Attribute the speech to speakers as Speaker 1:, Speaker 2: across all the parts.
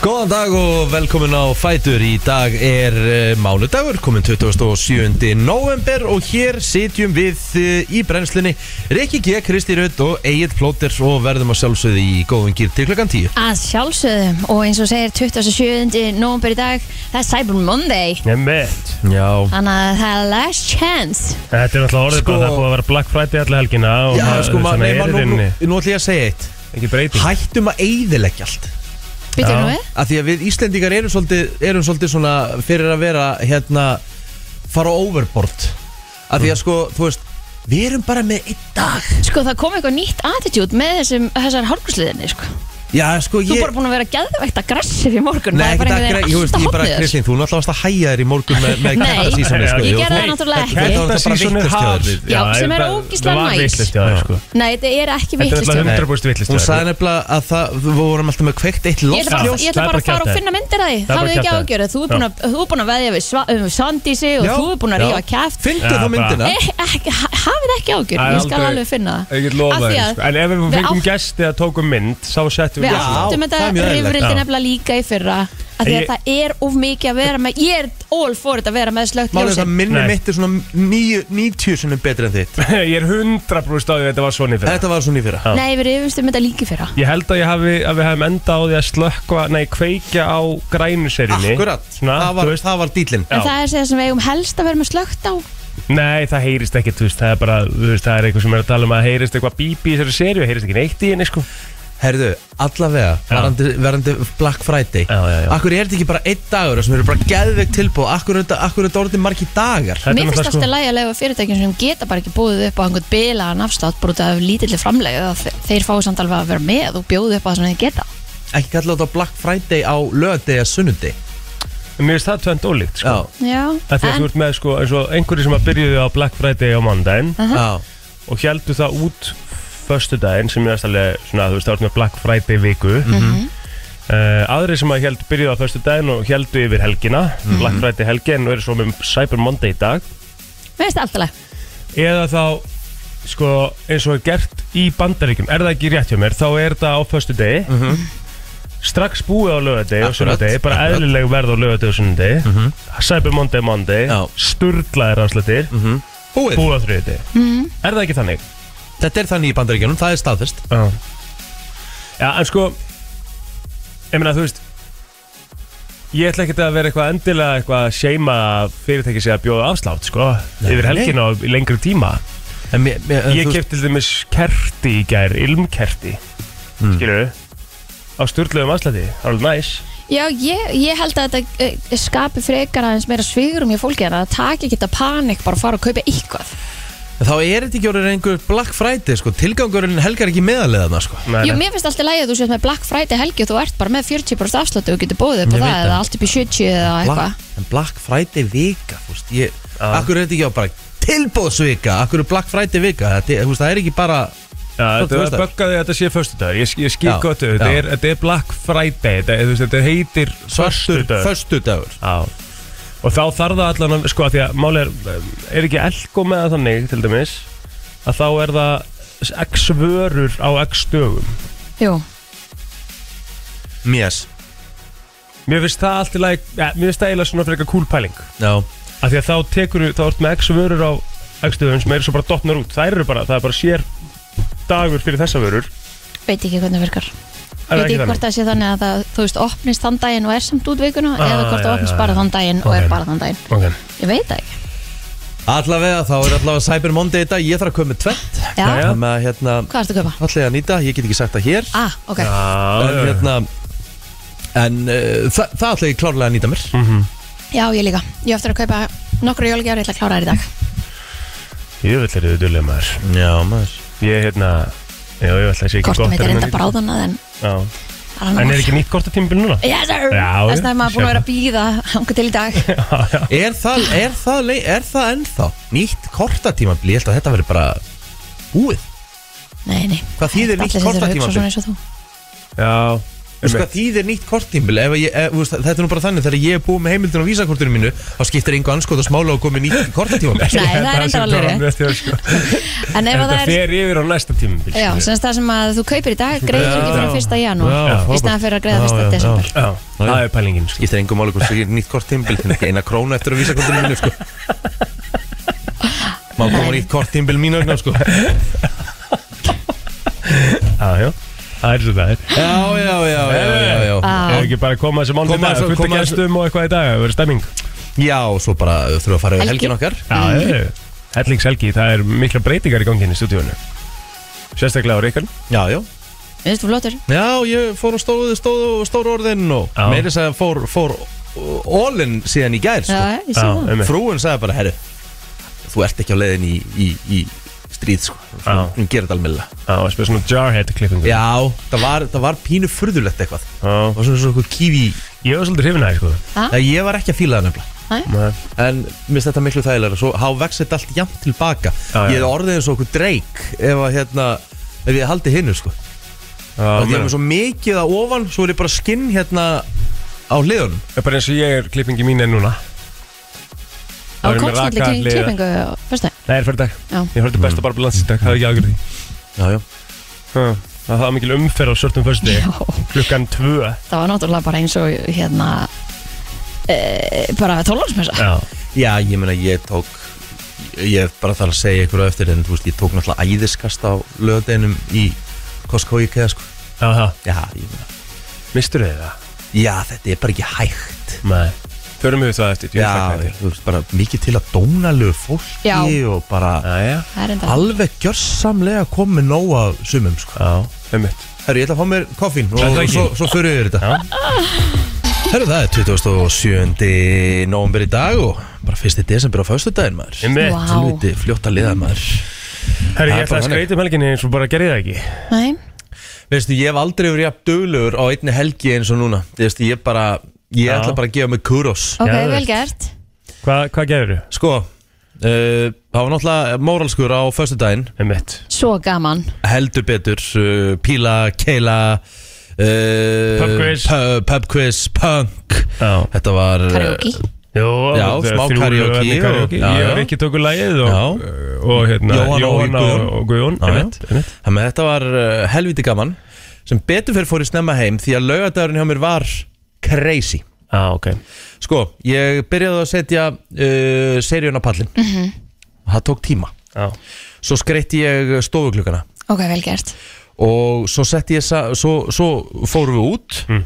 Speaker 1: Góðan dag og velkomin á Fætur Í dag er uh, mánudagur komin 27. november og hér sitjum við uh, í brennslunni Rikki G, Kristi Rutt og Egil Plóters og verðum að sjálfsögðu í góðum gýr til klukkan 10
Speaker 2: Að sjálfsögðum og eins og segir 27. november í dag Það er Cyber Monday
Speaker 3: Nemmit,
Speaker 1: Já,
Speaker 2: Þannig að það er last chance
Speaker 3: þetta er náttúrulega orðið
Speaker 1: Sko-
Speaker 3: bara það er búið að vera Black Friday alla helgina og
Speaker 1: Já
Speaker 3: það
Speaker 1: sko maður,
Speaker 3: svona
Speaker 1: nema
Speaker 3: er í
Speaker 1: nú, nú,
Speaker 3: rauninni
Speaker 1: nú ætlum ég að segja eitt
Speaker 3: Ekki breyting
Speaker 1: Hættum að eyðileggja allt
Speaker 2: Býtum
Speaker 3: Já.
Speaker 2: nú við
Speaker 1: að því að við Íslendingar erum svolítið, erum svolítið svona fyrir að vera hérna fara overboard að því að sko, þú veist við erum bara með einn dag
Speaker 2: Sko það kom eitthvað nýtt attitude með þessum, þessar hálfkursliðinni sko.
Speaker 1: já, sko,
Speaker 2: Þú er
Speaker 1: ég
Speaker 2: bara búin að vera geðveikt aggressiv í morgun
Speaker 1: Nei,
Speaker 2: Maður
Speaker 1: ekki
Speaker 2: er
Speaker 1: það,
Speaker 2: bara einhvern veginn
Speaker 1: ég veist, ég
Speaker 2: alltaf
Speaker 1: bara,
Speaker 2: hornið þér.
Speaker 1: Kristín, þú náttúrulega varst að hæja þér í morgun með, með
Speaker 2: Nei,
Speaker 1: kættasísoni, sko
Speaker 3: ég
Speaker 1: jú.
Speaker 2: gerði það náttúrulega ekki.
Speaker 1: Þetta var bara
Speaker 3: Kjöldarsísson er
Speaker 1: vitlaust hjá þér.
Speaker 3: hafið
Speaker 2: Já, sem er ógeðslega
Speaker 3: Það var
Speaker 2: næs.
Speaker 3: vittlust hjá þér sko
Speaker 2: Nei, þetta er ekki
Speaker 3: Þetta er
Speaker 2: vittlust
Speaker 3: alltaf
Speaker 2: Ég
Speaker 3: 100% vittlust
Speaker 1: Hún sagði nefnilega að það, við vorum alltaf með kveikt eitt
Speaker 2: ætla
Speaker 1: loft
Speaker 2: bara,
Speaker 3: ljós,
Speaker 2: ég ætla
Speaker 3: það er
Speaker 2: bara að
Speaker 3: bara
Speaker 2: fara og
Speaker 3: kjaftæði.
Speaker 2: finna myndir að því
Speaker 3: Það er bara
Speaker 2: Hafið ekki
Speaker 3: kjaftæði.
Speaker 2: ágjörð Þú er
Speaker 3: Já.
Speaker 2: búin að- þú er búin að veðja við sva- um Sandísi og
Speaker 1: Já.
Speaker 2: þú er búin að
Speaker 1: Já.
Speaker 2: rífa kæft
Speaker 1: Fyndu
Speaker 3: Já,
Speaker 1: þá
Speaker 3: bara-
Speaker 1: myndina
Speaker 2: Hafið ekki ágjörð,
Speaker 3: Það er
Speaker 2: ég skal
Speaker 3: aldrei-
Speaker 2: alveg finna það
Speaker 3: Ég get
Speaker 2: Af
Speaker 3: lofa
Speaker 2: því
Speaker 3: þér
Speaker 2: að
Speaker 3: sko En ef við
Speaker 2: við
Speaker 3: fengum
Speaker 2: átt-
Speaker 3: gæsti að tókum mynd Sá settum
Speaker 2: Við
Speaker 3: við gæsti
Speaker 2: áttum þetta
Speaker 1: það er mjög eðlilegt,
Speaker 2: rifrildi
Speaker 3: já.
Speaker 2: nefnilega líka í fyrra að því að
Speaker 3: Ég-
Speaker 2: það er of mikið að vera með ég er all for þetta að vera með slögt
Speaker 1: Málið er
Speaker 2: ljósi
Speaker 1: það minni
Speaker 3: Nei.
Speaker 1: mitt er svona níu- 90 sinum betri en þitt
Speaker 3: Ég er 100% á því að þetta var svona í fyrra
Speaker 1: Þetta var svona í fyrra
Speaker 3: Já.
Speaker 2: Nei, við rifumstum þetta líka í fyrra
Speaker 3: Ég held að, ég hafi, að við hefum enda á því að slökka, nei, kveikja á grænuseríni
Speaker 1: Akkurat,
Speaker 3: Svona,
Speaker 1: það
Speaker 3: þú
Speaker 1: var,
Speaker 3: veist,
Speaker 1: það var dýlinn
Speaker 3: Já.
Speaker 2: En það er það sem við eigum helst að vera með slögt á
Speaker 3: Nei, það heyrist ekki, þú veist, það er bara, þú veist, það er eitthvað sem er að tala um að heyrist eitthvað bíbi í þessari séri og heyrist ekki neitt í henni, sko.
Speaker 1: Herðu, allavega,
Speaker 3: Já.
Speaker 1: varandi, varandi Black Friday
Speaker 3: Já, já, já.
Speaker 1: Akkur er þetta ekki bara einn dagur sem eru bara geðvegt tilbúð Akkur er þetta, akkur er þetta sko- orðið margi dagar
Speaker 3: Þetta er
Speaker 2: Mér finnst
Speaker 3: náttúrulega, sko-
Speaker 2: alltaf lægilega fyrirtækjum sem geta bara ekki búið upp á einhvern bilaðan afslátt bara út af lítilli framlegu að þe- þeir fáið samt alveg að vera með og bjóðu upp á það sem þeir geta
Speaker 1: Ekki kalla þetta Black Friday á lögadegi að sunnundi
Speaker 3: sko. Mér finnst það tvönd ólíkt, sko.
Speaker 1: Já,
Speaker 2: Já,
Speaker 3: Það því að
Speaker 2: en
Speaker 3: þú ert með, sko, eins og einhverju sem að byrjuðu á Black Friday á mandaginn
Speaker 1: já,
Speaker 3: og heldu það út föstudaginn sem ég veist alveg, svona, þú veist, það var með Black Friday viku. Mm aðri sem að held byrjuðu á föstudaginn og heldu yfir helgina,
Speaker 1: Mhm.
Speaker 3: Black Friday helgin og eru svo með Cyber Monday í dag.
Speaker 2: mér finnst alltaf læg
Speaker 3: eða þá sko, eins og er gert í bandaríkjum er það ekki rétt hjá mér, þá er það á föstu degi strax búið á lögadegi
Speaker 1: Mhm.
Speaker 3: og
Speaker 1: Akkurat,
Speaker 3: sunnudegi, bara
Speaker 1: akkurat. Mhm.
Speaker 3: eðlileg verð á lögadegi og sunnudegi, Cyber Monday Monday
Speaker 1: Já. Mhm.
Speaker 3: sturlaðir afslutir
Speaker 1: búið
Speaker 3: búið á þriðdegi,
Speaker 1: Hm. Mm. Mhm.
Speaker 3: er það ekki þannig?
Speaker 1: Þetta er þannig í bandaríkjunum, það er staðfest
Speaker 3: Já Já, en sko Ég meina, þú veist Ég ætla ekki að vera eitthvað endilega eitthvað að seima fyrirtæki sig að bjóða afslátt, sko
Speaker 1: Nei.
Speaker 3: Yfir helgina og í lengri tíma
Speaker 1: en, mér, mér, en,
Speaker 3: Ég
Speaker 1: þú-
Speaker 3: kefti til dæmis kerti í gær, ilmkerti
Speaker 1: Hmm.
Speaker 3: mm. Skilur Á sturluðum afslætti, það var alveg næs
Speaker 2: Já, ég, ég held að þetta eh, skapi frekar aðeins meira svigurum í fólki en að það taki ekki þetta panik bara að fara og kaupa eitthvað
Speaker 1: en Þá er þetta ekki orðið einhver Black Friday sko. Tilgangurinn helgar ekki meðaleðana sko.
Speaker 3: Nei,
Speaker 2: Jú,
Speaker 3: nei.
Speaker 2: mér finnst alltaf lægið að þú sétt með Black Friday helgi og þú ert bara með 40% afsláttu og getur bóðið upp á
Speaker 1: Ég veit
Speaker 2: það eða
Speaker 1: það.
Speaker 2: allt upp í 70 eða eitthvað
Speaker 1: Black, en Black Friday vika þú veist, ég,
Speaker 3: Já.
Speaker 1: Akkur er þetta ekki á bara tilbúðsvika Akkur er Black Friday vika Þetta, er- þú veist, það er ekki bara
Speaker 3: Já,
Speaker 1: þú
Speaker 3: Þetta
Speaker 1: veist
Speaker 3: var
Speaker 1: það.
Speaker 3: böggaði að þetta sé föstudagur Ég, ég skil
Speaker 1: Já,
Speaker 3: gott auðvitað,
Speaker 1: já.
Speaker 3: þetta, er- þetta er Black Friday Þetta, þú veist, þetta heitir
Speaker 1: svartur
Speaker 3: föstudagur.
Speaker 1: föstudagur
Speaker 3: Já Og þá þarf það allan að, sko, af því að máli er, eh, er ekki elko með það þannig, til dæmis, að þá er það x vörur á x dögum.
Speaker 2: Jú,
Speaker 1: Mjess
Speaker 3: Mér finnst það allt í lagi, ja, mér finnst það eiginlega svona fyrir eitthvað cool pæling.
Speaker 1: Já
Speaker 3: Af því að þá tekur, þá ert með x vörur á x dögum sem eru svo bara dotnar út. Það eru bara, það er bara sér dagur fyrir þessa vörur.
Speaker 2: veit ekki hvernig það virkar
Speaker 3: Er það
Speaker 2: Veit
Speaker 3: ekki
Speaker 2: ekki hvort
Speaker 3: þannig?
Speaker 2: það sé þannig að það, þú veist, opnist þann daginn og er samt út vikuna
Speaker 3: Ah,
Speaker 2: eða hvort
Speaker 3: já,
Speaker 2: það opnist
Speaker 3: já,
Speaker 2: bara
Speaker 3: já.
Speaker 2: þann daginn og
Speaker 3: Ok.
Speaker 2: er bara þann daginn
Speaker 3: Okay.
Speaker 2: Ég veit það ekki
Speaker 1: Allavega, þá er allavega Cyber Monday í dag Ég þarf að koma með tvett
Speaker 2: Já,
Speaker 3: Jæja.
Speaker 1: Þannig að hérna
Speaker 2: hvað ertu að kaupa?
Speaker 1: Allega að nýta, ég get ekki sagt það hér
Speaker 2: Ah, ok,
Speaker 3: Já,
Speaker 1: En
Speaker 3: já, já.
Speaker 1: hérna En uh, það, það ætla ég klárlega að nýta mér
Speaker 3: Mhm.
Speaker 2: já ég líka Ég á eftir að kaupa nokkru jólgjár, ég ætla að klára þær í dag
Speaker 3: Ég vil eru þau dullega maður.
Speaker 1: Já, maður
Speaker 3: Ég, hérna, já, ég vil það sé ekki
Speaker 2: Kortum
Speaker 3: gott.
Speaker 2: mitt er enda
Speaker 3: bara.
Speaker 2: bráðan að en
Speaker 3: Já.
Speaker 2: það er
Speaker 3: En
Speaker 2: annar
Speaker 3: er
Speaker 2: mál.
Speaker 3: ekki nýtt kortatímbil núna?
Speaker 2: Yes, sir!
Speaker 3: Já,
Speaker 2: Þess vegna er
Speaker 3: já,
Speaker 2: maður búin að
Speaker 3: sjá
Speaker 2: vera að býða hanga til í dag
Speaker 3: Ah,
Speaker 1: Er það, er það, lei- er það ennþá nýtt kortatímabli? Ég held að þetta verður bara búið
Speaker 2: Nei, nei
Speaker 1: Hvað þýðir
Speaker 2: Allir
Speaker 1: nýtt
Speaker 2: sem þurfa að hugsa
Speaker 1: kortatímabli?
Speaker 2: svona eins og þú
Speaker 3: Já,
Speaker 1: Þú veist hvað þýðir nýtt korttímbil ef ég, ef, þú veist, Þetta er nú bara þannig þegar ég er búið með heimildin á vísakortinu mínu þá skiptir engu anskot að smála og komið nýtt korttímbil
Speaker 2: Nei, það er enda alveg rétt.
Speaker 3: sko.
Speaker 2: En ef
Speaker 3: En
Speaker 2: að
Speaker 3: það
Speaker 2: það er
Speaker 3: fer yfir á næsta tímabil
Speaker 2: Já,
Speaker 3: skilur.
Speaker 2: sem sagt það sem að þú kaupir í dag greiðir ekki
Speaker 1: Já.
Speaker 2: fyrir fyrsta janúar
Speaker 1: Já,
Speaker 2: í
Speaker 1: frábært.
Speaker 2: staðan fyrir að greiða
Speaker 1: Já,
Speaker 2: fyrsta
Speaker 1: já, já.
Speaker 2: desember
Speaker 3: Já, það er pælingin sko.
Speaker 1: Skiptir engu máli hvort það er nýtt korttímbil eina krónu eftir á vísakortinu mínu sko. Má koma nýtt korttímbil mínu
Speaker 3: hérna,
Speaker 1: vegna sko.
Speaker 3: Já, já, það er svo það er
Speaker 1: Já, já, já, já, já, já.
Speaker 2: Já.
Speaker 3: Ef ekki bara að koma þessi mánu
Speaker 1: Koma
Speaker 3: dag
Speaker 1: þessu-
Speaker 3: Fullt að
Speaker 1: koma þessu-
Speaker 3: gestum og eitthvað í dag Það verður stemming
Speaker 1: Já, svo bara þurfum við að fara yfir
Speaker 2: Helgi.
Speaker 1: helgin okkar
Speaker 3: Já, já, já. Hellings Helgi, það er mikla breytingar í ganginni í stúdíunum Sérstaklega á Ríkan
Speaker 1: Já, já
Speaker 2: Viðstu flottur?
Speaker 1: Já, ég fór og stóð, stóð, stóð orðin og
Speaker 3: Já.
Speaker 1: meiri sagði fór, fór all-in síðan í gær sko.
Speaker 2: Já, ég sé það
Speaker 3: einmitt.
Speaker 1: Frúin sagði bara, herru Þú ert ekki á leiðin í, í, í stríð sko.
Speaker 3: Já.
Speaker 1: Hún gerir þetta almennilega
Speaker 3: Já, og spyrir svona jarhead klippingu
Speaker 1: Já, það var, það var pínu furðulegt eitthvað
Speaker 3: Já.
Speaker 1: Það var svona svona eitthvað kífi
Speaker 3: Ég var svolítið hrifin aðeins sko
Speaker 2: Ha?
Speaker 1: Nei, Ég var ekki að fíla það nefnilega
Speaker 3: Nei.
Speaker 1: En minnst þetta miklu þægilega Svo há vex þetta allt jafn tilbaka
Speaker 3: Já, já.
Speaker 1: Ég hefði orðið eins og okkur dreik Ef að hérna Ef ég haldi hinnu sko
Speaker 3: Já,
Speaker 1: Það er
Speaker 3: meina.
Speaker 1: með svo mikið að ofan Svo er ég bara skinn hérna Á hliðunum
Speaker 3: Það er bara eins og ég er klippingi mín er núna
Speaker 2: Á
Speaker 3: Það er með
Speaker 2: konstantli
Speaker 3: raka hliðar.
Speaker 2: klippingu á föstudaginn.
Speaker 3: Nei, er fyrir dag
Speaker 2: Já.
Speaker 3: Ég hörði besta bara blansið dag, það er ekki aðgjörði
Speaker 1: Mm. Já, já
Speaker 3: Það það var mikil umferð á svörtum fyrstu
Speaker 2: Já,
Speaker 3: Klukkan tvö
Speaker 2: það var náttúrulega bara eins og hérna e, bara tólansmessa
Speaker 3: Já,
Speaker 1: Já, ég meina ég tók Ég er bara þar að segja ykkur á eftir En þú veist, ég tók náttúrulega æðiskast á lögadeinum Í Costco IKEA sko
Speaker 3: já það
Speaker 1: Já, ég meina
Speaker 3: Mistur þið það?
Speaker 1: Já, þetta er bara ekki hægt
Speaker 3: Nei Förum við það eftir, ég er
Speaker 1: Já,
Speaker 3: þakklát fyrir.
Speaker 1: þú veist, bara mikið til að dónalegu fólki
Speaker 2: Já.
Speaker 1: Og bara
Speaker 3: Já, já
Speaker 2: Það er enda
Speaker 1: alveg gjörsamlega komið nóg af sumum sko
Speaker 3: Já, einmitt
Speaker 1: Herru, ég ætla að fá mér koffín og
Speaker 3: Það er ekki.
Speaker 1: svo, svo fyrir við þetta Herru, það er 27. november í dag og bara 1. desember á föstudaginn maður
Speaker 3: Einmitt
Speaker 2: Vá.
Speaker 1: Helviti fljótt að liða maður Það er
Speaker 3: Herri, ég ætla
Speaker 1: bara
Speaker 3: að
Speaker 1: þannig.
Speaker 3: skreita um helginni eins og bara gerði það ekki
Speaker 2: Nei,
Speaker 1: Veistu, ég hef aldrei verið jafn döglegur á einni helgi eins og núna Veistu, ég bara, ég
Speaker 3: Já.
Speaker 1: ætla bara að gefa mig kuros
Speaker 2: ok,
Speaker 3: Geðveikt.
Speaker 2: vel gert
Speaker 3: Hvað, hvað gerður þú?
Speaker 1: Sko, uh, það var náttúrulega móralskur á föstudaginn
Speaker 3: Einmitt
Speaker 2: Svo gaman
Speaker 1: heldur betur uh, Píla, Keila uh,
Speaker 3: Pub quiz.
Speaker 1: pu- Pub quiz, Punk
Speaker 3: Já
Speaker 1: Þetta var uh,
Speaker 2: Karaoke
Speaker 3: Jó,
Speaker 1: Já,
Speaker 3: það er
Speaker 1: smá
Speaker 3: þrjú
Speaker 1: karaoke
Speaker 3: lög,
Speaker 1: og-
Speaker 3: karaoke.
Speaker 1: já,
Speaker 3: Ég
Speaker 1: já.
Speaker 3: og Rikki tóku lagið og,
Speaker 1: Já.
Speaker 3: og hérna,
Speaker 1: Jóhanna og
Speaker 3: Jóhanna
Speaker 1: Guðjón.
Speaker 3: og Guðjón
Speaker 1: Já, já.
Speaker 3: einmitt, einmitt.
Speaker 1: Þannig að þetta var uh, helviti gaman sem betur fyrir fór ég snemma heim því að laugardagurinn hjá mér var crazy
Speaker 3: Já, ok
Speaker 1: Sko, ég byrjaði að setja uh, seríun á pallin mm Það tók tíma
Speaker 3: Já,
Speaker 1: Svo skreitti ég stofuglukkana
Speaker 2: Ok, vel gert
Speaker 1: og svo setti ég sa- svo, svo fórum við út mm.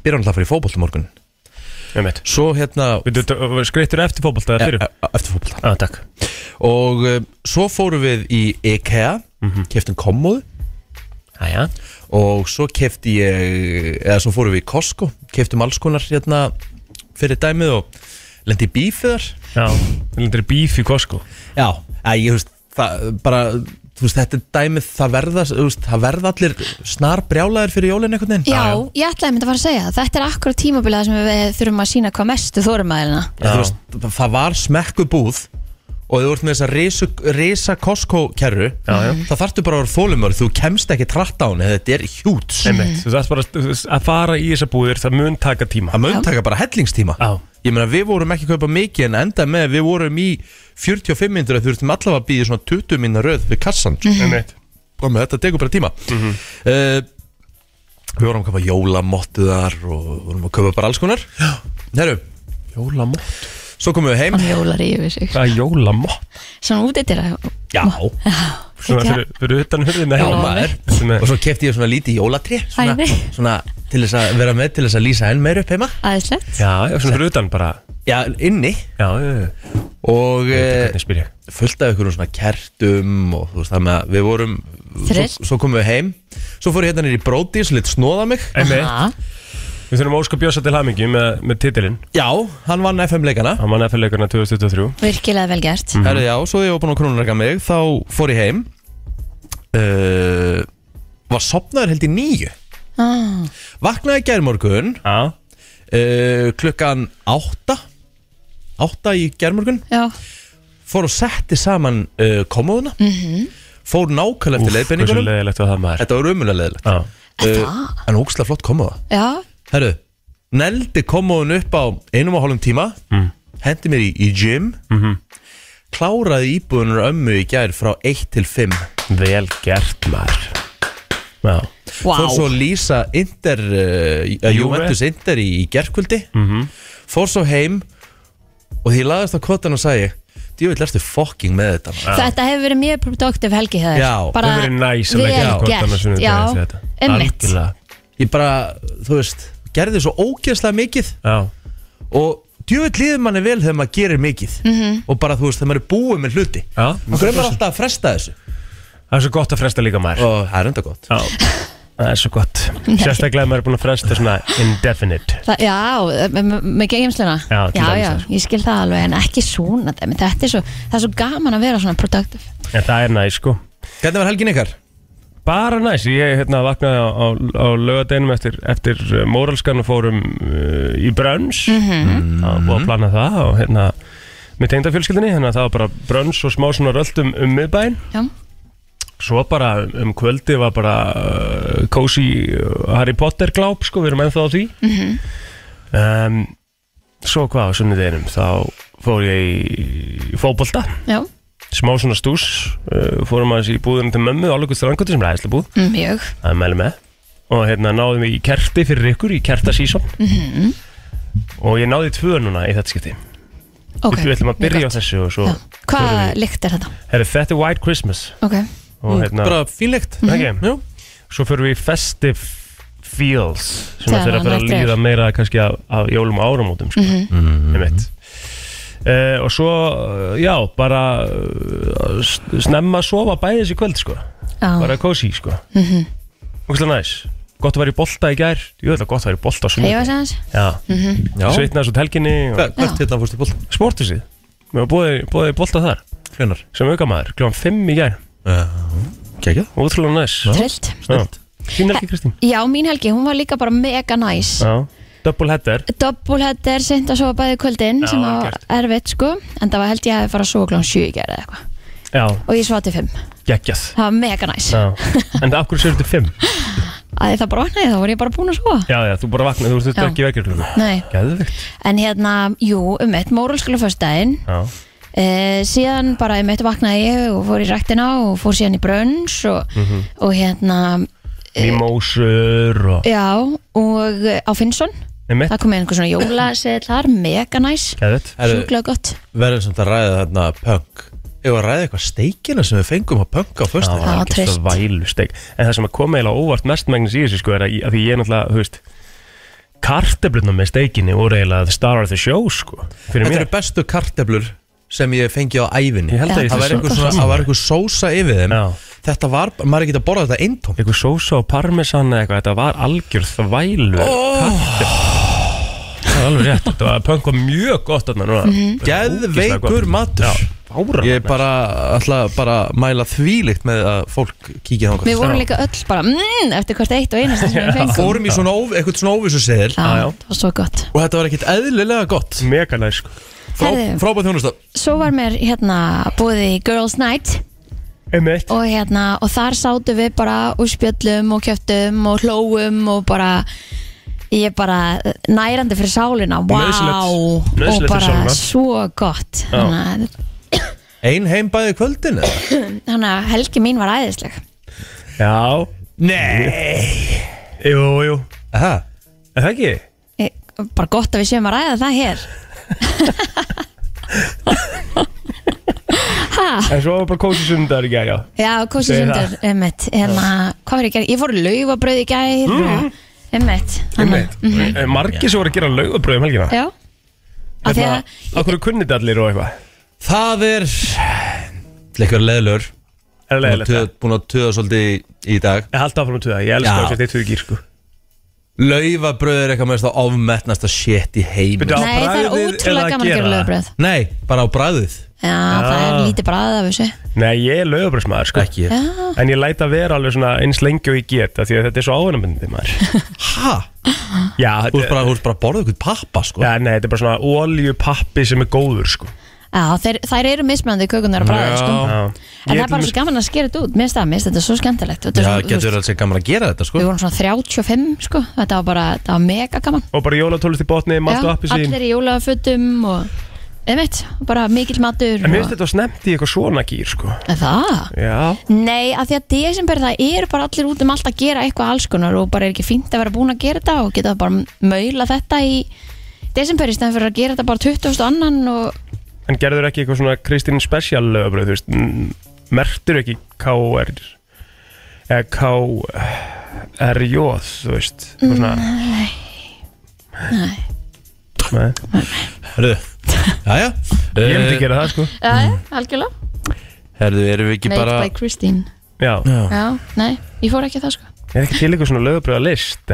Speaker 1: byrjaði alltaf að fara í fótbolta morgun
Speaker 3: einmitt
Speaker 1: Svo hérna
Speaker 3: Við þú skreittur eftir fótbolta eða
Speaker 1: e-
Speaker 3: fyrir?
Speaker 1: e- eftir fótbolta
Speaker 3: Já, takk
Speaker 1: og uh, svo fórum við í IKEA mm
Speaker 3: Mhm.
Speaker 1: keftum kommóðu
Speaker 3: Já, já
Speaker 1: og svo kefti ég eða svo fórum við í Costco keftum alls konar hérna fyrir dæmið og lendi í bífiðar
Speaker 3: Já, við lendir í bíf í Costco
Speaker 1: já, að ég þú veist það bara, þú veist þetta er dæmið það verða, þú veist, það verða allir snar brjálaðir fyrir jólinn einhvern veginn
Speaker 2: Já, ég ætlaði myndi að fara að segja það. Þetta er akkurat tímabilið þar sem við þurfum að sína hvað mestu þórum aðeina
Speaker 1: En þú veist, það var smekku búð og þú ert með þessa risu, risa Costco kerru,
Speaker 3: Já, já.
Speaker 1: það þarftu bara að vera þólumör þú kemst ekki tratt á henni, þetta er hjút
Speaker 3: Einmitt, þú þarft bara að- að fara í þessa búðir, það mun taka tíma
Speaker 1: það mun taka bara hellingstíma
Speaker 3: Já.
Speaker 1: ég meina við vorum ekki að kaupa mikið en enda með að við vorum í 45 minnur að þú ertum allavega að býða svona 20 minna röð við kassan mm
Speaker 3: Mhm. Einmitt
Speaker 1: og með þetta tekur bara tíma
Speaker 3: Mhm.
Speaker 1: uh, við vorum að kaupa jólamottuðar og vorum að kaupa bara alls konar herru,
Speaker 3: Jólamott
Speaker 1: svo komum við heim
Speaker 2: og hjólar yfir sig
Speaker 3: Hvað er jólamott?
Speaker 2: Svona út eittir
Speaker 1: já,
Speaker 3: Svona fyrir, fyrir utan hurðina
Speaker 1: já
Speaker 2: Já,
Speaker 1: maður
Speaker 3: Svona-
Speaker 1: og svo kefti ég svona lítið jólatri svona,
Speaker 2: Æ, nei.
Speaker 1: svona til þess að vera með til þess að lýsa enn meir upp heima
Speaker 2: Æðislegt
Speaker 3: Já, já, svona fyrir utan bara
Speaker 1: já, inni
Speaker 3: Já, já, já
Speaker 1: og uh,
Speaker 3: Hvernig spyr ég?
Speaker 1: fullt af ykkur svona kertum og þú veist það með að við vorum svo,
Speaker 2: Þreytt.
Speaker 1: svo komum við heim svo fór ég hérna nýri í bróti svo lit snóða mig
Speaker 3: Einmitt
Speaker 2: Aha.
Speaker 3: Við þurfum að óska bjósa til hamingju með, með titilinn
Speaker 1: já, hann vann FM leikana
Speaker 3: Hann vann FL-leikana 2023
Speaker 2: Virkilega vel gert
Speaker 3: Mhm.
Speaker 1: mm. já, svo þegar ég var búin að krónurrega mig þá fór ég heim uh, var sopnaður held í nýju
Speaker 2: ah,
Speaker 1: vaknaði gærmorgun
Speaker 3: Já
Speaker 1: uh, klukkan átta átta í gærmorgun
Speaker 2: Já,
Speaker 1: fór og setti saman
Speaker 2: Mhm.
Speaker 1: uh, komóðuna fór nákvæmlega eftir
Speaker 3: Úff, hversu
Speaker 1: leiðbeiningunum
Speaker 3: leiðilegt var það maður
Speaker 1: þetta var umulega leiðilegt
Speaker 3: Já,
Speaker 2: það?
Speaker 1: Eh, En ógstlega flott komaða
Speaker 2: Já,
Speaker 1: Herru, neldi komaðun upp á einum og hálfum tíma
Speaker 3: Mm.
Speaker 1: Hendi mér í, í gym
Speaker 3: Mhm.
Speaker 1: Kláraði íbúðunar ömmu í gær frá 1 til 5
Speaker 3: Vel gert maður Já,
Speaker 2: vá
Speaker 1: Fór svo að lýsa Inter, uh,
Speaker 3: Juve. Mhm.
Speaker 1: Juventus Inter í, í gerkvöldi Fór svo heim Og því laðast á kvotan og sagði Djúvill erstu fucking með þetta maður."
Speaker 2: Þetta hefur verið mjög productive helgi hjá þér
Speaker 1: Já,
Speaker 2: Bara
Speaker 3: hefur verið næs að
Speaker 2: vel
Speaker 3: leggja á koddann á
Speaker 2: gert.
Speaker 3: sunnudegi eftir þetta.
Speaker 2: Já, emmitt
Speaker 3: algjörlega
Speaker 1: Ég bara, þú veist, gerði svo ógeðslega mikið
Speaker 3: Já,
Speaker 1: Og djúvill líður manni vel þegar maður gerir mikið
Speaker 2: Mhm.
Speaker 1: -hmm. Og bara, þú veist, þegar maður er búið með hluti
Speaker 3: já
Speaker 1: Okkur er maður alltaf að fresta þessu
Speaker 3: Það er svo gott að fresta líka maður
Speaker 1: Og það er enda gott
Speaker 3: Já, það er svo gott Sérstaklega ef maður er búin að fresta svona indefinite
Speaker 2: Þa, já, me- me- með geimsluna
Speaker 3: Já, til
Speaker 2: já,
Speaker 3: dæmis
Speaker 2: já,
Speaker 3: það, sko.
Speaker 2: ég skil það alveg en ekki svona dæmi. þetta er svo, það er svo gaman að vera svona productive
Speaker 3: En það er næs sko
Speaker 1: Hvernig var helgin ykkar?
Speaker 3: Bara næs, ég hérna vaknaði á, á, á lögadeinum eftir, eftir uh, móralskan og fórum uh, í brönns mm -hmm. Það var búið að plana það og hérna með tengdafjölskyldinni, þannig að það var bara brönns og smá svona röldum um miðbæinn
Speaker 2: Já,
Speaker 3: Svo bara um kvöldi var bara uh, cozy uh, Harry Potter gláp sko, við erum ennþá á því um, Svo hvað á sunnudeginum, þá fór ég í fótbolta
Speaker 2: já,
Speaker 3: Smá svona stús, uh, fórum aðeins í búðunum til mömmu Álugur Strangóti sem er aðeinslega búð,
Speaker 2: mm, mjög
Speaker 3: það er mæli með Og hérna náðum við í kerti fyrir ykkur, í kertasíson
Speaker 2: Mhm.
Speaker 3: Og ég náði tvö núna í þetta skipti
Speaker 2: Ok,
Speaker 3: Við ætlum að
Speaker 2: mjög
Speaker 3: byrja á
Speaker 2: gott.
Speaker 3: þessu og svo
Speaker 2: Já. Hvað
Speaker 3: förum við-
Speaker 2: lykt er þetta?
Speaker 3: Herru, þetta er White Christmas
Speaker 2: Ok,
Speaker 3: Og hérna, Mm-hmm.
Speaker 1: Bara fínlegt
Speaker 3: ekki?
Speaker 1: Jú.
Speaker 3: svo fyrir við í festive feels sem
Speaker 2: Það
Speaker 3: þeirra
Speaker 2: er
Speaker 3: fyrir að
Speaker 2: alveg
Speaker 3: líða meira kannski af, af jólum og áramótum sko. mm -hmm. og svo, eh, já, bara eh, s- snemma að sofa bæði þessi kvöld sko.
Speaker 2: já,
Speaker 3: bara kósi sko. mm
Speaker 2: Mhm.
Speaker 3: -hmm. næs gott að vera í bolta í gær ég veit að gott að vera í bolta á
Speaker 2: ég var
Speaker 3: sunnum
Speaker 2: sem þess
Speaker 3: já,
Speaker 2: Mhm.
Speaker 1: Já.
Speaker 3: sveitnaðs út helginni og
Speaker 1: Hva- Hvert hérna fórstu bólt?
Speaker 3: sportusið við varum búið, búið í bolta þar
Speaker 1: Hvenar?
Speaker 3: sem auka maður, kljóðan 5 í gær
Speaker 1: Kekja
Speaker 3: útrúlega næs
Speaker 2: Trillt
Speaker 3: Já. þín helgi Kristín
Speaker 2: Já, mín helgi, hún var líka bara mega næs
Speaker 3: já. double header
Speaker 2: Doppulhetter, seint að sofa bæði kvöldin
Speaker 3: Já,
Speaker 2: sem
Speaker 3: vel
Speaker 2: var
Speaker 3: gert.
Speaker 2: erfitt sko en það var held ég að fara að sofa klón 7 í gerð eða eitthvað
Speaker 3: já,
Speaker 2: og ég svati 5,
Speaker 3: geggjað
Speaker 2: það var mega næs
Speaker 3: Já, en það af hverju séu þetta fimm?
Speaker 2: að það bara vaknaði þá var ég bara búin að sofa
Speaker 3: Já, já, þú bara vaknaði, þú
Speaker 2: Já.
Speaker 3: veist ekki vekjur klukkan
Speaker 2: Nei,
Speaker 3: Gæðvikt
Speaker 2: en hérna, jú, um eitt móralskjölu föstudaginn
Speaker 3: Já,
Speaker 2: e, síðan bara um eitt vaknaði ég og fór í ræktina og fór síðan í brönns og, og hérna
Speaker 3: Mhm. mimósur og
Speaker 2: já, og eh, á Finnsson
Speaker 3: Nei, Um mitt,
Speaker 2: það kom með einhver svona jólaseðl þar, mega næs
Speaker 3: gæðvikt
Speaker 2: sjúklega gott
Speaker 1: Verðum samt að ræða þarna punk Ég var að ræða eitthvað steikina sem við fengum á punk á fyrstu
Speaker 2: Já. trist.
Speaker 3: vælusteg En það sem að koma eiginlega óvart mestmægnis í þessu sko er að, að því ég er náttúrulega, þú veist Karteblutna með steikinni voru eiginlega the star of the show sko Fyrir
Speaker 1: Þetta
Speaker 3: mér
Speaker 1: eru bestu karteblur sem ég fengi á ævinni
Speaker 3: Ég held að ég
Speaker 1: Það
Speaker 3: sé
Speaker 1: var einhver,
Speaker 3: svo-
Speaker 1: svona,
Speaker 3: sammála.
Speaker 1: það var einhver sósa yfir þeim
Speaker 3: Já.
Speaker 1: Þetta var, maður er ekki að borða þetta eintóm
Speaker 3: Einhver sósa og parmesan eða eitthvað, þetta var algjör þvælu oh. Það er alveg rétt, þetta var pönkvað mjög gott þarna núna
Speaker 1: Mhm. Geðveikur matur
Speaker 3: Já, fáránlega
Speaker 1: Ég bara ætla bara að mæla þvílikt með að fólk kíkja
Speaker 2: við
Speaker 1: þangað
Speaker 2: vorum
Speaker 3: Já.
Speaker 2: líka öll bara mmm, eftir hvert eitt og einasta sem við fengum
Speaker 1: Fórum í svona, óv- eitthvað svona óvissuseðil
Speaker 2: Já,
Speaker 3: Já, já.
Speaker 2: það var svo gott
Speaker 1: Og þetta var ekkit eðlilega gott
Speaker 3: mega næs sko.
Speaker 1: Frá,
Speaker 2: Herðu.
Speaker 1: Frábæð þjónusta
Speaker 2: Svo var mér hérna búið í Girls Night
Speaker 3: Einmitt.
Speaker 2: og hérna og þar sátu við bara og spjöllum og kjöptum og hlóum og bara ég er bara nærandi fyrir sálina wow,
Speaker 3: Nauðsynlegt. Nauðsynlegt fyrir
Speaker 2: og bara
Speaker 3: sálina.
Speaker 2: svo gott þannig að-
Speaker 1: Ein heim bæði kvöldin eða?
Speaker 2: þannig að helgi mín var æðisleg
Speaker 3: Já
Speaker 1: Nei
Speaker 3: Jú, jú
Speaker 1: Aha.
Speaker 3: Er það ekki?
Speaker 2: Ég- bara gott að við séum að ræða það hér
Speaker 3: En svo var bara kósi sundar í gæja já.
Speaker 2: já, kósi
Speaker 3: Segir
Speaker 2: sundur, einmitt hérna, hvað var ég gerð, ég fór í laufabrauð í gæð mm. einmitt, þannig að- Mm.
Speaker 3: Eh, Margir sem voru að gera laugabröð um helgina Hérna,
Speaker 2: já af því að
Speaker 3: Akkur kunnit allir og eitthvað
Speaker 1: Það er Lekkur leðlur
Speaker 3: Er það leiðilegt það?
Speaker 1: Búin að töða svolítið í, í dag
Speaker 3: Ég haldi áfram að tuða, ég elska
Speaker 1: Já.
Speaker 3: þessi eittuð gýr sko
Speaker 1: Laufabröð er eitthvað mest á ofmetnasta shit í heim
Speaker 3: Byrju, á
Speaker 2: Nei, það er
Speaker 3: bragðið eða
Speaker 2: ótrúlega gaman að
Speaker 3: gera
Speaker 2: gera
Speaker 3: það?
Speaker 2: lögbröð
Speaker 1: Nei, bara á bræðið
Speaker 2: Já, það er lítið bræðið af þessu
Speaker 3: Nei, ég er laugabröðsmaður sko
Speaker 1: Ekki ég.
Speaker 2: Já,
Speaker 3: En ég læt að vera alveg svona eins lengi og ég get af Því að þetta er svo ávinnabindi maður
Speaker 1: Ha?
Speaker 3: Já,
Speaker 1: Þú ert
Speaker 3: þetta
Speaker 1: bara, þú ert bara að borða eitthvað pappa sko
Speaker 3: Já, nei, þetta er bara svona ólíu pappi sem er góður sko
Speaker 2: Já, þeir, þær eru mismöndi kökunar að bræða sko.
Speaker 1: Já.
Speaker 2: En það er bara svo gaman að skera þetta út Mér finnst það, mér finnst þetta svo skemmtilegt Þetta er
Speaker 1: Já,
Speaker 2: svona, þú
Speaker 1: getur verið alveg gaman að gera þetta sko
Speaker 2: Við vorum svona 35 sko. Þetta var bara, þetta var mega gaman
Speaker 3: Og bara jólatólust í botni, malt og
Speaker 2: Já,
Speaker 3: appi
Speaker 2: Allir í jólafötum og einmitt, bara mikill matur
Speaker 3: En mér
Speaker 2: og...
Speaker 3: finnst þetta snemt í eitthvað svona gýr sko
Speaker 2: Er Það?
Speaker 3: Já
Speaker 2: Nei, af því að desember það eru bara allir út um allt að gera eitthvað alls konar og bara er ekki fínt að vera búin að gera þetta og geta bara maula þetta í desember í stæðan fyrir að gera þetta bara 20. annan og
Speaker 3: En gerður ekki eitthvað svona Kristín special lögabröð, þú veist m- Mertur ekki K.R. eða K.R.J. þú veist eitthvað svona Nei
Speaker 1: Herðu, jæja
Speaker 3: Ég myndi
Speaker 1: Eh,
Speaker 3: gera það sko
Speaker 2: Já, mm. algjörlega
Speaker 1: Herðu, erum við ekki
Speaker 2: Made
Speaker 1: bara
Speaker 2: by Christine
Speaker 3: Já,
Speaker 1: Já.
Speaker 2: Já, nei, ég fór ekki að það sko
Speaker 3: er ekki til eitthvað svona lögabröða list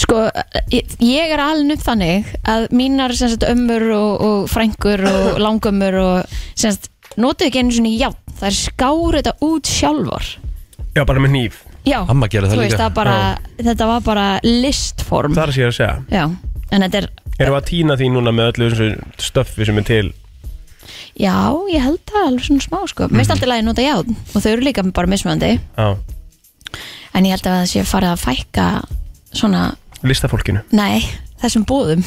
Speaker 2: Sko, ég, ég er alveg upp þannig að mínar sem sagt ömmur og, og frængur og langömmur og sem sagt, notuðu ekki einu svona játn það er skáru þetta út sjálfar
Speaker 3: Já, bara með nýf
Speaker 2: Já,
Speaker 1: Amma gerði það
Speaker 2: þú veist
Speaker 1: líka.
Speaker 2: það bara, þetta var bara listform
Speaker 3: Það er að sé að segja
Speaker 2: Já, en þetta er
Speaker 3: Erum við að týna því núna með öllu þessu stöffi sem er til
Speaker 2: Já, ég held það alveg svona smá sko Mér
Speaker 1: Mhm.
Speaker 2: finnst alltaf lagi að nota játn og þau eru líka bara mismöndi
Speaker 3: á
Speaker 2: en ég held að það sé farið að fækka svona,
Speaker 3: listafólkinu
Speaker 2: nei, þessum búðum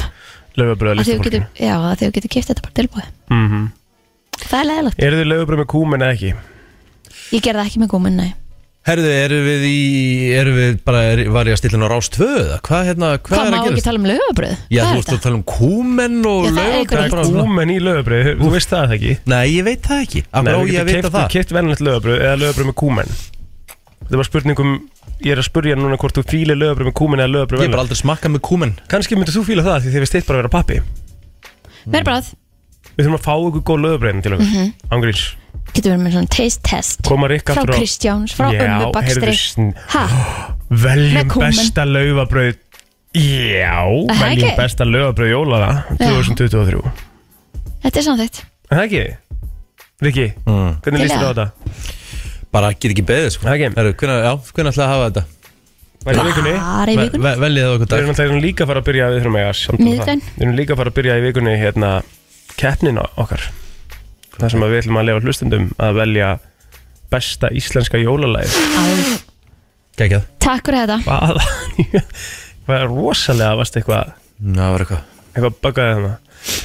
Speaker 3: Lögabröða
Speaker 2: að þau getur,
Speaker 3: listafólkinu
Speaker 2: já, að þau getur kipt þetta bara tilbúið
Speaker 3: mm
Speaker 2: Það er leðilegt,
Speaker 3: Eru þið lögabröð með kúmen eða ekki?
Speaker 2: ég gerði það ekki með góminn, nei
Speaker 1: Herðu, erum við í, erum við bara, er, var ég að stilla ná rás 2 eða? Hvað, hérna, hvað,
Speaker 2: Hvað
Speaker 1: er
Speaker 2: má
Speaker 1: að
Speaker 2: ekki
Speaker 1: gerast?
Speaker 2: tala um lögabröð?
Speaker 1: Já,
Speaker 2: Hvað
Speaker 1: þú
Speaker 2: er
Speaker 1: veist að
Speaker 2: þetta?
Speaker 1: tala um kúmen
Speaker 2: Já,
Speaker 1: og
Speaker 2: það er eitthvað
Speaker 1: laugardagur bara
Speaker 2: nýtt.
Speaker 1: svona.
Speaker 3: Kúmen í lögabröð, þú veist það ekki?
Speaker 1: Nei, ég veit það ekki Af
Speaker 3: Nei,
Speaker 1: hverju á ég
Speaker 3: þú getur
Speaker 1: að vita
Speaker 3: keypt-
Speaker 1: það?
Speaker 3: keypt venjulegt lögabröð eða lögabröð með kúmen Þetta var spurningum Ég er að spurja núna hvort þú fílir lögabröð með kúmen eða lögabröð
Speaker 1: Ég hef bara
Speaker 3: venjulegt
Speaker 1: aldrei smakkað með kúmen
Speaker 3: Kanski myndir þú fíla það því þið veist þitt bara að vera pappi
Speaker 1: Mm.
Speaker 2: Mér bara að,
Speaker 3: Við þurfum að fá ykkur góð lögabröðin til okkur mm Ángríns
Speaker 2: Mhm. getur verið með svona taste test
Speaker 3: Koma Rikka
Speaker 2: Frá
Speaker 3: frá-
Speaker 2: Kristjáns, frá
Speaker 3: Já,
Speaker 2: ömmu bakstri
Speaker 3: heyrðu, sn-
Speaker 2: Ha, Með
Speaker 3: Veljum
Speaker 2: kúmen.
Speaker 3: besta lögabröð Já,
Speaker 2: Er það
Speaker 3: veljum
Speaker 2: ekki?
Speaker 3: besta lögabröð jólaða 2023
Speaker 2: þetta er samþýtt
Speaker 3: Er það ekki? Rikki, hvernig
Speaker 2: Til
Speaker 3: líst
Speaker 2: að-
Speaker 3: þér á þetta?
Speaker 1: Mm. Bara get ekki beðið sko
Speaker 3: Það ekki.
Speaker 1: Herru, hvenær- já, Hvernig ætlaði að hafa þetta?
Speaker 3: Væri í vikunni?
Speaker 2: Bara í
Speaker 1: Ve-
Speaker 2: vikunni
Speaker 1: ve- Veljið það okkur
Speaker 3: Við
Speaker 1: dag
Speaker 3: erum náttúrulega líka að fara að byrja við þurfum að eiga samt um það.
Speaker 2: Miðvikudaginn.
Speaker 3: Við erum líka að fara að byrja í vikunni hérna keppnin okkar Það sem að við ætlum að lefa hlustendum að velja besta íslenska jólalæð
Speaker 2: Á,
Speaker 1: Gækjað
Speaker 2: Takk fyrir þetta
Speaker 3: Hvað? Hvað er rosalega varst eitthvað
Speaker 1: Ná, var eitthvað
Speaker 3: eitthvað buggaði þarna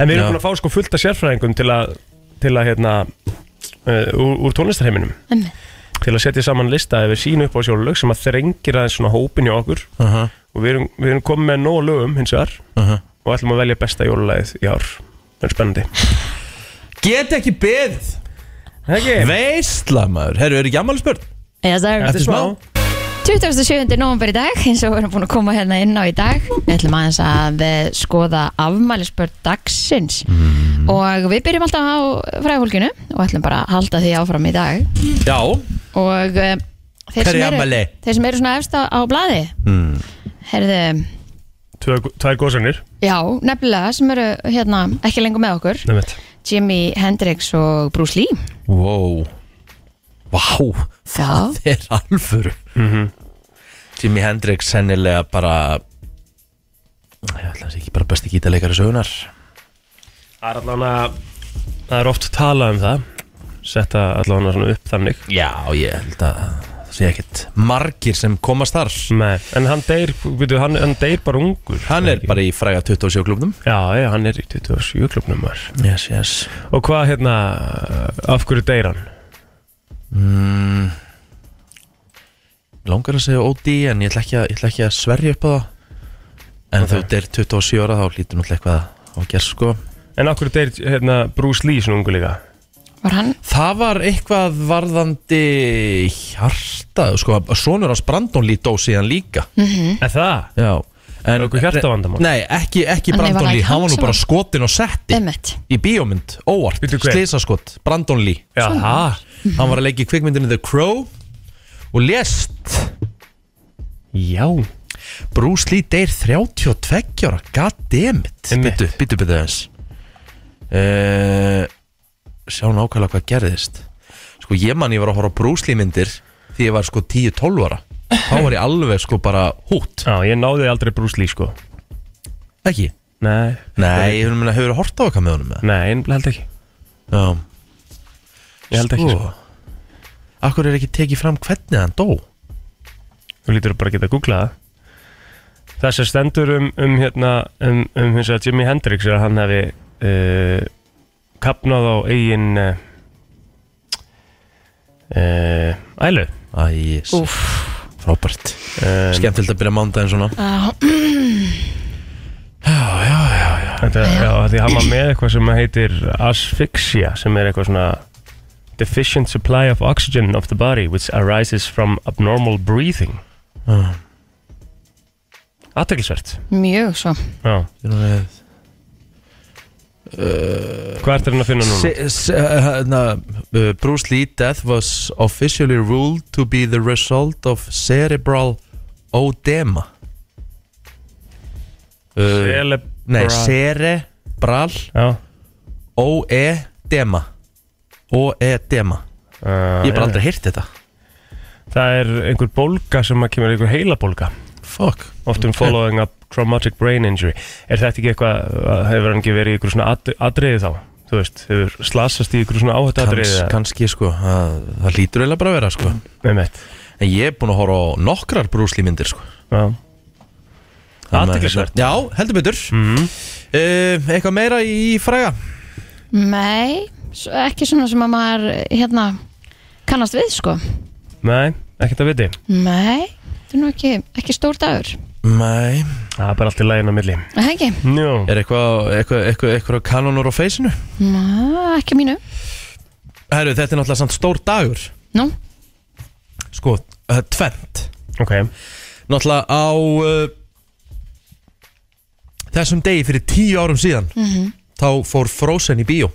Speaker 3: En við erum
Speaker 1: Já.
Speaker 3: búin að fá sko fullt af sérfræðingum til að til að hérna uh, úr, úr tónlistarheiminum
Speaker 2: Einmitt.
Speaker 3: til að setja saman lista ef við sínu upp á sjólalög sem að þrengir aðeins svona hópin í okkur
Speaker 1: Aha,
Speaker 3: og við erum, við erum komið með nóg af lögum hins vegar
Speaker 1: aha.
Speaker 3: og ætlum að velja besta jólulæðið í ár Það er spennandi
Speaker 1: Get ekki beðið
Speaker 3: okay.
Speaker 1: Veistla maður Herru, er ekki ammali spörn?
Speaker 2: Yes, sir.
Speaker 1: Eftir smá
Speaker 2: 27. november í dag eins og við erum búin að koma hérna inn á í dag við ætlum aðeins að eh, skoða afmælisbörn dagsins
Speaker 1: Mm.
Speaker 2: og við byrjum alltaf á fræðfólkinu og ætlum bara að halda því áfram í dag
Speaker 1: Já
Speaker 2: og eh, þeir
Speaker 1: Hver
Speaker 2: sem,
Speaker 1: er
Speaker 2: eru,
Speaker 1: afmæli?
Speaker 2: þeir sem eru svona efst á, á blaði
Speaker 1: Mm.
Speaker 2: herðu,
Speaker 3: Tvær góðsennir
Speaker 2: já, nefnilega sem eru hérna ekki lengur með okkur Jimi Hendrix og Bruce Lee
Speaker 1: Wow Vá
Speaker 2: já,
Speaker 1: Það er alvöru
Speaker 3: Mhm.
Speaker 1: Jimi Hendrix sennilega bara Ég ætla að sé ekki bara besti gítarleikari sögunar
Speaker 3: Það er allan að Það er oft talað um það Setta allan að svona upp þannig
Speaker 1: Já, ég held að það sé ekkit margir sem komast þar
Speaker 3: Nei. En hann deyr, veitu, hann, hann deyr bara ungur
Speaker 1: Hann er bara í fræga 27 klubnum
Speaker 3: Já, já, hann er í 27 klubnum var.
Speaker 1: Yes, yes
Speaker 3: Og hvað hérna Af hverju deyr hann?
Speaker 1: mm. Langar að segja OD en ég ætla ekki að, ég ætla ekki að sverja upp á það En okay. þú deyr 27 ára þá lítur náttúrulega eitthvað á gerð sko
Speaker 3: En af hverju deyr hérna Bruce Lee svona ungur líka?
Speaker 2: var hann
Speaker 1: Það var eitthvað varðandi hjarta, sko, sonur hans Brandon Lee dó síðan líka
Speaker 3: Mhm. Er það?
Speaker 1: Já En
Speaker 3: Var eitthvað hjartavandamál?
Speaker 1: Nei, ekki, ekki
Speaker 2: Hann
Speaker 1: Brandon
Speaker 2: var
Speaker 1: Lee,
Speaker 2: ekki
Speaker 1: hann var nú
Speaker 2: handsome.
Speaker 1: bara skotin og setti
Speaker 2: Emmett,
Speaker 1: Í bíómynd, óvart,
Speaker 3: Bíddu, hver?
Speaker 1: slisaskot, Brandon Lee
Speaker 3: Já, það
Speaker 1: Hann var að leggja í kvikmyndinu The Crow Og lést
Speaker 3: Já
Speaker 1: Bruce Lee deyr 32 ára Goddammit
Speaker 3: Einmitt.
Speaker 1: Byttu, byttu, byttu þess uh, Sjá nákvæmlega hvað gerðist Sko ég man ég var að horfa á Bruce Lee myndir Því ég var sko 10-12 ára Þá var ég alveg sko bara hút
Speaker 3: Já, ég náði aldrei Bruce Lee sko
Speaker 1: Ekki?
Speaker 3: Nei
Speaker 1: Nei, hefur, hefur hort á eitthvað með honum með
Speaker 3: Nei, ég held ekki
Speaker 1: Já
Speaker 3: Ég held ekki, sko.
Speaker 1: Akkur er ekki tekið fram hvernig hann dó
Speaker 3: Þú lítur bara að geta að googla það Það sem stendur um, um hérna um, um hins vegar Jimi Hendrix er að hann hefði uh, kapnað á eigin uh, uh, ælu
Speaker 1: Æ,
Speaker 2: Úf
Speaker 1: frábært
Speaker 3: um,
Speaker 1: Skemmtilegt að byrja mándaginn svona
Speaker 3: Þetta, já, því hann var með eitthvað sem heitir asphyxia, sem er eitthvað svona deficient supply of oxygen of the body which arises from abnormal breathing.
Speaker 1: Já.
Speaker 2: Mm-hmm.
Speaker 3: Aðteglisvert.
Speaker 2: Mjög sko. svo
Speaker 3: Já. Eh, Hvað ertu hann að finna núna?
Speaker 1: Se- se- hérna, uh, Bruce Lee death was officially ruled to be the result of cerebral oedema uh,
Speaker 3: Celebra-
Speaker 1: Nei, cerebral
Speaker 3: Já.
Speaker 1: oedema oedema
Speaker 3: Uh,
Speaker 1: Ég hef bara aldrei heyrt þetta
Speaker 3: Það er einhver bólga sem að kemur einhver heilabólga.
Speaker 1: Fuck
Speaker 3: oftum um following up traumatic brain injury er þetta ekki eitthvað, uh, hefur hann ekki verið í ykkur svona at- atriði þá, þú veist hefur slasast í ykkur svona áhætt atriði
Speaker 1: Kans, Kanski sko, það, það lítur eiginlega bara að vera sko
Speaker 3: með mitt
Speaker 1: En ég er búin að horfa á nokkrar Bruce Lee myndir sko
Speaker 3: aðteglisvert
Speaker 1: Já, heldur betur
Speaker 3: Mhm.
Speaker 1: uh, Eitthvað meira í fræga
Speaker 2: Nei, svo- ekki svona sem að maður hérna kannast við sko
Speaker 3: nei, ekkert að viti,
Speaker 2: Nei, þetta er nú ekki, ekki stór dagur
Speaker 1: Nei
Speaker 3: það er bara allt í lægin á milli
Speaker 2: Er Það ekki,
Speaker 3: Njó,
Speaker 1: Er eitthvað, eitthvað, eitthvað, eitthvað kanonur á feysinu?
Speaker 2: Má, ekki mínu
Speaker 1: Herru, þetta er náttúrulega samt stór dagur
Speaker 2: Nú,
Speaker 1: Sko, uh, tvent
Speaker 3: ok
Speaker 1: Náttúrulega á uh, Þessum degi fyrir tíu árum síðan Þá fór Frozen í bíó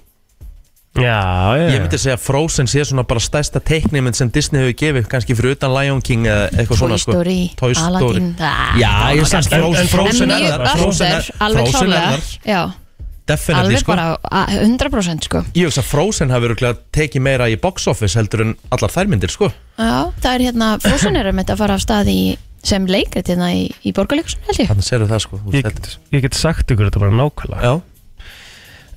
Speaker 3: já,
Speaker 1: Ég myndi segja að Frozen sé svona bara stærsta teiknimynd sem Disney hefur gefið Kannski fyrir utan Lion King eða eitthvað svona
Speaker 2: Toy
Speaker 1: sko.
Speaker 2: Story,
Speaker 1: Toy Story
Speaker 2: Aladdin Ah, það-
Speaker 1: Já, ég sagði
Speaker 3: En- en
Speaker 1: Frozen, Frozen
Speaker 2: En
Speaker 1: er
Speaker 2: mjög
Speaker 1: þar sko. Frozen er-
Speaker 2: aftur, alveg
Speaker 1: Frozen er
Speaker 2: klálega
Speaker 1: þar,
Speaker 2: Já,
Speaker 1: Definitely
Speaker 2: alveg
Speaker 1: sko
Speaker 2: bara a- 100% sko
Speaker 1: Ég hugsa að Frozen hafi verið tekið meira í box office heldur en allar þær myndir sko
Speaker 2: Já, það er hérna, Frozen er einmitt að fara af stað í, sem leikrit hérna í, í borgarleikusun held ég.
Speaker 1: Þannig serðu það sko Þú
Speaker 3: ég,
Speaker 1: veist, þetta-
Speaker 3: get- ég get sagt ykkur þetta bara nákvæmlega
Speaker 1: Já,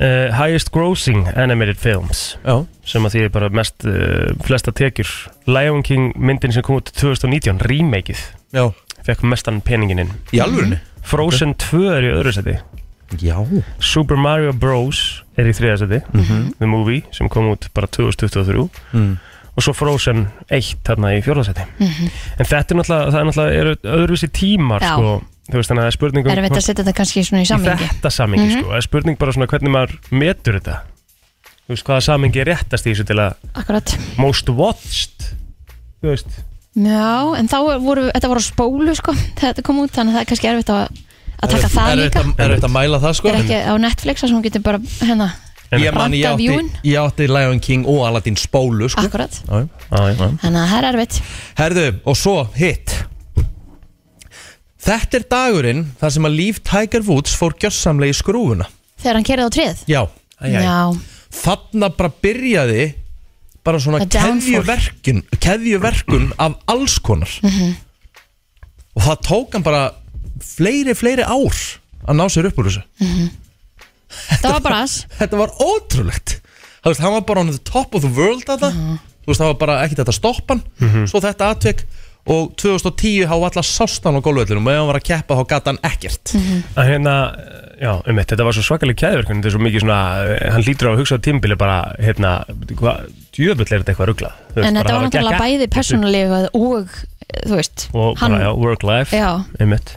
Speaker 3: uh, highest grossing animated films
Speaker 1: já
Speaker 3: sem að því er bara mest uh, flesta tekjur Lion King myndin sem kom út 2019, remakeið
Speaker 1: Já,
Speaker 3: fekk mestan peningin inn Mhm.
Speaker 1: í alvörinu?
Speaker 3: Frozen 2 er í öðru seti
Speaker 1: Já
Speaker 3: Super Mario Bros. er í þriða seti
Speaker 1: Mhm.
Speaker 3: The Movie sem kom út bara 2023
Speaker 1: mm.
Speaker 3: og svo Frozen 1 þarna í fjórða seti
Speaker 2: Mhm.
Speaker 3: en þetta er náttúrulega, það er náttúrulega eru öðruvísi tímar
Speaker 2: Já.
Speaker 3: sko, þú veist þannig að það er spurning um
Speaker 2: Er veit að setja þetta kannski svona í Mhm.
Speaker 3: í
Speaker 2: samlingi.
Speaker 3: þetta samingi sko, það er spurning bara svona hvernig maður metur þetta þú veist hvaða samingi er réttast í þessu til að
Speaker 2: Akkurat.
Speaker 3: most watched þú veist
Speaker 2: Já, en þá voru, þetta voru á spólu sko, þegar þetta kom út, þannig að það er kannski erfitt að, að taka það
Speaker 1: Er
Speaker 2: líka.
Speaker 1: þetta að mæla það sko?
Speaker 2: Er ekki á Netflix þar sem hún getur bara, hérna,
Speaker 1: Ég man ég
Speaker 2: Vanta
Speaker 1: átti,
Speaker 2: view-in?
Speaker 1: ég átti Lion King og Aladdin spólu sko
Speaker 2: akkurat.
Speaker 1: Já, já.
Speaker 3: á, já.
Speaker 2: Þannig að það er erfitt.
Speaker 1: Herðu, og svo hitt Þetta er dagurinn þar sem að líf Tiger Woods fór gjössamlega í skrúfuna
Speaker 2: Þegar hann kerið á tréð.
Speaker 1: Já,
Speaker 3: Æ, æ.
Speaker 2: Já,
Speaker 1: þarna bara byrjaði bara svona
Speaker 2: A downfall.
Speaker 1: keðjuverkun keðjuverkun af alls konar
Speaker 2: Mhm.
Speaker 1: og það tók hann bara fleiri, fleiri ár að ná sér upp úr þessu
Speaker 2: Mhm. það var bara ass.
Speaker 1: þetta var ótrúlegt þú veist, hann var bara on the top of the world að það
Speaker 2: Mhm.
Speaker 1: þú veist, það var bara ekkert þetta stoppan mm svo þetta atvek og 2010 há allar sástan á gólvöllunum og ef hann var að keppa þá gata hann ekkert
Speaker 2: Mhm.
Speaker 3: að hérna, já, um eitt, þetta var svo svakalega kæðverkun, þetta er svo mikið svona eh, hann lítur á að hugsa á tímbili bara hérna, hvað, djöfull er þetta eitthvað ruglað þú veist,
Speaker 2: En
Speaker 3: bara
Speaker 2: þetta var
Speaker 3: hafa
Speaker 2: náttúrulega
Speaker 3: gekk-
Speaker 2: bæði persónulega og, þú veist,
Speaker 3: og bara, já, work life,
Speaker 2: Já.
Speaker 3: um eitt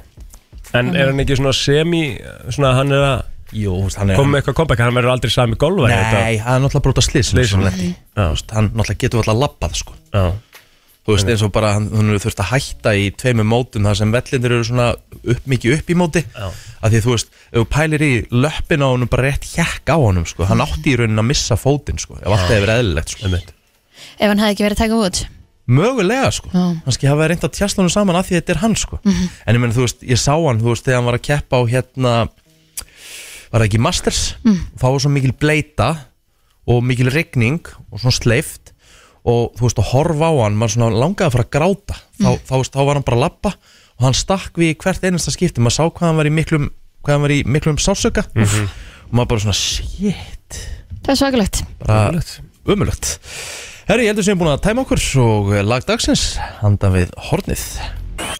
Speaker 3: en er hann ekki svona semi svona hann er að
Speaker 1: Jú, þú veist, hann er
Speaker 3: koma með eitthvað comeback, hann verður aldrei sami golvar
Speaker 1: Nei, hann er náttúrulega brota slís
Speaker 3: Slysinu. Já.
Speaker 1: hann náttúrulega getur alltaf labbað sko.
Speaker 3: já,
Speaker 1: þú veist eins og bara hann, hún hefur þurft að hætta í tveimur mótum þar sem vellindir eru svona upp, mikið upp í móti
Speaker 3: Já.
Speaker 1: að því þú veist, ef þú pælir í löppin á honum bara rétt hjekk á honum sko. hann
Speaker 3: Mm.
Speaker 1: átti í raunin að missa fótinn sko. ef allt hefur eðlilegt sko.
Speaker 3: um eitt
Speaker 2: ef hann hefði ekki verið að taka út.
Speaker 1: mögulega sko,
Speaker 2: Já.
Speaker 1: kannski hafa reynd að tjast honum saman að því þetta er hann sko. en ég meni þú veist, ég sá hann, þú veist, þegar hann var að keppa á hérna var það ekki Masters, mm. þá var svo mikil bleita og mikil rigning og svona sleift og þú veist, að horfa á hann, maður svona langaði að fara að gráta þá, þá, veist, þá var hann bara að lappa og hann stakk við í hvert einasta skipti maður sá hvað hann var í miklum, hvað hann var í miklum sásöka og maður bara svona, shit
Speaker 2: það er svakalegt
Speaker 1: bara umulögt Herri, ég heldur sem ég er búin að tæma okkur og lag dagsins handan við hornið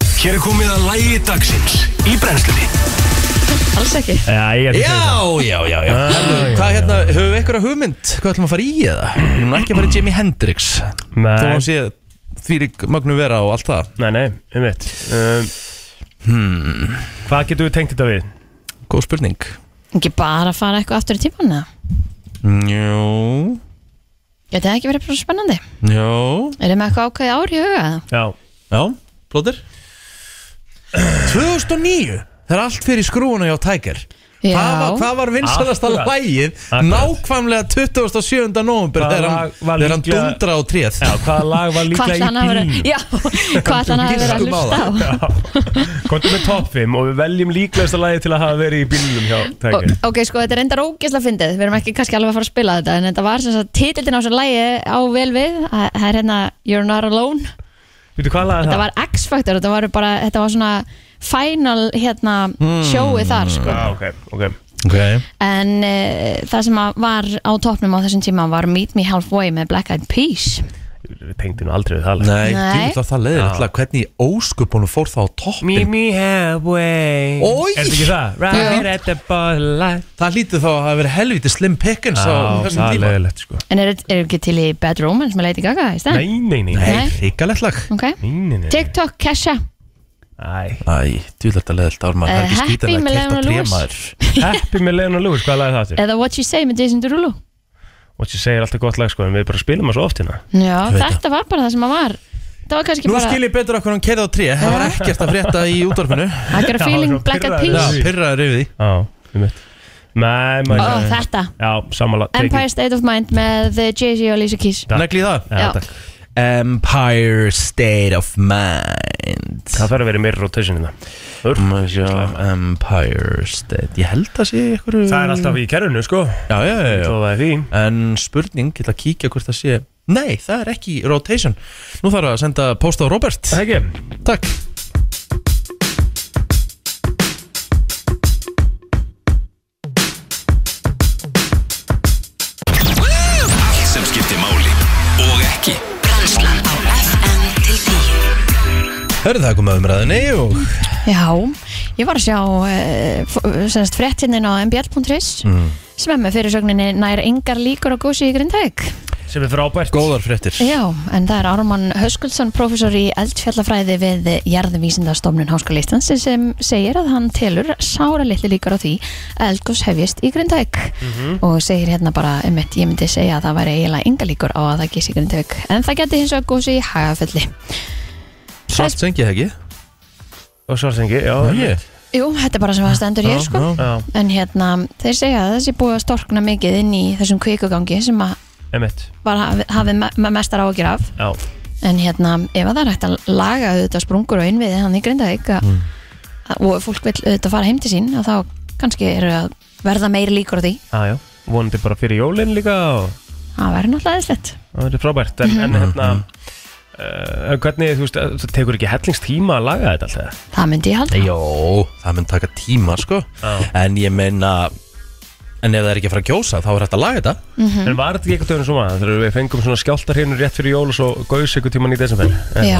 Speaker 4: Hér er komið að lægi dagsins í brennslunni
Speaker 2: alls ekki
Speaker 3: Já, ég er
Speaker 1: Já, já, já, já Herru, Hvað hérna, höfum við einhverja hugmynd? Hvað ætlum að fara í eða? Við erum nú ekki að fara í Jimi Hendrix Þó
Speaker 3: Nei,
Speaker 1: að sé þvírik magnu vera og allt það Hmm.
Speaker 3: nei, nei, um veit um, Hvað getum við tengt þetta við?
Speaker 1: Góð spurning
Speaker 2: ekki bara að fara eitthvað aftur í tíman eða?
Speaker 1: Njó,
Speaker 2: Ég þetta ekki verið bara spennandi
Speaker 1: njó
Speaker 2: er það með eitthvað ákveði ár í huga
Speaker 3: Já,
Speaker 1: Já, blóðir 2009 Þegar allt fyrir skrúuna hjá Tiger
Speaker 2: Já.
Speaker 1: Hvað var, hvað var vinsalasta
Speaker 3: Akkurat.
Speaker 1: lægið
Speaker 3: Akkurat.
Speaker 1: nákvæmlega 27. november
Speaker 3: Hvað
Speaker 1: þegar hann,
Speaker 3: lag var
Speaker 1: þegar hann
Speaker 3: líklega-
Speaker 1: dundra á tréð
Speaker 3: já hvaða lag var
Speaker 2: hvað ætla
Speaker 3: líklega
Speaker 2: hann að vera
Speaker 3: í bíl?
Speaker 2: já, hvað ætla hann að vera að
Speaker 1: Gistum á
Speaker 2: hlusta á
Speaker 3: Kontum með top 5 og við veljum líklegasta lagi til að hafa verið í bílunum hjá
Speaker 2: Og,
Speaker 3: Tiger
Speaker 2: ok, sko, þetta er endar ógeðslega fyndið Við erum ekki kannski alveg að fara að spila þetta En þetta var sem sagt titildin á þessu lægi á vel við Það það er hérna You're Not Alone
Speaker 3: Veitu hvað lag er
Speaker 2: Þetta
Speaker 3: það?
Speaker 2: var X-Factor, þetta var bara Þetta var svona final hérna sjóið þar, sko
Speaker 3: Hmm. Já, Ah, ok, ok
Speaker 1: okay.
Speaker 2: En uh, það sem að var á toppnum á þessum tíma var Meet Me Halfway með Black Eyed Peas
Speaker 3: Við tengdi nú aldrei við það lag
Speaker 1: Nei,
Speaker 2: Nei.
Speaker 1: djúvill var það leiðir
Speaker 3: Já.
Speaker 1: alltaf hvernig í ósköpunum fór það á toppin
Speaker 3: me halfway
Speaker 1: Oj!
Speaker 3: Er þetta ekki það?
Speaker 2: Já.
Speaker 3: Right at the bottom
Speaker 1: Það lítið þá að hafa verið helviti slim pickings á
Speaker 3: Já,
Speaker 1: þessum
Speaker 3: það er
Speaker 1: tíma
Speaker 3: leiðilegt sko
Speaker 2: En er þetta ekki til í Bad Romance með Lady Gaga í stæðan?
Speaker 3: Nei, nei, nei Nei,
Speaker 1: Nei, hrikalegt lag
Speaker 2: Ok,
Speaker 3: nei, nei
Speaker 2: TikTok, Kesha
Speaker 3: Æ,
Speaker 1: Æ, djúvill þetta leiðilt ár maður
Speaker 2: Eh,
Speaker 1: Það er ekki
Speaker 2: Happy
Speaker 1: skítanlega
Speaker 2: með
Speaker 1: kert á
Speaker 2: Leona Lewis.
Speaker 1: trémaður
Speaker 3: Happy með Leona Lewis, hvað lag er það til?
Speaker 2: Eða What You Say með Jason Derulo
Speaker 3: Og ég segir alltaf gott lag sko, en við bara spilum það svo oft hérna
Speaker 2: Já,
Speaker 1: Ég veit
Speaker 2: þetta var bara það sem að var Það var kannski
Speaker 1: Nú
Speaker 2: bara
Speaker 1: skil ég betur okkur hann keirði á tré Það var ekkert að frétta í útvarpinu
Speaker 2: I got a
Speaker 3: Já,
Speaker 2: feeling
Speaker 3: svona
Speaker 2: Black Eyed
Speaker 3: pirraður.
Speaker 1: Já,
Speaker 2: Peas
Speaker 1: pyrraður yfir því
Speaker 3: Já, við mitt Nei, maður
Speaker 2: Ó, þetta
Speaker 3: Já, samanlega
Speaker 2: Empire State of Mind með eh, Jay-Z og Alicia Keys
Speaker 3: Takk.
Speaker 1: Negli það
Speaker 3: Já,
Speaker 2: Já.
Speaker 3: takk
Speaker 1: Empire State of Mind
Speaker 3: Það þarf að vera meira rotation hérna Urf.
Speaker 1: Má sjá, Empire State Ég held að sé ykkur
Speaker 3: Það er alltaf í kerfinu sko
Speaker 1: Já, já, já, já.
Speaker 3: Svo það er því
Speaker 1: En spurning, ég ætla að kíkja hvort það sé Nei, það er ekki í rotation Nú þarf að senda post á Robert
Speaker 3: Það ekki
Speaker 1: Takk
Speaker 4: Allt sem skiptir máli og ekki
Speaker 5: Brennslan á FM til 10
Speaker 1: Hörðu það komið umræðinni og
Speaker 2: Já, ég var að sjá uh, semst fréttinin á mbl.is
Speaker 3: Mm.
Speaker 1: Mm.
Speaker 2: sem er með fyrirsögninni nær yngar líkur á gósi í Grindæk
Speaker 3: Sem er frábært
Speaker 1: góðar fréttir
Speaker 2: Já, en það er Ármann Höskuldsson professor í eldfjallafræði við jarðvísindastofnun Háskóla Íslands sem segir að hann telur sára litli líkur á því að eldgós hefjist í Grindæk og segir hérna bara, einmitt, ég myndi segja að það væri eiginlega yngar líkur á að það gís í Grindæk en það geti hins vegar gósi í hagafelli
Speaker 1: Svart sengi það ekki
Speaker 3: Og svarsengi, já
Speaker 1: Ég.
Speaker 2: Jú, þetta er bara sem að stendur hér sko
Speaker 1: Já, já.
Speaker 3: Já,
Speaker 2: En hérna, þeir segja að þessi búið að storkna mikið inn í þessum kvikugangi sem að
Speaker 3: emitt
Speaker 2: var hafið hafi me- me- mestar ágjur af
Speaker 3: Já,
Speaker 2: en hérna, ef að það er hægt að laga auðvitað sprungur og innviði hann í Grindavík mm. og fólk vil auðvitað fara heim til sín að þá kannski eru að verða meiri líkur á því
Speaker 3: já, já Vonandi bara fyrir jólin líka og
Speaker 2: það verður náttúrulega Mhm. eðislegt
Speaker 3: og það er frábært En, en hérna
Speaker 1: Mhm.
Speaker 3: Uh, hvernig, þú veist, það tekur ekki hellingstíma að laga þetta alltaf
Speaker 2: það myndi ég halda
Speaker 1: Jó, það mun taka tíma sko
Speaker 3: Já.
Speaker 1: En ég meina En ef það er ekki að fara að kjósa þá er hægt að laga þetta
Speaker 2: Mhm.
Speaker 3: En var þetta ekki eitthvað töfnum svona Þegar við fengum svona skjáltarhinu rétt fyrir jól og svo gaus eitthvað tíman í desember
Speaker 2: Já,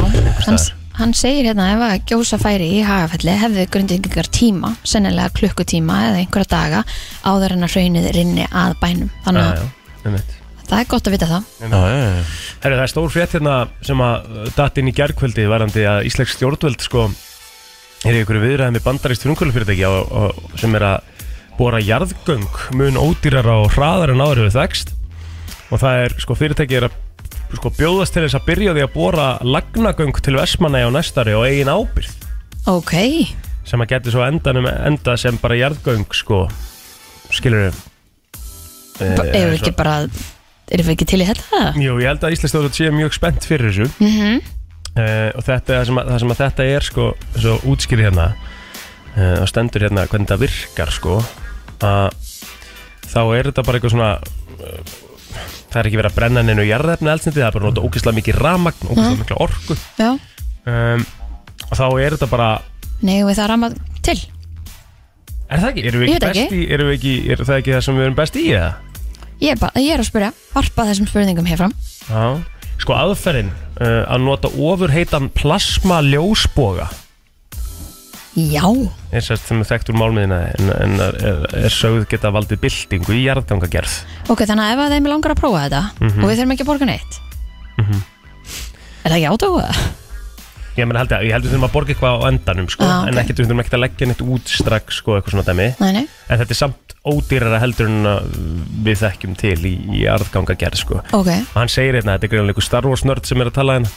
Speaker 2: hann, hann segir hérna ef að gjósa færi í hagafelli hefðu grundingar tíma, sennilega klukkutíma eða einhverja daga áður en að hraunið rinni að bænum þannig að
Speaker 3: Einmitt.
Speaker 2: það er gott að vita það
Speaker 1: Já, já, já.
Speaker 3: Herru, Hérna. það er stór frétt hérna sem að uh, datt inn í gerkvöldi varandi að Íslensk stjórnvöld sko er í ykkur viðræðum við bandarist frumkvölufyrirtæki á- á- sem er að bóra jarðgöng mun ódýrar á hraðar en áður við þekst og það er sko fyrirtæki er að sko bjóðast til þess að byrja á því að bóra lagnagöng til Vestmanna á næstari og eigin ábyrð
Speaker 2: Ok,
Speaker 3: sem að geti svo á endanum enda sem bara jarðgöng sko skilur Eh,
Speaker 2: B- erum við ekki bara erum við ekki til í þetta?
Speaker 3: Jú, ég held að Íslands stjórnvöld sé mjög spennt fyrir þessu mm og þetta, er það, sem að, það sem að þetta er sko, svo útskýri hérna uh, og stendur hérna hvernig þetta virkar sko, að þá er þetta bara eitthvað svona uh, það er ekki verið að brenna neinu jarðefni eldsniti, það er bara að nota ógeðslega mikið ramagn, ógeðslega mikla orku
Speaker 2: Já,
Speaker 3: um, og þá er þetta bara
Speaker 2: nei við það ramað til
Speaker 3: er það ekki, erum við
Speaker 2: Ég
Speaker 3: ekki
Speaker 2: veit
Speaker 3: best
Speaker 2: ekki.
Speaker 3: í erum við ekki, er það ekki það sem við erum best í eða?
Speaker 2: Ég er, bara, ég er að spyrja, varpa þessum spurningum hérfram
Speaker 3: Já. Sko aðferðin uh, að nota ofur heitan plasma ljósboga
Speaker 2: Já,
Speaker 3: er sérst sem er þekkt úr málmiðina en, en er, er, er sögð geta valdið byltingu í jarðgangagerð Mhm.
Speaker 2: ok, þannig að ef að þeim langar að prófa þetta og við þurfum ekki að borga neitt
Speaker 1: Mhm.
Speaker 2: Er það ekki átóða?
Speaker 3: Ég meina held ég, ég heldur þurfum að borga eitthvað á endanum sko,
Speaker 2: Já, Ah, ok.
Speaker 3: en ekkert við þurfum ekkert að leggja neitt út strax sko, eitthvað svona dæmi
Speaker 2: Nei, nei,
Speaker 3: en þetta er samt ódýrara heldur en að við þekkjum til í, í jarðgangagerð sko.
Speaker 2: ok
Speaker 3: og hann segir hérna, þetta er greinlega einhver Star Wars nörd sem er að tala hérna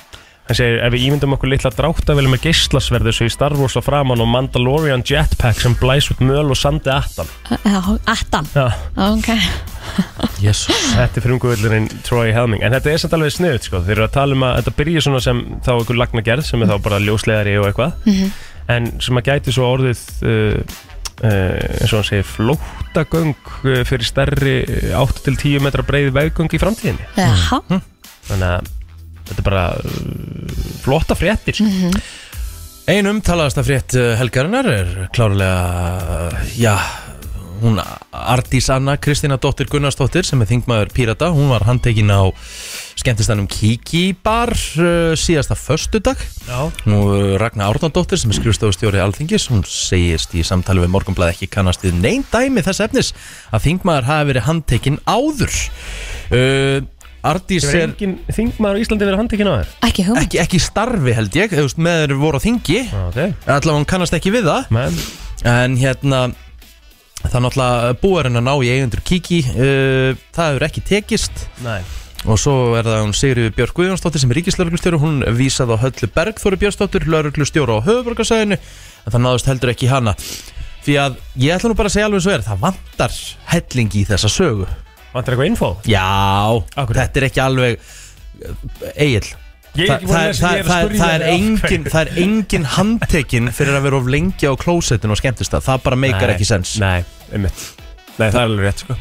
Speaker 3: hann segir, ef við ímyndum okkur litla dráttavel með geislasverðu svo í Star Wars á framann og Mandalorian jetpack sem blæs út möl og sandi attan
Speaker 2: Já, Attan,
Speaker 3: Já,
Speaker 2: ok
Speaker 1: Jésus
Speaker 3: þetta er frumgöðlurinn Troy Helming en þetta er samt alveg sniðut sko, þeir eru að tala um að þetta byrja svona sem þá einhver lagnagerð sem er þá bara ljóslegari og eitthvað en sem að gæti svo orðið uh, uh, eins og hann segir flóttagöng uh, fyrir stærri uh, 8-10 metra breið veggöng í framtíðinni Mhm.
Speaker 2: Jaha,
Speaker 3: þannig að þetta er bara uh, flotta fréttir sko.
Speaker 1: Ein umtalaðasta frétt uh, helgarinnar er klárlega, uh, já, hún Ardís Anna Kristina Dóttir Gunnarsdóttir sem er þingmaður Pírata, hún var handtekinn á skemmtistanum Kiki bar uh, síðasta föstudag.
Speaker 3: Já.
Speaker 1: Nú uh, Ragnar Árnandóttir sem er skrifstofustjóri Alþingis, hún segist í samtali við Morgunblad ekki kannast við neinn dæmi þess efnis að þingmaður hafi verið handtekinn áður. Uh, Ardís
Speaker 3: Hefur
Speaker 1: er...
Speaker 3: engin þingmaður á Íslandi verið handtekinn á þér?
Speaker 2: ekki hugmynd
Speaker 1: Ekki, ekki í starfi held ég, þú veist, með þeir voru á þingi
Speaker 3: Ah, Ok,
Speaker 1: allavega hún kannast ekki við það
Speaker 3: menn
Speaker 1: En hérna Það er náttúrulega búarinn að ná í eigendur Kiki uh, Það hefur ekki tekist
Speaker 3: Nei
Speaker 1: Og svo er það hún Sigriður Björk Guðjónsdóttir sem er ríkislauruglustjóri Hún vísað á höllu Bergþóri Björnsdóttir Lauruglustjóra á höfuborgarsæðinu En það náðust heldur ekki í hana Því að ég ætla nú bara að segja alveg svo er Það vantar helling í þessa sögu
Speaker 3: Vantar eitthvað info?
Speaker 1: Já,
Speaker 3: Akkur.
Speaker 1: þetta er ekki alveg Egil
Speaker 3: Ég er
Speaker 1: Þa,
Speaker 3: ekki búin
Speaker 1: það,
Speaker 3: að
Speaker 1: er-
Speaker 3: lesa,
Speaker 1: það,
Speaker 3: ég
Speaker 1: er-
Speaker 3: er að
Speaker 1: það, er-
Speaker 3: spyrja
Speaker 1: það er
Speaker 3: þig af
Speaker 1: engin,
Speaker 3: hverju.
Speaker 1: það er engin handtekinn fyrir að vera of lengi á klósettinu og skemmtist það, það bara meikar
Speaker 3: Nei,
Speaker 1: ekki sens
Speaker 3: Nei, einmitt Nei, það er alveg rétt sko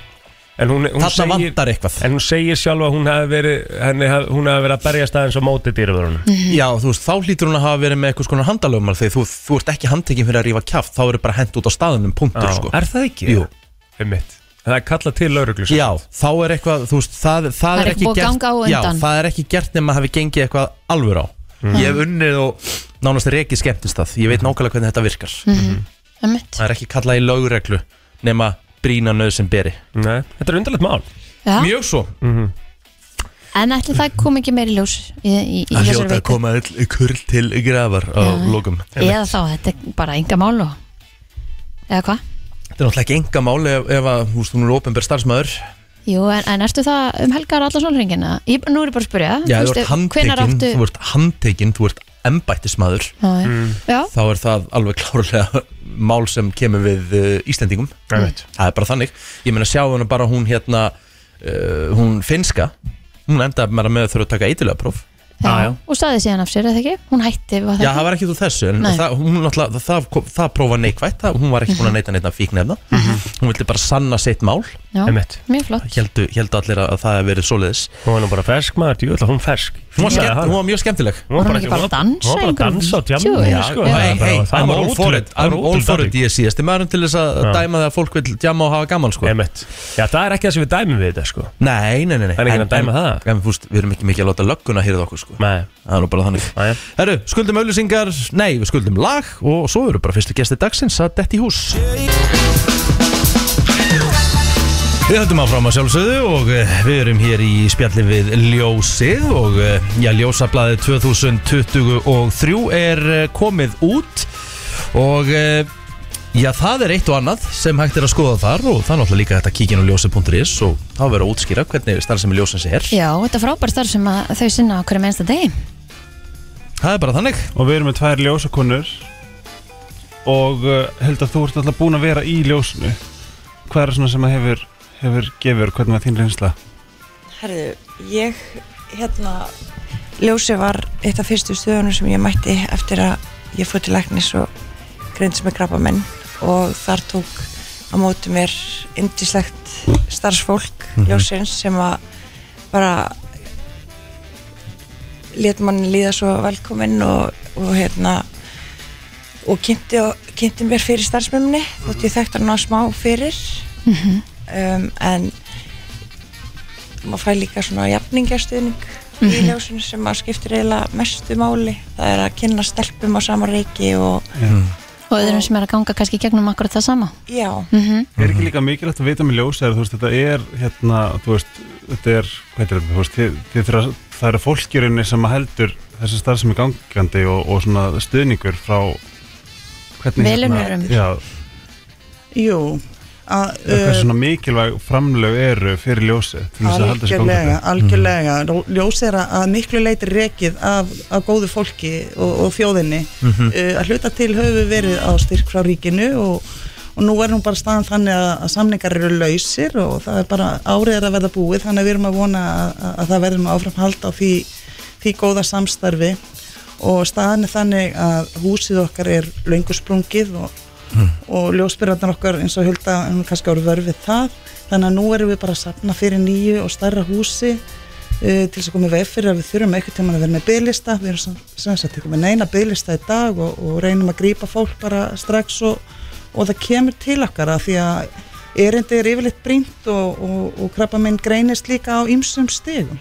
Speaker 3: En hún, hún,
Speaker 1: Þarna
Speaker 3: segir,
Speaker 1: vantar eitthvað
Speaker 3: en hún segir sjálf að hún hafi verið henni, hafi- hún hafi verið að berjast aðeins á móti dýröðurunum
Speaker 2: Mhm.
Speaker 1: Já, þú veist, þá hlýtur hún að hafa verið með eitthvað skona handalögumar þegar þú, þú ert ekki handtekinn fyrir að rífa kjaft þá eru bara hent út á staðunum, punktur sko
Speaker 3: Er það ekki?
Speaker 1: Jú.
Speaker 3: Einmitt Það er kallað til sko. lauruglu
Speaker 1: Já, þá er eitthvað, þú veist, það, það,
Speaker 2: er ekki búið að
Speaker 1: gert
Speaker 2: ganga á
Speaker 1: Já,
Speaker 2: undan. Mhm.
Speaker 1: það er ekki gert nema að hafi gengið eitthvað alvöru á Ég hef unnið og nánast reikið skemmtist það Ég veit nákvæmlega hvernig þetta virkar
Speaker 2: Mhm. Einmitt.
Speaker 1: Það er ekki kallað í lögreglu nema brína nöð sem beri
Speaker 3: Nei, þetta er undarlegt mál Mhm.
Speaker 2: Já.
Speaker 1: Mjög svo
Speaker 2: En ætli það kom ekki meiri ljós í, í, í
Speaker 1: Það
Speaker 2: þessari
Speaker 1: hljóta að
Speaker 2: veiku
Speaker 1: koma öll kurl til grafar á lókum
Speaker 2: Eða þá, þetta er bara enga mál og Eða hvað?
Speaker 1: Þetta er náttúrulega ekki enga máli ef, ef að húst hún er ofinber starfsmæður
Speaker 2: Jú, en, en ertu það um helgar allar sólringina? Ég, nú er ég bara að spyrja
Speaker 1: Já,
Speaker 2: Mm, þú
Speaker 1: þú
Speaker 2: veist,
Speaker 1: ert handtekinn,
Speaker 2: hvenær áttu-
Speaker 1: þú ert handtekinn, þú ert embættismæður
Speaker 2: Já, já.
Speaker 3: Mm.
Speaker 2: Já,
Speaker 1: þá er það alveg klárlega mál sem kemur við uh, Íslendingum
Speaker 3: Einmitt
Speaker 1: Það er bara þannig Ég meina sjá hana bara hún hérna uh, hún finska hún endaði bara með að þurfa að taka eitilega próf
Speaker 2: já.
Speaker 3: Já, já.
Speaker 2: og staði síðan af sér, eða ekki? Hún hætti, var það
Speaker 1: Já,
Speaker 2: ekki?
Speaker 1: það var ekki úr þessu en
Speaker 2: Nei.
Speaker 1: það, hún, náttúrulega- það, það, kom- það prófa neikvætt það, hún var ekki búin að neita neita fíknefna hún vildi bara sanna sitt mál
Speaker 2: Mhm. Já,
Speaker 3: Einmitt
Speaker 2: mjög flott
Speaker 1: heldu, heldu allir að það hef verið svoleiðis
Speaker 3: Hún var nú bara fersk maður, djú, ætla hún fersk
Speaker 1: hún var,
Speaker 3: Fílaði
Speaker 1: skemmt,
Speaker 3: hana.
Speaker 1: hún var mjög skemmtileg
Speaker 3: Hún var
Speaker 2: Var hún ekki bara að dansa
Speaker 3: Hún var bara að
Speaker 2: einhverjum?
Speaker 3: dansa á
Speaker 2: Jú,
Speaker 3: tjammi
Speaker 2: já,
Speaker 3: sko
Speaker 2: já.
Speaker 3: Það
Speaker 1: Hey,
Speaker 3: er bara-
Speaker 1: hey,
Speaker 3: Það
Speaker 1: I'm
Speaker 3: var
Speaker 1: all for it
Speaker 3: ótrúlegt
Speaker 1: I'm all for it, ég síðast Ég maður um til þess að
Speaker 3: Já.
Speaker 1: dæma það að fólk vil djama og hafa gaman sko
Speaker 3: Einmitt Já, það er ekki það sem við dæmum við þetta sko
Speaker 1: Nei, nei, nei, nei
Speaker 3: Það er enginn
Speaker 1: En-
Speaker 3: að dæma
Speaker 1: en-
Speaker 3: það.
Speaker 1: en, fúst, Við erum ekki mikið að láta lögguna hýrða okkur sko
Speaker 3: Nei,
Speaker 1: Það er nú bara þannig
Speaker 3: aðja
Speaker 1: Herru, skuldum auðlýsingar, nei, við skuldum lag og svo eru bara fyrstu gesti dagsins að detti í hús Við höldum áfram að sjálfsögðu og eh, við erum hér í spjalli við Ljósið og eh, já, Ljósablaðið 2023 er eh, komið út og eh, já, það er eitt og annað sem hægt er að skoða þar og það er náttúrulega líka þetta kíkin á ljósið.is og þá verður að útskýra hvernig starfsemi ljósins er.
Speaker 2: Já, þetta er frábær starf sem að þau sinna á hverju mennsta degi
Speaker 1: Það er bara þannig.
Speaker 6: og við erum með tvær ljósakonur og uh, held að þú ert alltaf búin að vera í ljósinu hvað er svona sem að hefur, hefur gefur, hvernig var þín reynsla?
Speaker 7: Herðu, ég hérna ljósið var eitt af fyrstu stöðunum sem ég mætti eftir að ég fór til læknis og greindis með krabbamenn og þar tók á móti mér indislegt starfsfólk ljósins sem að bara let mann líða svo velkominn og, og hérna og kynnti, kynnti mér fyrir starfsmömminni þótt ég þekkt hann á smá fyrir um, en maður fær líka svona jafningjastuðning
Speaker 2: Mhm.
Speaker 7: í ljósinu sem maður skiptir eiginlega mestu máli það er að kynna stelpum á sama reiki og
Speaker 1: Mm.
Speaker 2: og öðrum sem er að ganga kannski í gegnum akkurat það sama
Speaker 7: já,
Speaker 6: Er
Speaker 1: Mm-hmm.
Speaker 6: ekki líka mikilvægt að vita með ljósæðar, þú veist, þetta er hérna, þú veist, þetta er, hvað er þetta, þú veist, þið, þið þurfa, það eru fólkjurinni sem að heldur þessi starf sem er gangandi og, og svona stuðningur frá hvernig hérna,
Speaker 2: Velunnurum.
Speaker 6: Já,
Speaker 8: Jú, að...
Speaker 6: uh,
Speaker 8: uh,
Speaker 6: hvað svona mikilvæg framlög eru fyrir ljósi til þess að halda þessi
Speaker 8: Algjörlega,
Speaker 6: gangandi. Mhm.
Speaker 8: algjörlega Ljós er að að miklu leiti rekið af, af góðu fólki og, og þjóðinni
Speaker 6: Mhm.
Speaker 8: uh, að hluta til höfum við verið á styrk frá ríkinu og, og nú er nú bara staðan þannig að, að samningar eru lausir og það er bara árið er að verða búið þannig að við erum að vona að, að, að það verðum áfram hald á því, því góða samstarfi og staðan er þannig að húsið okkar er löngu sprungið og, og ljósbyrjarnar okkar eins og hulda um, kannski ára vörfið það þannig að nú erum við bara að sapna fyrir nýju og stærra húsi uh, til þess að koma í veg fyrir að við þurfum eitthvað tíma að vera með bygglista við erum sem- sem sagt ekki með neina bygglista í dag og, og reynum að grípa fólk bara strax og, og það kemur til okkar að því að erindi er yfirleitt brínt og, og, og krabba minn greinist líka á ymsum stigum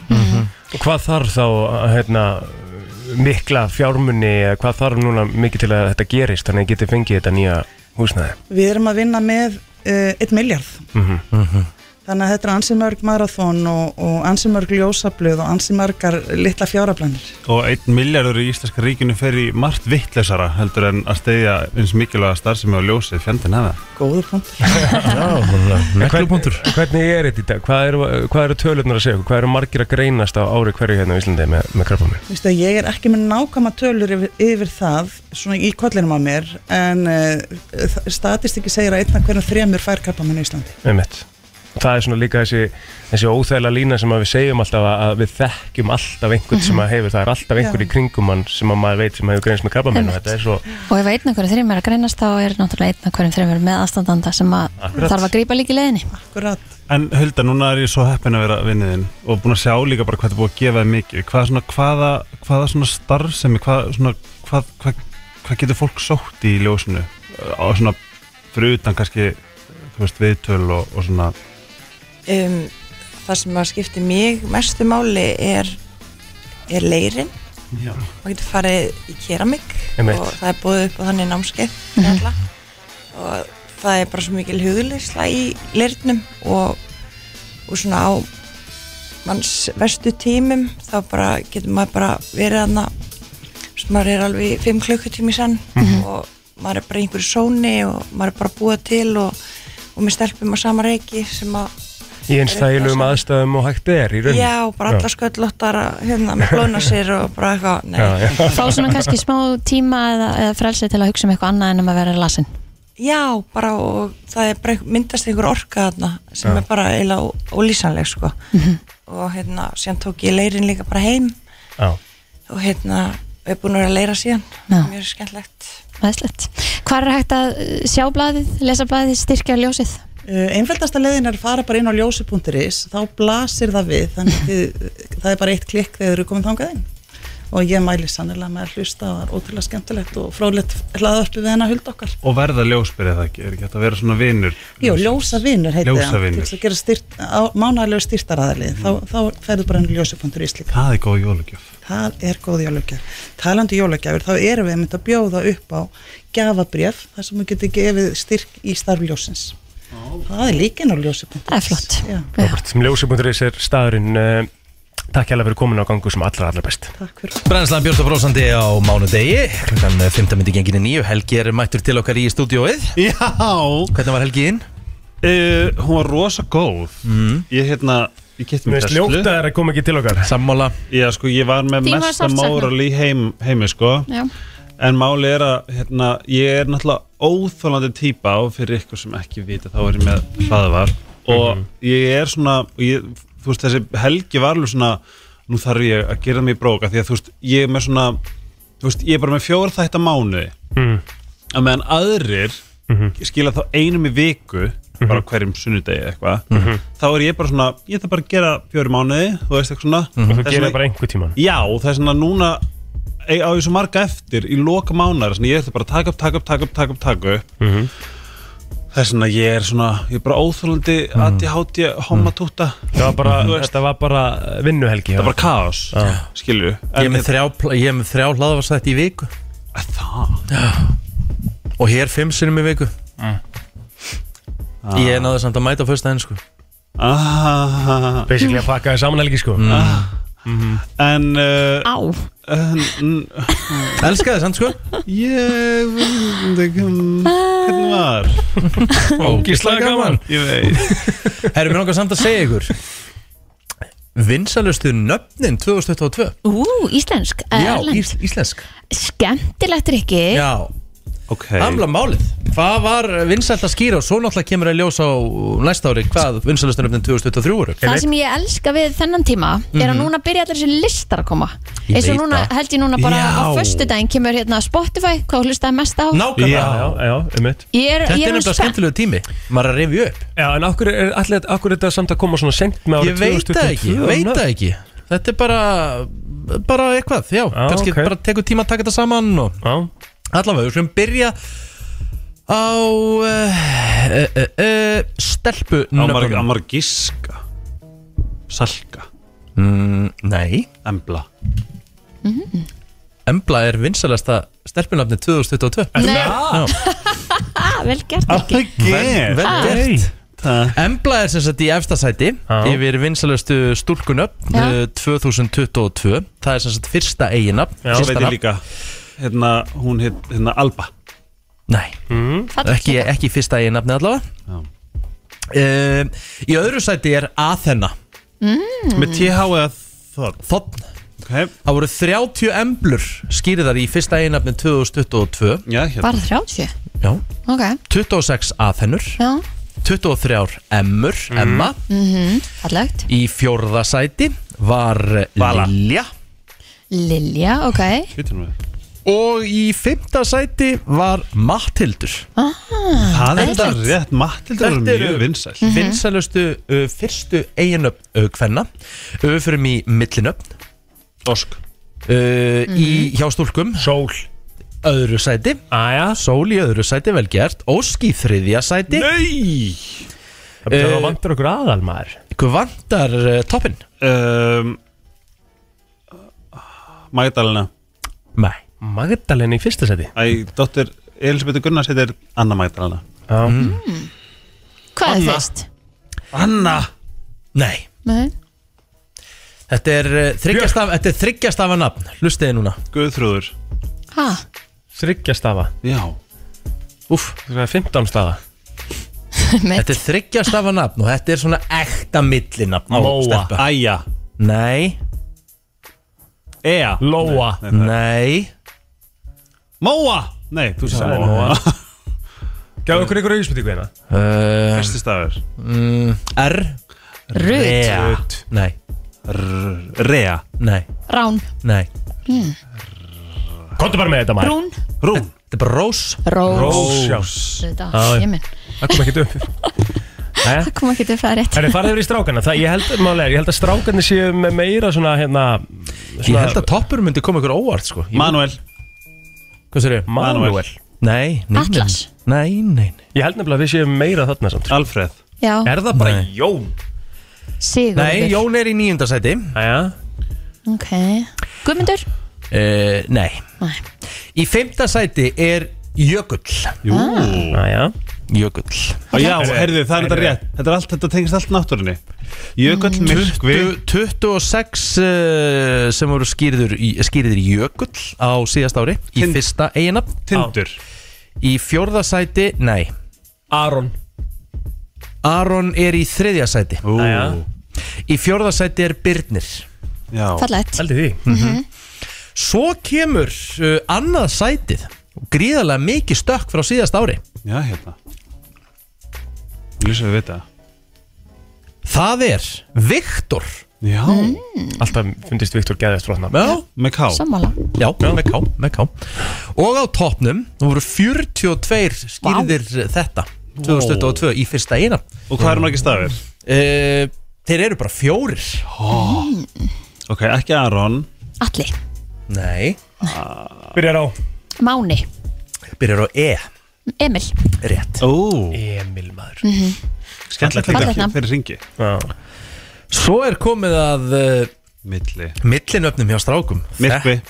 Speaker 3: Og hvað þarf þá hérna, mikla fjármunni, eða hvað þarf núna mikið til að þetta gerist þannig að geti fengið þetta nýja húsnæði?
Speaker 8: Við erum að vinna með uh, 1 miljard Þannig að þetta er ansi mörg marathón og, og ansi mörg ljósabluð og ansi mörgar litla fjáraplanir
Speaker 6: Mhm. Og einn miljardur í Íslenska ríkinu fer í margt vittlesara heldur en að stegja eins mikilvæga starf sem er ljósið fjandinn aða.
Speaker 8: Góður punktur
Speaker 1: Neklupunktur
Speaker 3: Hvern- Hvernig er þetta í dag? Hvað eru, hvað eru tölunar að segja? okkur? Hvað eru margir að greinast á ári hverju hérna á Íslandi með, með krabba minn?
Speaker 8: Vistu, Ég er ekki með nákvæma tölur yfir, yfir það svona í kollinum á mér en uh, statistiki segir að einna hverjum þremur fær kappamenn í Íslandi
Speaker 3: Það er svona líka þessi, þessi óþægilega lína sem að við segjum alltaf að, að við þekkjum alltaf einhvern sem
Speaker 7: Mhm.
Speaker 3: að hefur, það er alltaf einhver í kringum hann sem að maður veit sem hefur greinst með krabba minn og þetta er svo
Speaker 2: og ef einn af hverjum þreymur er að greinast þá er náttúrulega einn af hverjum þreymur með aðstandanda sem að
Speaker 3: Akkurat.
Speaker 2: þarf að grípa líka í leiðinni
Speaker 8: Akkurat
Speaker 6: En Hulda, núna er ég svo heppin að vera vinniðinn og búin að sjá líka bara hvað það er búið að gefa þér mikið. Hvað svona, hvaða, hvaða svona starf sem er, hvað, svona, hvað, hvað, hvað getur fólk sótt í ljósinu? Á svona, fyrir utan kannski, þú veist, viðtöl og, og svona,
Speaker 7: um, það sem að skipti mig mestu máli er er leirin
Speaker 6: já.
Speaker 7: maður getur farið í keramik
Speaker 3: Einmitt.
Speaker 7: og það er búið upp á þannig námskeið fyrir alla og það er bara svo mikil hugleysla í leirnum og, og svona á manns vestu tímum þá bara getur maður bara verið aðna sem maður er alveg í fimm klukkutími sann og maður er bara í einhverju sóni og maður er bara að búa til og, og með stelpum á sama reiki sem að
Speaker 3: í eins þægilegum aðstæðum og hægt er í rauninni.
Speaker 7: já, bara sko. alla sköllóttar að, hérna, með blóna sér og bara eitthvað nei,
Speaker 3: Já, já.
Speaker 2: fá svona kannski smá tíma eða, eða frelsi til að hugsa um eitthvað annað en um að vera lasin
Speaker 7: Já, bara og það er bara einhver- myndast einhver orka þarna sem er bara eiginlega ó- ólýsanleg sko
Speaker 2: Mhm.
Speaker 7: og hérna, síðan tók ég leirin líka bara heim
Speaker 3: Já.
Speaker 7: og hérna, við erum búin að vera að leira síðan
Speaker 2: Já.
Speaker 7: mjög skemmtlegt
Speaker 2: Æðislegt. Hvar er hægt að uh, sjá blaðið, lesa blaðið, styrkja ljósið?
Speaker 8: Uh, Einfældasta leiðin er að fara bara inn á ljósi.is þá blasir það við þannig að þið, það er bara eitt klikk þegar þið eru komið þangað inn og ég mæli sannilega með að hlusta og það er ótrúlega skemmtilegt og fróðlegt hlaðvarpi við hennar huld okkar
Speaker 6: Og verða ljósbyrja það ekki, er ekki hægt að vera svona vinnur?
Speaker 8: Jó, ljósavinur heiti
Speaker 6: Ljósavinur. Mm.
Speaker 8: það til þess að gera styrt, á, mánalegu styrtaraðalið þá, þá ferðu bara inn á ljósi.is líka
Speaker 6: Það er góð jólugjöf.
Speaker 8: það er góð jólagjaf talandi um jólagjafir, þá erum við einmitt að bjóða upp á gjafabref þar sem við getum gefið styrk í starfljósins það er líka inn á ljósi.is
Speaker 2: Það er flott.
Speaker 8: Já,
Speaker 2: Já.
Speaker 3: sem ljósi.is er staðurinn uh, takk hérlega fyrir komin á gangu sem allra allra best
Speaker 8: takk fyrir
Speaker 1: Brænslan Björn og Brósandi á mánudegi Klukkan 15 myndi genginni nýju Helgi er mættur til okkar í stúdióið
Speaker 6: Já!
Speaker 1: Hvernig var Helgiinn?
Speaker 6: Uh, hún var rosa góð
Speaker 1: Mm.
Speaker 6: Ég hérna, ég geti mér
Speaker 3: Mér sljóta það er að koma ekki til okkar
Speaker 1: Sammála
Speaker 6: Já sko, ég var með
Speaker 2: Þín var
Speaker 6: mesta
Speaker 2: sárt saknað.
Speaker 6: móral í heim, heimi sko
Speaker 2: Já.
Speaker 6: En máli er að hérna, ég er náttúrulega óþólandi típa og fyrir ykkur sem ekki vita þá er ég með hlaðvar og
Speaker 3: Mhm.
Speaker 6: ég er svona og ég, þú veist þessi helgi var alveg svona nú þarf ég að gera mig í bróka því að þú veist ég er með svona þú veist ég er bara með fjóra þætt að mánuði
Speaker 3: Mm.
Speaker 6: að meðan aðrir
Speaker 3: Mhm.
Speaker 6: skila þá einum í viku bara hverjum sunnudegi eða eitthvað
Speaker 3: Mhm.
Speaker 6: þá er ég bara svona, ég þarf bara að gera fjóri mánuði, þú veist eitthvað svona
Speaker 3: Mhm. og þú
Speaker 6: Þess
Speaker 3: gerir
Speaker 6: vegna-
Speaker 3: það bara einhver tíman
Speaker 6: Já, það er svona núna ei- á ég svo marga eftir í loka mánar þannig ég ætla bara að taka upp, taka upp, taka upp, taka upp, taka upp
Speaker 3: Mhm.
Speaker 6: þess vegna ég er svona, ég er bara óþólandi
Speaker 1: Mhm.
Speaker 6: mm. ADHD, homma túta
Speaker 3: Það var bara, þetta var bara vinnuhelgi
Speaker 6: það er bara kaos, skilju
Speaker 1: Ég er með þrjá, pl- ég er með þrjá hlaðvarsætti í viku
Speaker 6: það
Speaker 1: Og hér fimm sinnum í viku Ég náði samt að mæta á föstudaginn sko
Speaker 6: ah,
Speaker 3: Basically að pakka þér saman helgi sko
Speaker 1: Mm.
Speaker 2: Ah.
Speaker 1: Ah. Mhm.
Speaker 6: en, uh,
Speaker 2: Á,
Speaker 6: en eh, n-
Speaker 1: Elska þið samt sko
Speaker 6: ég veit ekki um, hvernig var
Speaker 1: Ógislega gaman
Speaker 6: ég veit
Speaker 1: Herru, mér langar samt að segja ykkur Vinsalustu nöfnin 2022
Speaker 2: ú, íslensk
Speaker 1: Já,
Speaker 2: erlend.
Speaker 1: ís, íslensk
Speaker 2: Skemmtilegt rikki
Speaker 1: Já,
Speaker 6: ok,
Speaker 1: hamla málið Hvað var vinsælt að skýra og svo náttúrulega kemur að ljósa á næsta ári hvað vinsalustu nöfnin 2023 voru
Speaker 2: Það sem ég elska við þennan tíma er að núna byrja allir þessi listar að koma
Speaker 1: Mhm. Ég
Speaker 2: eins og
Speaker 1: veit
Speaker 2: núna
Speaker 1: það.
Speaker 2: held ég núna bara á
Speaker 1: Já.
Speaker 2: föstudaginn kemur hérna Spotify, hvað hlustaði mest á
Speaker 1: Nákvæmlega
Speaker 3: Já, já, um eitt
Speaker 2: Ég er,
Speaker 1: Þetta
Speaker 2: ég
Speaker 1: er
Speaker 2: er nú
Speaker 1: nefnilega
Speaker 2: spennt
Speaker 1: skemmtilegu tími Maður er að rifja upp
Speaker 3: Já, en akkur er, allir, akkur er þetta samt að koma svona sent með
Speaker 1: Ég
Speaker 3: árið
Speaker 1: veit það ekki,
Speaker 3: 2022
Speaker 1: veit það ekki Þetta er bara, bara eitthvað Já,
Speaker 3: Já,
Speaker 1: kannski
Speaker 3: ok.
Speaker 1: bara tekur tíma að taka þetta saman og
Speaker 3: Já,
Speaker 1: Allavega, við skulum byrja á uh, uh, uh, uh, stelpu
Speaker 6: Amar,
Speaker 1: nöfnum.
Speaker 6: Amargiska Salka
Speaker 1: Mm, Nei, Mm-hmm.
Speaker 6: Embla
Speaker 1: Embla er vinsalasta stelpunafni 2022
Speaker 2: Nei.
Speaker 1: Já,
Speaker 2: að vel gert ekki
Speaker 1: vel
Speaker 3: Nei.
Speaker 1: gert Embla er sem sagt í efstasæti
Speaker 3: Já.
Speaker 1: yfir vinsalastu stúlkunöfn
Speaker 2: Já.
Speaker 1: uh, 2022 Það er sem sagt fyrsta eiginafn
Speaker 3: Já,
Speaker 6: Svo
Speaker 1: fyrsta
Speaker 6: veit ég
Speaker 1: nafn.
Speaker 6: líka hérna, hún heit hérna Alba
Speaker 1: Nei,
Speaker 3: Mm.
Speaker 1: ekki, ekki fyrsta eiginafni allavega
Speaker 6: Já.
Speaker 1: Uh, í öðru sæti er Athena
Speaker 6: Mm.
Speaker 1: Mm.
Speaker 6: með TH eða þorn
Speaker 1: Þotn
Speaker 6: okay.
Speaker 1: Það voru 30 emblur skýriðar í fyrsta eiginafni 2022
Speaker 6: Já, hérna.
Speaker 2: Bara 30
Speaker 1: Já.
Speaker 2: Ok,
Speaker 1: 26 aðhennur
Speaker 2: já,
Speaker 1: 23 emmur,
Speaker 6: Mhm.
Speaker 1: emma
Speaker 2: Mhm, allagt
Speaker 1: Í fjórða sæti var
Speaker 6: Vala.
Speaker 1: Lilja
Speaker 2: Lilja, ok
Speaker 6: Hvítur nú við.
Speaker 1: Og í fymta sæti var Matthildur
Speaker 6: Það er
Speaker 2: Æðislegt.
Speaker 6: þetta rétt Mattildur er
Speaker 1: Þetta eru- Mhm.
Speaker 6: mjög vinsæl
Speaker 1: Vinsælustu uh, fyrstu eiginöfn uh, hvenna Öfurum í millinöfn
Speaker 6: Ósk
Speaker 1: uh, Í hjá stúlkum
Speaker 3: sól
Speaker 1: Öðru sæti
Speaker 3: Æja,
Speaker 1: Sól í öðru sæti, vel gert Ósk í þriðja sæti
Speaker 6: Nei
Speaker 3: það
Speaker 1: Eh.
Speaker 3: vantar okkur aðal maður
Speaker 1: Hvað vantar uh, toppin?
Speaker 6: um, Magdalena
Speaker 1: Nei
Speaker 3: Magdalena í fyrsta seti
Speaker 6: Æ, dóttir Elisabeth Gunnars heitir Anna Magdalena
Speaker 3: Já,
Speaker 1: Mm.
Speaker 2: Hvað er fyrst?
Speaker 6: Anna
Speaker 1: Nei
Speaker 2: Nei.
Speaker 1: Þetta er uh, þryggjastafa, þetta er þryggjastafa nafn Hlustiði núna
Speaker 6: Guðþrúður
Speaker 2: Ha,
Speaker 3: þryggja stafa
Speaker 6: Já
Speaker 1: Úff,
Speaker 3: Það er 15 stafa
Speaker 1: Þetta
Speaker 2: mitt
Speaker 1: er þryggjastafa nafn og þetta er svona ekta millinafn á
Speaker 3: Móa.
Speaker 1: stelpu.
Speaker 6: Æja
Speaker 1: Nei,
Speaker 6: Ea
Speaker 3: Lóa
Speaker 6: Nei, það er-
Speaker 1: nei
Speaker 6: Móa Nei, þú
Speaker 3: Það
Speaker 6: sagði
Speaker 3: er
Speaker 6: Móa
Speaker 3: Lóa Gjáðu okkur ykkur auðspytíku hérna
Speaker 1: uh,
Speaker 6: Fyrsti stafur
Speaker 1: mm, R
Speaker 2: Rut,
Speaker 1: Rea. Nei,
Speaker 6: Rea
Speaker 1: nei,
Speaker 2: Rán,
Speaker 1: nei
Speaker 3: Kontu bara með þetta maður
Speaker 2: Brún,
Speaker 6: Rún
Speaker 1: Þetta er bara rós
Speaker 2: Rós
Speaker 3: Rós
Speaker 2: Þetta, ég minn
Speaker 3: Það kom ekki upp Æja
Speaker 2: Það kom ekki til að fæða rétt
Speaker 3: Það er farið yfir í strákana, það, ég, held, málega, ég held að strákana séu með meira svona, hérna,
Speaker 1: Ég
Speaker 3: svona
Speaker 1: held að toppur myndi koma ykkur óvart sko Ég-
Speaker 6: Manuel
Speaker 1: Hvað sér ég?
Speaker 3: Manuel
Speaker 1: Nei, nei, nei,
Speaker 2: Atlas.
Speaker 1: nei, nei, nei.
Speaker 3: Ah. Ég held nefnilega að við séum meira þarna samt sko.
Speaker 6: Alfred
Speaker 2: Já,
Speaker 3: Er það bara
Speaker 1: Nei.
Speaker 3: Jón?
Speaker 2: Sigurður
Speaker 1: nei Jón er í nýjunda sæti
Speaker 3: Æja,
Speaker 2: Ok, Guðmundur
Speaker 1: uh, Nei
Speaker 2: Nei.
Speaker 1: Í fymta sæti er Jökull Ah.
Speaker 6: Jú
Speaker 3: æja
Speaker 1: Jökull
Speaker 6: Á, Já,
Speaker 3: Heyrðu,
Speaker 6: herðu, það er þetta
Speaker 3: heyrðu.
Speaker 6: rétt Þetta er allt, þetta tengist allt náttúrunni Jökull,
Speaker 1: Mm.
Speaker 6: myrkvi
Speaker 1: 26 uh, sem voru skýrður í, skýrður í jökull á síðast ári í
Speaker 6: Tind-
Speaker 1: fyrsta eigina
Speaker 6: Tindur
Speaker 1: í fjórða sæti, nei
Speaker 3: Aron
Speaker 1: Aron er í þriðja sæti
Speaker 6: Ú,
Speaker 3: Jæja.
Speaker 1: í fjórða sæti er Birnir Mhm.
Speaker 6: Já
Speaker 2: Fallegt
Speaker 3: Hældi því
Speaker 1: svo kemur uh, annað sætið gríðarlega mikið stökk frá síðast ári
Speaker 6: Já, hérna Lýsa við vita
Speaker 1: það er Viktor
Speaker 6: Já
Speaker 3: Alltaf fundist Viktor Gæðist frá
Speaker 1: já,
Speaker 6: Með ká
Speaker 2: Sammála
Speaker 1: já, Með, ká, með ká og á topnum voru 42 skýrðir þetta 2022 í fyrsta eigina
Speaker 6: Og hvað eru margir stafir?
Speaker 1: Uh, þeir eru bara fjórir
Speaker 6: Ok, ekki Aron Ah.
Speaker 2: Alli,
Speaker 1: Nei
Speaker 3: Byrjar á
Speaker 2: Máni
Speaker 1: Byrjar á E
Speaker 2: Emil
Speaker 1: Rétt
Speaker 6: Ó,
Speaker 3: Emil maður
Speaker 2: Mhm.
Speaker 6: skemmtilegt
Speaker 2: Fallegt
Speaker 6: ekki
Speaker 2: nafn.
Speaker 6: fyrir ringi
Speaker 3: Já,
Speaker 1: Svo er komið að uh,
Speaker 6: Milli
Speaker 1: millinöfnum hjá strákum
Speaker 6: Myrkvi
Speaker 1: Þe-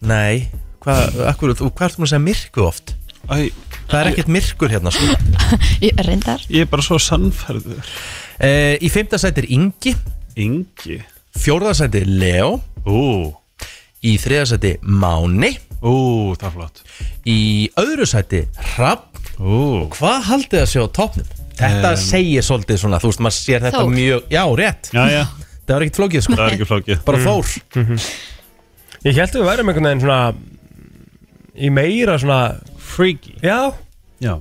Speaker 1: Nei, hvað hva, hva ertu mér að segja myrku oft?
Speaker 6: Æ,
Speaker 1: Það er ekkert myrkur hérna sko
Speaker 2: Ég- Reyndar
Speaker 6: ég er bara svo sannfærður
Speaker 1: uh, Í fimmta sæti er Ingi
Speaker 6: Ingi
Speaker 1: Fjórða sæti er Leo
Speaker 6: Ú,
Speaker 1: Í þriða sæti Máni
Speaker 6: ú, það er flott
Speaker 1: Í öðru sæti Hrafn
Speaker 6: Ú,
Speaker 1: Hvað haldið þið að sé á toppnum? Þetta
Speaker 6: Em.
Speaker 1: segir svolítið svona, þú veist, maður sér þetta
Speaker 2: Þór.
Speaker 1: mjög Já, rétt,
Speaker 6: já, já,
Speaker 1: það var ekkert flókið sko
Speaker 6: það er ekki flókið Mm. Mhm.
Speaker 1: Bara Þór
Speaker 3: Ég held að við værum einhvern veginn svona í meira svona freaky Já,
Speaker 6: Já,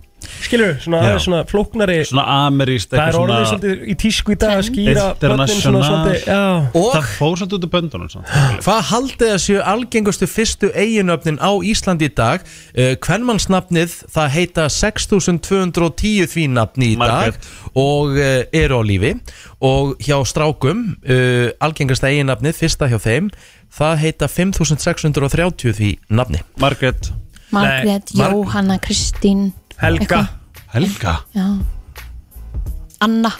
Speaker 3: skilur, svona,
Speaker 6: Já.
Speaker 3: það er svona flóknari
Speaker 6: svona ameríst
Speaker 3: Það er
Speaker 6: eitthvað
Speaker 3: orðið
Speaker 6: svona
Speaker 3: svolítið í tísku í dag að skýra
Speaker 6: International.
Speaker 3: börnin svona svolítið Já,
Speaker 1: Og
Speaker 6: Það fór svolítið út af böndunum samt.
Speaker 1: hvað haldið þið að séu algengustu fyrstu eiginöfnin á Íslandi í dag? Uh, Kvenmannsnafnið, það heita 6210 því nafni í dag
Speaker 6: Margrét.
Speaker 1: og uh, eru á lífi og hjá strákum, uh, algengasta eiginöfnið, fyrsta hjá þeim það heita 5630 því nafni
Speaker 6: Margrét
Speaker 2: Margrét,
Speaker 1: Marg-
Speaker 2: Jóhanna, Kristín
Speaker 3: Helga
Speaker 2: Eitthvað.
Speaker 6: Helga
Speaker 2: Já Anna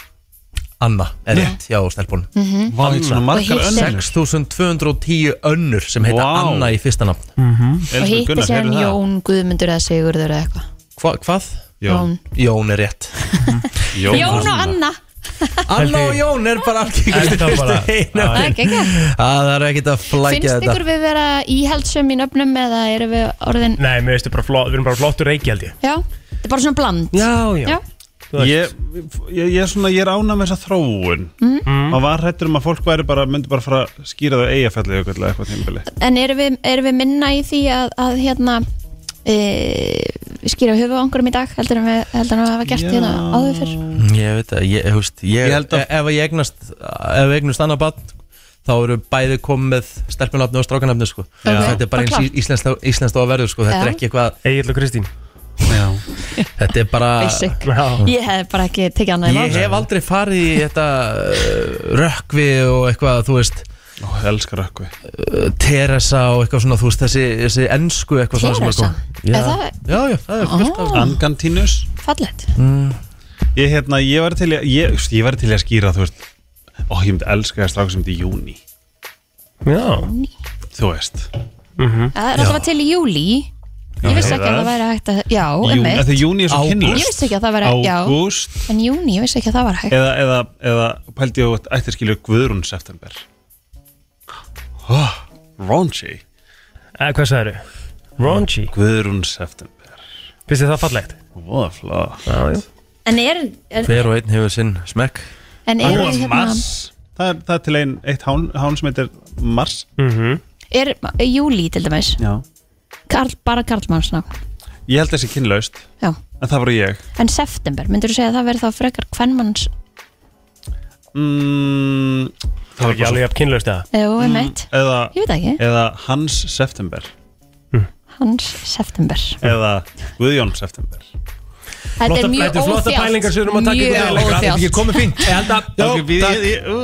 Speaker 1: Anna, er rétt, hjá stelpunum
Speaker 6: Var þetta svona margar
Speaker 2: Mhm. Og hitt er-
Speaker 6: önnur
Speaker 1: 6210 önnur sem heita
Speaker 6: Vá.
Speaker 1: Anna í fyrsta nafn
Speaker 2: Og
Speaker 6: Elísabet
Speaker 2: hitti
Speaker 6: Gunnar,
Speaker 2: sér
Speaker 6: heyrðu það?
Speaker 2: Jón Guðmundur eða Sigurður eða eitthvað
Speaker 1: Hva, Hvað?
Speaker 6: Jón.
Speaker 1: Jón er rétt
Speaker 6: Jón,
Speaker 2: Jón og Anna
Speaker 1: Anna og Jón er bara algengast
Speaker 3: Þetta var bara-
Speaker 2: Það er ekki ekki
Speaker 1: Ah, Það er ekkert að flækja
Speaker 2: Finnst
Speaker 1: þetta
Speaker 2: ykkur við vera íhaldsum í nöfnum eða eru við orðin
Speaker 3: Nei, mér veistu bara flott, við erum bara flottur reiki held ég
Speaker 2: Já, þetta er bara svona bland
Speaker 3: Já, já Þú veist.
Speaker 6: Ég, ég, ég, er svona, ég er ánað með þessa þróun mm. og var hættur um að fólk væri bara myndi bara fara að skýra það eigafællið eitthvað eitthvað tímbili
Speaker 2: En eru við, eru við minna í því að, að hérna e, skýra höfu á einhverjum í dag heldur en við heldur en við hafa gert
Speaker 6: Já.
Speaker 2: hérna áður fyrr
Speaker 1: Ég veit að, ég, húst, ég,
Speaker 6: Ég
Speaker 1: ég
Speaker 6: held að-
Speaker 1: ef ég egnast, ef ég egnast annað barn þá eru bæði komið með stelpunafni og strákanafni sko. þetta er bara
Speaker 2: Bara
Speaker 1: eins
Speaker 2: klárt.
Speaker 1: í- íslenskt íslenskt á að verður sko. þetta
Speaker 2: Já.
Speaker 1: er ekki eitthvað,
Speaker 3: Egil og Kristín
Speaker 1: þetta er bara
Speaker 2: Basic.
Speaker 3: Já,
Speaker 2: Ég hef bara ekki tekið annað í
Speaker 1: ég
Speaker 2: mál
Speaker 1: hef aldrei farið í þetta uh, rökkvi og eitthvað þú veist,
Speaker 6: Ó, ég elskar ökku
Speaker 1: uh, Teresa og eitthvað svona þú veist, þessi, þessi ensku eitthvað svona sem er
Speaker 2: Teresa,
Speaker 1: komið.
Speaker 2: er það Ah.
Speaker 1: Já, já, það er fullt af
Speaker 6: Angantínus
Speaker 2: fallegt?
Speaker 6: Ég, hérna, ég var til, í að- ég, ég var til í að skýra þú veist, ó, ég myndi elska það stráku sem þetta er júni,
Speaker 3: já
Speaker 6: þú veist
Speaker 1: Mhm.
Speaker 2: Það er alltaf til í júli Ég vissi ekki að það væri hægt að Já,
Speaker 6: Júní,
Speaker 2: emmitt
Speaker 6: því júni er svo
Speaker 1: Ágúst.
Speaker 6: kynlust
Speaker 2: Ég vissi ekki að það væri Já,
Speaker 6: Ágúst
Speaker 2: en júni, ég vissi ekki að það væri hægt
Speaker 6: eða, eða, eða pældi ég að ætti að skilja Guðrún september oh, Raunchy
Speaker 3: Eh, Hvað sagður þau? Raunchy
Speaker 6: Guðrún september
Speaker 3: Finnst þið það fallegt?
Speaker 6: Voða flott
Speaker 3: Já, já
Speaker 2: En er, er,
Speaker 1: hver og einn hefur sinn smekk
Speaker 2: en er,
Speaker 6: Voða
Speaker 2: hérna,
Speaker 6: Mars það er, það er til einn eitt hán, hán sem heitir Mars
Speaker 3: Mhm.
Speaker 2: er júli til dæmis
Speaker 6: Já.
Speaker 2: Karl, bara Karlmannsnafn
Speaker 6: Ég held þessi kynlaust
Speaker 2: Já,
Speaker 6: en það var ég
Speaker 2: en september, myndur þú segja að það verði þá frekar kvennmanns
Speaker 6: mm, Það var bara
Speaker 3: Ekki alveg
Speaker 6: svo Mm,
Speaker 3: jafn kynlaust það
Speaker 2: eða um eitt?
Speaker 6: eða,
Speaker 2: Ég veit ekki,
Speaker 6: eða Hans september
Speaker 2: hans september
Speaker 6: eða Guðjón september
Speaker 2: Þetta er mjög
Speaker 3: flotta pælingar sem við erum að
Speaker 2: óþjátt
Speaker 3: taka ykkur til
Speaker 2: Mjög
Speaker 3: lengra. Þetta er ekki
Speaker 2: óþjátt
Speaker 3: komið fínt Ég held að
Speaker 6: Ok, við- ég- ég- ú.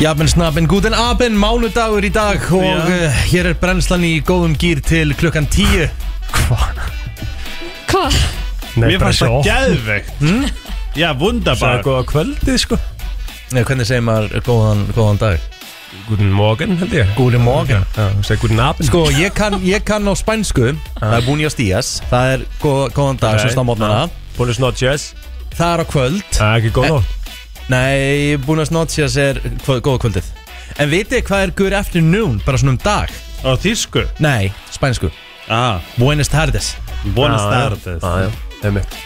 Speaker 1: Jafn, snabbin, guten abin, mánudagur í dag og
Speaker 6: Já.
Speaker 1: uh, hér er brennslan í góðum gýr til klukkan 10
Speaker 2: Hvað?
Speaker 3: Nei,
Speaker 6: Mér
Speaker 3: bara
Speaker 6: fannst það
Speaker 3: svo
Speaker 6: geðveikt hm? Já,
Speaker 3: Það
Speaker 6: wunderbar
Speaker 3: er góða kvöldið sko
Speaker 1: Nei, hvernig segir maður góðan, góðan dag?
Speaker 3: Guten Morgen held ég
Speaker 1: Guten Morgen.
Speaker 3: Já, þú segir Guten Abend Ah.
Speaker 1: Sko, ég kann, ég kann á spænsku, það er búin í að stías Það er góð, góðan dag,
Speaker 3: Ok,
Speaker 1: okay. svo stammotnana
Speaker 3: Buenos Ah. noches
Speaker 1: Það er á kvöld Eh,
Speaker 3: Það er ekki góð nótt
Speaker 1: Nei, búin að snátsías er kvö, góða kvöldið En vitið þið hvað er good afternoon, bara svona um dag?
Speaker 6: Á þýsku
Speaker 1: Nei, spænsku
Speaker 6: ah,
Speaker 1: Buenas tardes Ah,
Speaker 6: Buenas
Speaker 3: Já, já.
Speaker 6: tardes
Speaker 3: Já, já, einmitt.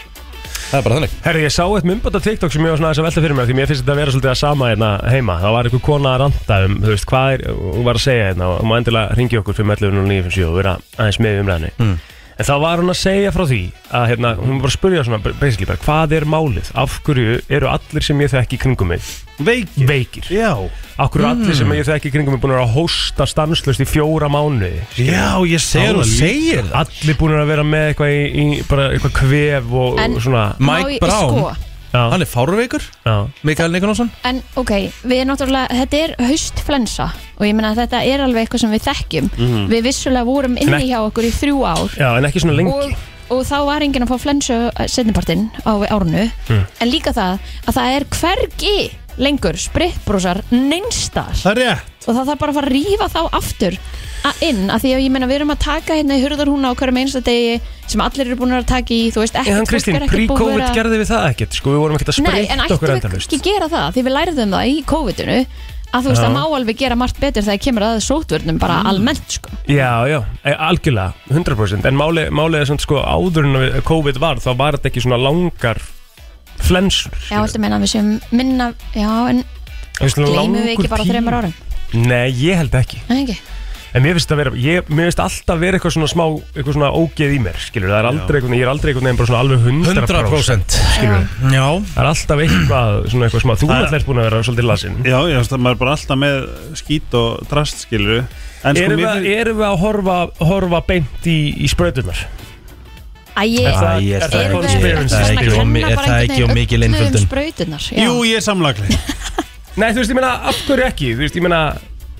Speaker 1: Það er bara þannig
Speaker 3: Herri, ég sá eitt myndband á TikTok sem ég var svona aðeins að velta fyrir mér því mér finnst þetta að vera svolítið að sama hérna heima það var einhver kona að ranta um, þú veist, hvað er hún var að segja hérna og hún má endilega ringi okkur fyrir 11.09.57 og vera aðeins með í umræðinni en þá var hún að segja frá því að hérna, hún var bara að spurja svona basically bara, hvað er málið, af hverju eru allir sem ég þekki í kringum mig
Speaker 6: Veikir
Speaker 3: veikir,
Speaker 6: Já
Speaker 3: af hverju eru allir sem ég þekki í kringum mig búin að vera að hósta stanslust í fjóra mánuði
Speaker 6: Já, ég
Speaker 1: Þegar
Speaker 6: það
Speaker 1: þú
Speaker 6: líka.
Speaker 1: segir það
Speaker 3: allir búin að vera með eitthvað í, í bara eitthvað kvef og,
Speaker 2: En-
Speaker 3: og svona
Speaker 2: Má
Speaker 1: Mike
Speaker 2: ég-
Speaker 1: Brown
Speaker 2: sko,
Speaker 3: Já.
Speaker 1: Hann er fáruveikur,
Speaker 3: Já.
Speaker 1: Mikael Nikolásson
Speaker 2: En ok, við náttúrulega, þetta er haustflensa og ég meina að þetta er alveg eitthvað sem við þekkjum Við vissulega vorum inni
Speaker 3: Mhm. ekki-
Speaker 2: hjá okkur í þrjú ár
Speaker 3: Já, en ekki svona lengi
Speaker 2: og, og þá var enginn að fá flensu setnipartinn á árunu
Speaker 6: Mm.
Speaker 2: En líka það að það er hvergi lengur spritbrúsar neinstar
Speaker 6: Það er rétt
Speaker 2: og það þarf bara að fara að rífa þá aftur að inn, af því að ég meina við erum að taka hérna í hurðarhúna á hverjum einsta degi sem allir eru búin að taka í, þú veist, ekkert
Speaker 3: Eðan
Speaker 2: fólk er
Speaker 3: Kristín,
Speaker 2: ekkert búið að
Speaker 3: pre-COVID
Speaker 2: vera-
Speaker 3: gerði við það ekkert Sko, við vorum ekkert að
Speaker 2: Nei, en
Speaker 3: spreita
Speaker 2: ættum
Speaker 3: okkur
Speaker 2: við
Speaker 3: endalust
Speaker 2: ekki gera það því við læriðum það í COVID-unu að þú veist,
Speaker 3: Já.
Speaker 2: það má alveg gera margt betur þegar kemur að sótvörnum
Speaker 1: Mm.
Speaker 2: bara almennt sko.
Speaker 3: Já, já, e, algjörlega, 100% En máli, málið er svona sko áður en við- COVID var þá var þetta ekki svona langar flensur
Speaker 2: Já, þetta meina að við séum minna Já, en gleymum við ekki bara þreymur árum
Speaker 3: Nei, ég held ekki
Speaker 2: Nei, ekki
Speaker 3: En mér finnst þetta að vera, ég, mér finnst alltaf vera eitthvað svona smá, eitthvað svona ógeð í mér, skilur Það er aldrei eitthvað, ég er aldrei eitthvað nefn bara svona alveg 100%,
Speaker 1: 100% Já
Speaker 3: Það er alltaf eitthvað, svona eitthvað smá Þú
Speaker 6: Það er-
Speaker 3: alltaf ert búin að vera svolítið lasin
Speaker 6: Já, ég veist að maður er bara alltaf með skít og drast skilur En sko mér
Speaker 3: Erum við,
Speaker 6: finnst
Speaker 3: erum við að horfa, horfa beint í, í sprautunar?
Speaker 2: Æ, ég
Speaker 3: það-
Speaker 1: Æ,
Speaker 3: er
Speaker 1: er
Speaker 3: það
Speaker 1: það
Speaker 3: eitthvað
Speaker 1: ekki- er
Speaker 3: experience?
Speaker 1: það ekki of mi- er það ekki of mikil
Speaker 2: um
Speaker 1: einföldun?
Speaker 2: Spröytunar
Speaker 6: Jú, ég er samlagli
Speaker 3: Nei, þú veist, ég meina, af hverju ekki? Þú veist, ég meina,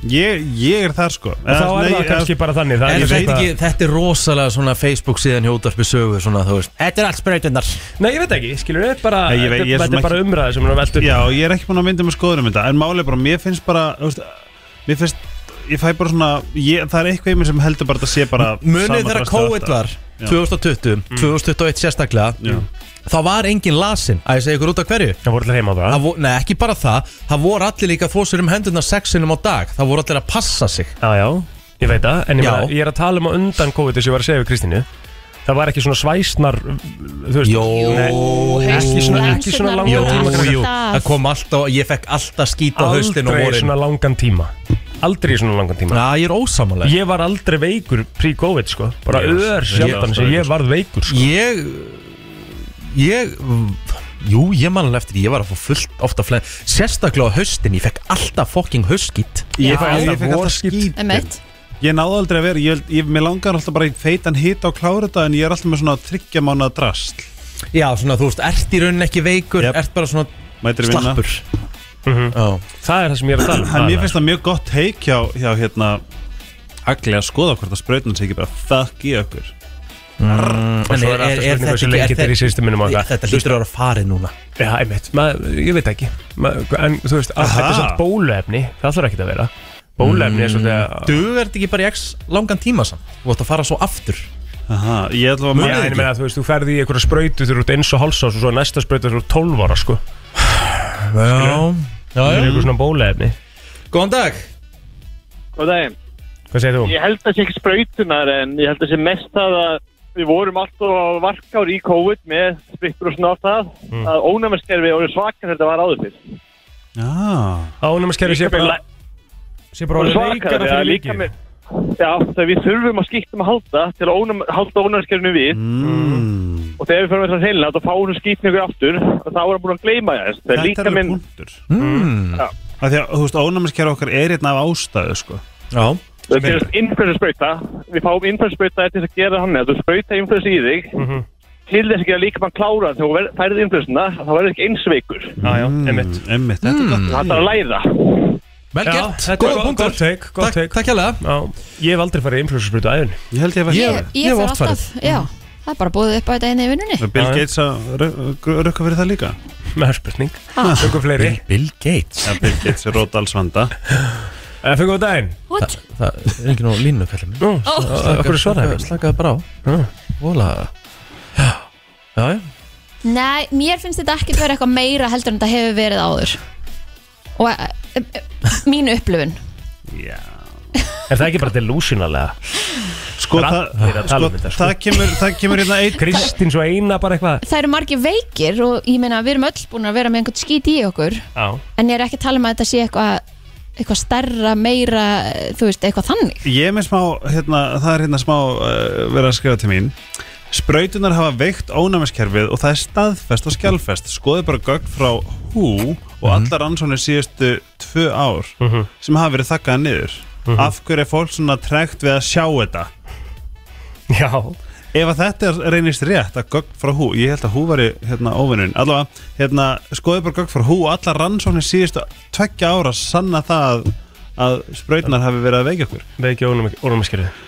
Speaker 6: ég, ég er þar sko
Speaker 3: þá er
Speaker 6: Nei,
Speaker 3: það kannski bara þannig það
Speaker 1: En
Speaker 3: er
Speaker 1: ég
Speaker 3: svona
Speaker 1: veit
Speaker 3: eitthvað-
Speaker 1: ekki, þetta er rosalega svona Facebook síðan hjótarpi sögur svona þú veist Þetta er allt sprautinnar
Speaker 3: Nei, ég veit ekki, skilur við, bara,
Speaker 6: Nei, ég veit- ég er
Speaker 3: þetta
Speaker 6: svona
Speaker 3: er bara
Speaker 6: ekki-
Speaker 3: umræði sem er að velta upp.
Speaker 6: Já, ég er ekki búin að mynda með skoður um þetta En máli bara, mér finnst bara þú veist, Mér finnst, ég fæ bara svona ég, Það er eitthvað í mér sem heldur bara að sé bara sama
Speaker 1: Munið þegar
Speaker 6: drastið
Speaker 1: COVID
Speaker 6: alltaf. Mm.
Speaker 1: var 2020, 2021 sérstaklega
Speaker 6: Já.
Speaker 1: Þá var engin lasin Að ég segja ykkur út af hverju
Speaker 3: Það voru allir heima bara.
Speaker 1: Það vo- Nei, ekki bara það Það voru allir líka að þó sér um hendurna sexinum á dag Það voru allir að passa sig
Speaker 3: Já, já, ég veit það, en ég,
Speaker 1: Já.
Speaker 3: bara, ég er að tala um á undan COVID þess að ég var að segja við Kristínu. Það var ekki svona svæsnar, þú veist.
Speaker 1: Jó.
Speaker 3: Nei, ekki svona, ekki svona
Speaker 2: Lensurnar
Speaker 1: Jú,
Speaker 3: langan
Speaker 2: voru
Speaker 3: tíma.
Speaker 2: alltaf-
Speaker 1: jú, það kom alltaf Ég fekk alltaf skýta á haustin og
Speaker 3: Aldrei
Speaker 1: vorin
Speaker 3: svona langan tíma. Aldrei svona langan tíma.
Speaker 1: Já, ég er ósamanlega
Speaker 3: Ég var aldrei veikur pre-COVID, sko. Bara
Speaker 6: Ég var-
Speaker 3: ör sjaldan
Speaker 6: ég var
Speaker 3: sem ég
Speaker 6: alltaf
Speaker 3: varð veikur, sko.
Speaker 1: Ég Ég Jú, ég man alveg eftir því, Ég var að fá fullt ofta flenn Sérstaklega á haustin Ég fekk alltaf fucking haustskýtt
Speaker 6: Ég fæ
Speaker 3: Já.
Speaker 6: ég fekk alltaf skít
Speaker 2: Emmett
Speaker 6: Ég náði aldrei að vera, ég, ég, mér langar alltaf bara í feitan hita og klára þetta en ég er alltaf með svona tryggja mánu drast
Speaker 1: Já, svona þú veist Ert í raunin ekki veikur
Speaker 6: Jep.
Speaker 1: Ert bara svona
Speaker 6: Mætir í vinna
Speaker 1: slappur
Speaker 3: Mhm.
Speaker 1: Já.
Speaker 3: Það er það sem ég er að tala um.
Speaker 6: En mér
Speaker 3: aðalega.
Speaker 6: finnst það mjög gott teik hjá, hjá hérna Agli að skoða hvort að sprautin sé ekki bara fuck í okkur
Speaker 3: Og
Speaker 1: Mm, En
Speaker 3: svo
Speaker 1: er,
Speaker 3: er
Speaker 1: er,
Speaker 3: aftur
Speaker 1: er
Speaker 3: spurning hversu
Speaker 1: þetta
Speaker 3: lengi
Speaker 1: ekki
Speaker 3: þetta er í
Speaker 1: er
Speaker 3: systeminum og
Speaker 1: þetta,
Speaker 3: eitthvað.
Speaker 1: þetta lítur að vera farið núna
Speaker 3: Já, einmitt, maður, ég veit ekki maður, En þú veist, að
Speaker 6: Aha.
Speaker 3: þetta er svona bóluefni Það þarf ekki að vera Bóluefni er svolítið að
Speaker 1: Þú verður ekki bara í x langan tíma samt Þú ætti að fara svo aftur
Speaker 6: Aha, ég ætla að
Speaker 3: Já, en ég meina, þú veist, þú ferði í einhverja sprautu þegar þú ert eins og hálsás og svo næsta sprautu þegar þú ert 12 ára, sko
Speaker 1: Já, já,
Speaker 3: Það er
Speaker 1: já.
Speaker 3: eitthvað svona bóluefni
Speaker 1: Góðan dag
Speaker 9: Góð daginn.
Speaker 3: Hvað segir þú?
Speaker 9: Ég held að það sé ekki sprautunar en ég held að sé mest það að við vorum alltaf varkár í COVID með sprittur og svona á það mm. að ónæmiskerfi voru svakar þetta var áður fyrst.
Speaker 6: Já,
Speaker 3: Ánæmiskerfi sé bara sé bara
Speaker 9: voru
Speaker 3: orðið veikara
Speaker 9: svakar,
Speaker 3: fyrir
Speaker 9: líka
Speaker 3: líkið
Speaker 9: með Já, þegar við þurfum að skýttum að halda til að ónum, halda ónæmiskerfinu við
Speaker 6: mm.
Speaker 9: og þegar við fyrir með það hreinlega þá fáum við skýttum ykkur aftur og þá erum við búin að gleyma þess. Það er
Speaker 6: þetta
Speaker 9: líka
Speaker 6: er
Speaker 9: minn,
Speaker 6: minn... punktur
Speaker 1: mm.
Speaker 6: Af því að, þú veist, ónæmiskerra okkar er einn af ástæðu, sko
Speaker 1: Já,
Speaker 9: það er innfjörðu sprauta, við fáum innfjörðu sprauta til þess að gera hann að þú sprauta innfjörðs í þig
Speaker 3: Mhm.
Speaker 9: til þess að gera líka mann klára þegar þú ver- færð innfjörðsina þá verður ekki einsveikur.
Speaker 3: Já, já, einmitt
Speaker 6: Mm, Einmitt, þetta er gott
Speaker 9: Það er að læra.
Speaker 1: vel
Speaker 3: Já,
Speaker 1: gert,
Speaker 3: þetta er
Speaker 1: góða
Speaker 3: gott-
Speaker 1: punktur
Speaker 3: gott take, gott
Speaker 1: Takk-
Speaker 3: take.
Speaker 1: Takk hérlega
Speaker 3: Já, ég hef aldrei farið influensursbrutu aðeins
Speaker 6: Ég held ég
Speaker 2: Ég,
Speaker 6: að vera
Speaker 1: Ég-
Speaker 2: ég
Speaker 1: ég hef
Speaker 2: fer
Speaker 1: oft Mm.
Speaker 2: alltaf, já Það er bara búið upp á þetta einu í vinnunni
Speaker 6: Bill
Speaker 3: Já, já.
Speaker 6: Gates að rö- rukka fyrir það líka
Speaker 3: með hörspurning
Speaker 2: Ha.
Speaker 3: Tökum fleiri
Speaker 1: Ah. Bill Gates
Speaker 6: Já, Bill Gates er rót alls vanda
Speaker 3: Eh, Fengum við daginn
Speaker 2: What?
Speaker 1: Það er ekki nú línu kallið mér
Speaker 3: Nú, okkur er svarað ekki?
Speaker 1: Slakaðu bara á Vola Já, já
Speaker 2: Nei, mér finnst þetta ekki verið eitthvað meira heldur en þetta hefur verið áður Og eh, eh, eh, mín upplifun
Speaker 6: Já
Speaker 3: Er það ekki bara delusionalega?
Speaker 6: Sko,
Speaker 3: Það er
Speaker 6: það,
Speaker 3: allir að
Speaker 6: sko,
Speaker 3: tala um þetta, sko.
Speaker 6: það kemur, það kemur hérna einn
Speaker 3: Kristín svo eina bara eitthvað
Speaker 2: Það eru margir veikir og ég meina við erum öll búin að vera með einhvern skít í okkur
Speaker 3: Já
Speaker 2: En ég er ekki að tala um að þetta sé eitthvað eitthvað stærra, meira, eh, þú veist, eitthvað þannig
Speaker 6: Ég er með smá, hérna, það er hérna smá uh, verið að skrifa til mín Sprautunar hafa veikt ónæmiskerfið og það er staðfest og skjálfest Skoðu bara gögn frá hú og allar ansónir síðustu tvö ár sem hafa verið þakkaða niður Af hverju er fólk svona tregt við að sjá þetta?
Speaker 3: Já
Speaker 6: ef að þetta er- reynist rétt að gögn frá hú, ég held að hú væri hérna óvinnun, allavega, hérna skoðu bara gögn frá hú og allar rannsóknir síðustu tveggja ára sanna það að, að sprautnar hafi verið að veikja okkur
Speaker 3: Veikja ónumiskerið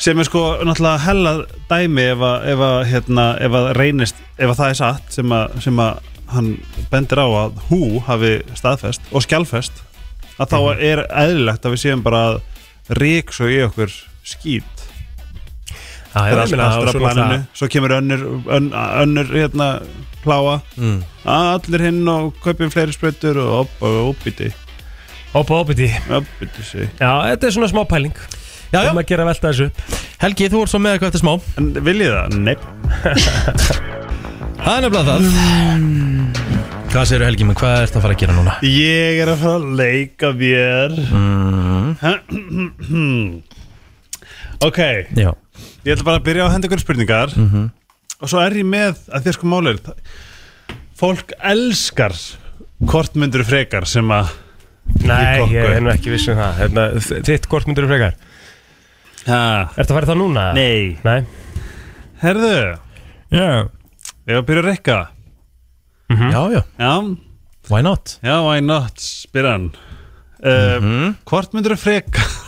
Speaker 6: sem er sko náttúrulega hella dæmi ef að, ef að, hérna, ef að reynist ef að það er satt sem að, sem að hann bendir á að hú hafi staðfest og skjálfest að þá
Speaker 3: Mhm.
Speaker 6: er eðlilegt að við séum bara að ríksu í okkur skýt
Speaker 3: Það
Speaker 6: er allt aftur á planinu svo kemur önnur, ön, önnur hérna pláa
Speaker 1: Mm.
Speaker 6: að allir hinn og kaupin fleiri sprautur og op- og opbiti
Speaker 3: Oppa opiti
Speaker 6: opbiti sig
Speaker 3: Já, þetta er svona smá pæling
Speaker 1: Já, já.
Speaker 3: Um að gera velta þessu upp
Speaker 1: Helgi, þú ert svo með eitthvað eftir smá
Speaker 6: en viljið það? Neip
Speaker 1: Það er nefnilega það Hvað segir Helgi, menn hvað ert að fara að gera núna?
Speaker 6: Ég er að fara að leika mér
Speaker 1: Mm,
Speaker 6: Ok, ég
Speaker 1: Já,
Speaker 6: ætla bara að byrja á að henda ykkur spurningar Og svo er ég með að þér sko málið Fólk elskar Hvort myndur frekar sem að
Speaker 3: Nei,
Speaker 6: kokkur.
Speaker 3: ég er nú ekki viss um það hérna, þ- Þitt hvort myndur þú frekar
Speaker 6: ha.
Speaker 3: Ertu að fara í það núna?
Speaker 6: Nei
Speaker 3: Nei
Speaker 6: Herðu,
Speaker 3: Já Mhm.
Speaker 6: ég var að byrja að rekka
Speaker 1: já, já,
Speaker 6: Já,
Speaker 1: why not? Mhm.
Speaker 6: já, why not, spyr hann uh, Hvort myndur frekar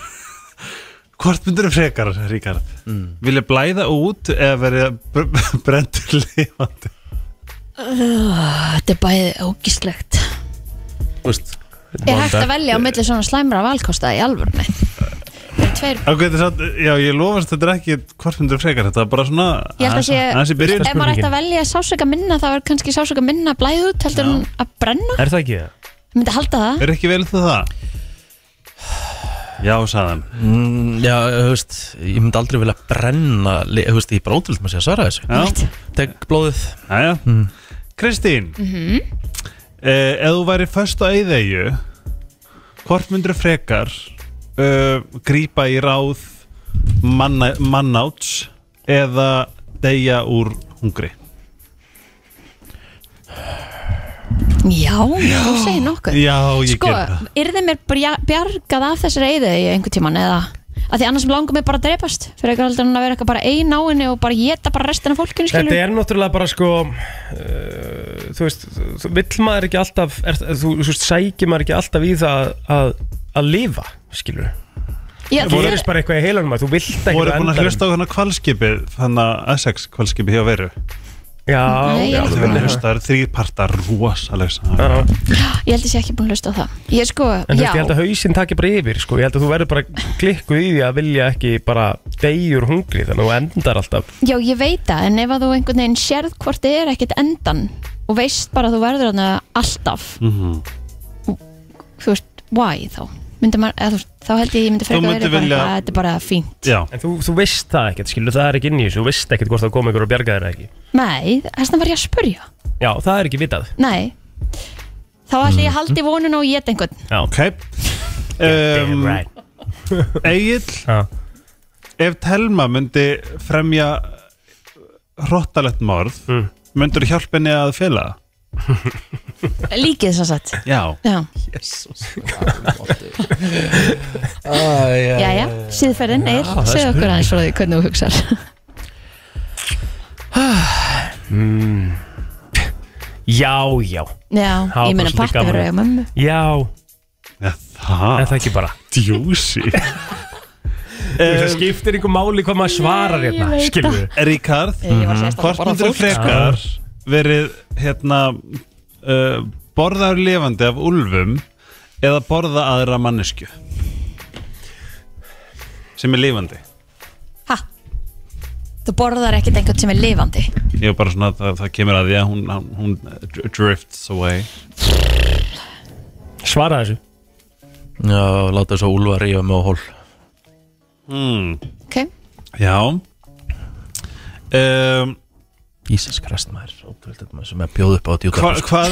Speaker 6: Hvort myndur frekar, Ríkard
Speaker 1: Mm.
Speaker 6: Vilja blæða út eða verið brendur lifandi
Speaker 2: Þetta er bæðið ógíslegt
Speaker 6: Úst,
Speaker 2: Er hægt að velja á milli svona slæmra valkosta í alvörni? Það eru tveir
Speaker 6: Ok, þetta er satt, já, ég lofast þetta er ekki hvort myndur frekar, þetta er bara svona
Speaker 2: Ég held að sé-
Speaker 6: Aðeins í byrjun
Speaker 2: Ef maður ætti að velja sásöka minna þá er kannski sásöka minna blæð út heldur en að brenna
Speaker 3: Er það ekki það?
Speaker 2: Ég myndi halda það
Speaker 6: Er ekki vel þú það? Já, sagðan
Speaker 1: Mm, já, þú veist, ég myndi aldrei vilja brenna li- Þú veist, ég er bara ótrúld maður sé að svara þessu
Speaker 6: Já,
Speaker 1: Tek blóðið
Speaker 6: aðja Kristín mm Ef þú væri föst á eyðeyju Hvort myndur frekar uh, grípa í ráð manna, mannáts eða deyja úr hungri?
Speaker 2: Já, þú segir nokkuð
Speaker 6: Já, ég
Speaker 2: Sko,
Speaker 6: ger það
Speaker 2: yrði mér brja- bjargað af þessari eyðu í einhvern tíman eða að því annars langar mig bara að drepast fyrir eitthvað heldur en að vera eitthvað bara ein á henni og bara geta bara restina af fólkinu
Speaker 3: Þetta
Speaker 2: skilur
Speaker 3: er náttúrulega bara sko uh, Þú veist, þú- vill maður ekki alltaf er, Þú þú veist, sækir maður ekki alltaf í það að, að lifa, skilur
Speaker 2: Já,
Speaker 3: Þú
Speaker 2: þú-
Speaker 3: erist bara eitthvað um í heilanum að þú vilt ekki
Speaker 6: Voru búin að hlusta á hérna kvalskipið, þannig að Essex kvalskipið hjá veru
Speaker 3: Já,
Speaker 2: Nei, ég
Speaker 3: já,
Speaker 2: er ekki
Speaker 6: Þú
Speaker 3: þú
Speaker 6: verður
Speaker 3: vinnur.
Speaker 6: að hlusta, það eru þrýr partar rosaleg saga.
Speaker 3: Já.
Speaker 2: Ah, ég held að ég sé ekki búin að hlusta á það Ég sko,
Speaker 3: En
Speaker 2: já,
Speaker 3: þú veist, ég held að hausinn takir bara yfir sko. Ég held að þú verður bara klikkuð í því að vilja ekki bara deyjur hungri Þannig að þú endar alltaf
Speaker 2: já, ég veit það en ef að þú einhvern veginn sérð hvort þið er ekkit endan og veist bara að þú verður hana alltaf
Speaker 6: Mhm.
Speaker 2: þú veist, why þá? Myndi maður, eða, þú veist, þá held ég ég myndi frekar
Speaker 6: myndi
Speaker 2: verið bara
Speaker 6: vilja-
Speaker 2: eitthvað, þetta er bara fínt
Speaker 6: Já,
Speaker 3: En þú, þú veist það ekkert, skilur, það er ekki inn í þessu Þú veist ekkert hvort það kom ykkur og bjarga þér eða ekki
Speaker 2: Nei, þess vegna var ég að spurja
Speaker 3: Já, það er ekki vitað
Speaker 2: Nei, þá ætla ég að haldi vonuna og geta einhvern
Speaker 3: Já,
Speaker 6: ok um,
Speaker 3: right
Speaker 6: Egil,
Speaker 3: Já.
Speaker 6: ef Telma myndi fremja hróttalegt morð mm. myndur hjálp henni að fela
Speaker 2: Líkið sem sagt
Speaker 6: Já
Speaker 2: Já, já, já, síðferðin er Segð okkur aðeins frá því hvernig þú hugsar
Speaker 6: Mm.
Speaker 3: Já, já,
Speaker 2: Já,
Speaker 3: Það var
Speaker 2: ég
Speaker 3: bara
Speaker 2: meina
Speaker 3: svolítið
Speaker 2: parta
Speaker 3: gaman.
Speaker 2: verið að mömmu
Speaker 3: já
Speaker 6: Já, það
Speaker 3: Er það ekki bara
Speaker 6: djúsi Um,
Speaker 3: Það skiptir einhver máli hvað maður svarar hérna
Speaker 2: ég veit
Speaker 3: Skilur
Speaker 6: Ríkard,
Speaker 2: Ég var sérst að
Speaker 6: mhm. hvort
Speaker 2: borða
Speaker 6: myndur
Speaker 2: fólk sko.
Speaker 6: frekar verið hérna uh, borðaður lifandi af úlfum eða borða aðra mannesku sem er lifandi
Speaker 2: Ha, þú borðar ekkert einhvern sem er lifandi
Speaker 6: Ég var bara svona, það, það kemur að því að hún, hún, hún dr- drifts away
Speaker 3: við Svara þessu
Speaker 1: Já, láta þessu úlfa rífa mig á hól
Speaker 6: Hmm.
Speaker 2: Ok,
Speaker 6: Já um,
Speaker 1: Jesus Christ, maður, ótrúld Þetta maður sem er að bjóða upp á sko. að djúta
Speaker 6: hva, Hvað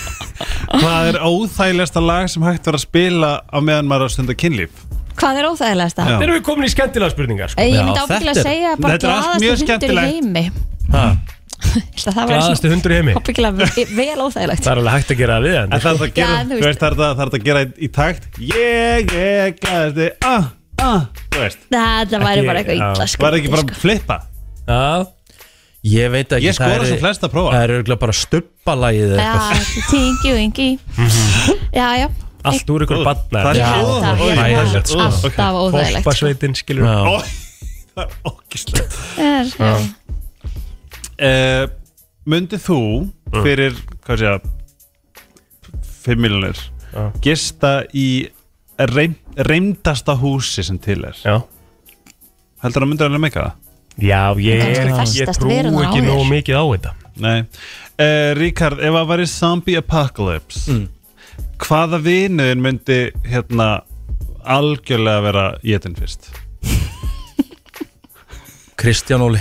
Speaker 6: Hvað er óþægilegasta lag sem hægt var að spila á meðan maður er að stunda kynlíf?
Speaker 2: hvað er óþægilegast það?
Speaker 6: Já.
Speaker 3: Þeir eru við komin í skemmtilega spurningar sko.
Speaker 2: Ég
Speaker 1: Já,
Speaker 2: myndi ábyggilega að
Speaker 1: þetta er-
Speaker 2: segja bara
Speaker 6: þetta er allt
Speaker 2: glaðasti
Speaker 6: mjög
Speaker 2: hundur í
Speaker 6: skemmtilegt.
Speaker 2: heimi Ætla, Það var
Speaker 3: Glaðasti hundur í heimi
Speaker 2: ábyggilega ve- vel óþægilegt
Speaker 3: Það er alveg hægt að gera það við hann
Speaker 6: En það er það að gera,
Speaker 2: Já, þú
Speaker 6: þú veist, það er það, það, er það að gera í, í takt Ég er gæðasti, ah, ah Þú veist,
Speaker 2: Þetta væri
Speaker 3: Ekki-
Speaker 2: bara eitthvað
Speaker 3: já.
Speaker 2: illa
Speaker 6: var það
Speaker 2: skrítið,
Speaker 6: ekki
Speaker 2: sko.
Speaker 6: bara að flippa?
Speaker 3: Já,
Speaker 1: Ég veit ekki
Speaker 6: Ég skora
Speaker 1: það er-
Speaker 6: sem flest að prófa.
Speaker 1: Það er örgulega bara stubbalagið eða eitthvað.
Speaker 2: Já, tingi og ingi
Speaker 6: Mhm.
Speaker 2: Já, já,
Speaker 3: allt úr ykkur
Speaker 6: Það
Speaker 3: badnar
Speaker 6: er
Speaker 2: ég held
Speaker 6: svo-
Speaker 2: það
Speaker 6: Oj,
Speaker 2: ég held það.
Speaker 1: hræðilegt, sko.
Speaker 2: Alltaf óþægilegt sko.
Speaker 3: Fólkvarsveitin, skilur
Speaker 1: Já.
Speaker 6: Ó, Það er ógislegt
Speaker 2: Er-
Speaker 6: uh, Mundið þú
Speaker 3: Mm.
Speaker 6: fyrir, hvað sé ég 5 miljonir
Speaker 3: Já.
Speaker 6: gista í reym, reymdasta húsi sem til er
Speaker 3: Já.
Speaker 6: heldur það myndir alveg meika það?
Speaker 3: Já, ég,
Speaker 2: Kannski
Speaker 3: er, ég
Speaker 2: festast
Speaker 3: trúi
Speaker 2: verurnar á
Speaker 3: ekki
Speaker 2: þér.
Speaker 3: nógu mikið á þetta
Speaker 6: Nei uh, Ríkard, ef það væri zombie apocalypse
Speaker 3: Mm.
Speaker 6: hvaða vinuðin myndi hérna algjörlega vera étin fyrst?
Speaker 1: Kristján Óli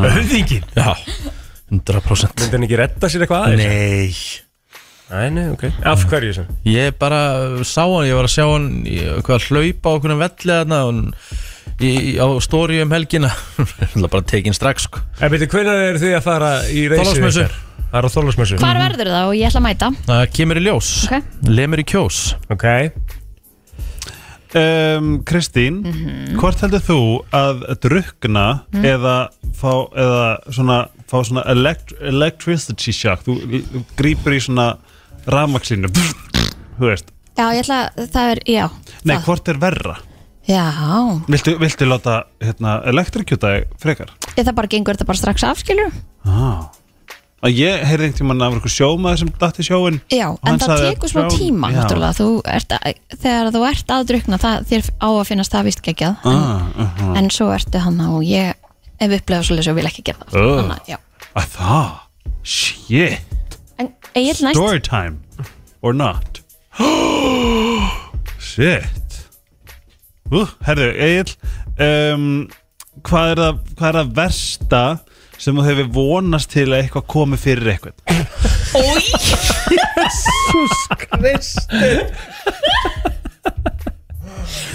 Speaker 3: Höfðingin?
Speaker 1: Já, 100%
Speaker 3: Myndi hann ekki redda sér eitthvað aðeins?
Speaker 1: Nei
Speaker 3: Nei, nei, ok Af hverju sem?
Speaker 1: Ég bara sá hann, ég var að sjá hann í- hvað að hlaupa á okkur um velli þarna og hann- í, í, á stóri um helgina Það er bara tekin strax sko.
Speaker 3: En veitir, hvernig eru þið að fara í reysið
Speaker 1: Þorláksmessu.
Speaker 3: ykkar? Það er á Þorlásmessu
Speaker 2: Hvar verður það og ég ætla að mæta
Speaker 1: Það kemur í ljós
Speaker 2: Ok.
Speaker 1: Lemur í kjós
Speaker 3: Ok
Speaker 6: Um, Kristín,
Speaker 2: Mhm.
Speaker 6: hvort heldur þú að drukna eða fá, eða svona, fá svona elect electricity shock þú l- grípur í svona rafmaksinu þú veist,
Speaker 2: Já, ég ætla að það er, já
Speaker 6: nei
Speaker 2: það.
Speaker 6: hvort er verra
Speaker 2: Já,
Speaker 6: viltu, viltu láta hérna, elektrikjuta þig frekar
Speaker 2: ég það bara gengur þetta bara strax af, skilur
Speaker 6: ah. að ég heyrði einhvern tímann af einhver sjómaður sem datt í sjóin
Speaker 2: Já,
Speaker 6: Og hann
Speaker 2: en það
Speaker 6: sagði
Speaker 2: tekur smá
Speaker 6: brown-
Speaker 2: tíma
Speaker 6: Já.
Speaker 2: náttúrulega, þú ert að, þegar þú ert að drukna það, þér á að finnast það vist geggjað en,
Speaker 6: ah, uh
Speaker 2: en svo ertu hann og ég ef upplega svolítið og vil ekki gera það
Speaker 6: Ugh.
Speaker 2: Þannig að, já.
Speaker 6: að það, shit
Speaker 2: En Egil næst
Speaker 6: story time or not shit uh, herðu, Egil um, hvað, er það, hvað er það versta sem þú hefur vonast til að eitthvað komi fyrir eitthvað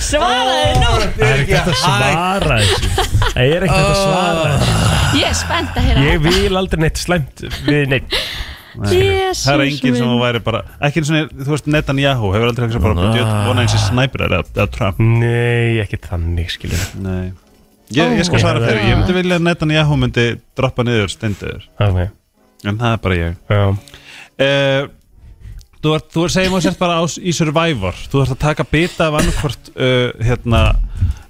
Speaker 2: Svaraði nú
Speaker 3: Það er ekki hægt að svara þessu Það er ekki hægt að svara þessu
Speaker 2: Ég er spennt að heyra
Speaker 3: Ég vil aldrei neitt slæmt við neitt
Speaker 2: Jesús
Speaker 6: það er enginn sem þú
Speaker 2: minn.
Speaker 6: væri bara ekki eins og þú veist Netanyahu hefur aldrei eitthvað bara "Djöfull, vona eins og snæpir eða, eða Trump
Speaker 3: Nei, ekki þannig, skilur
Speaker 6: nei Ég, ég skal
Speaker 3: Ó.
Speaker 6: svara fyrir, ég myndi vilja að Netanyahu myndi droppa niður stendur,
Speaker 3: Ok
Speaker 6: en það er bara ég
Speaker 3: Já
Speaker 6: Eh, Þú ert, þú ert segjum að sért bara á, í Survivor Þú ert að taka bita af annarkvort uh, hérna,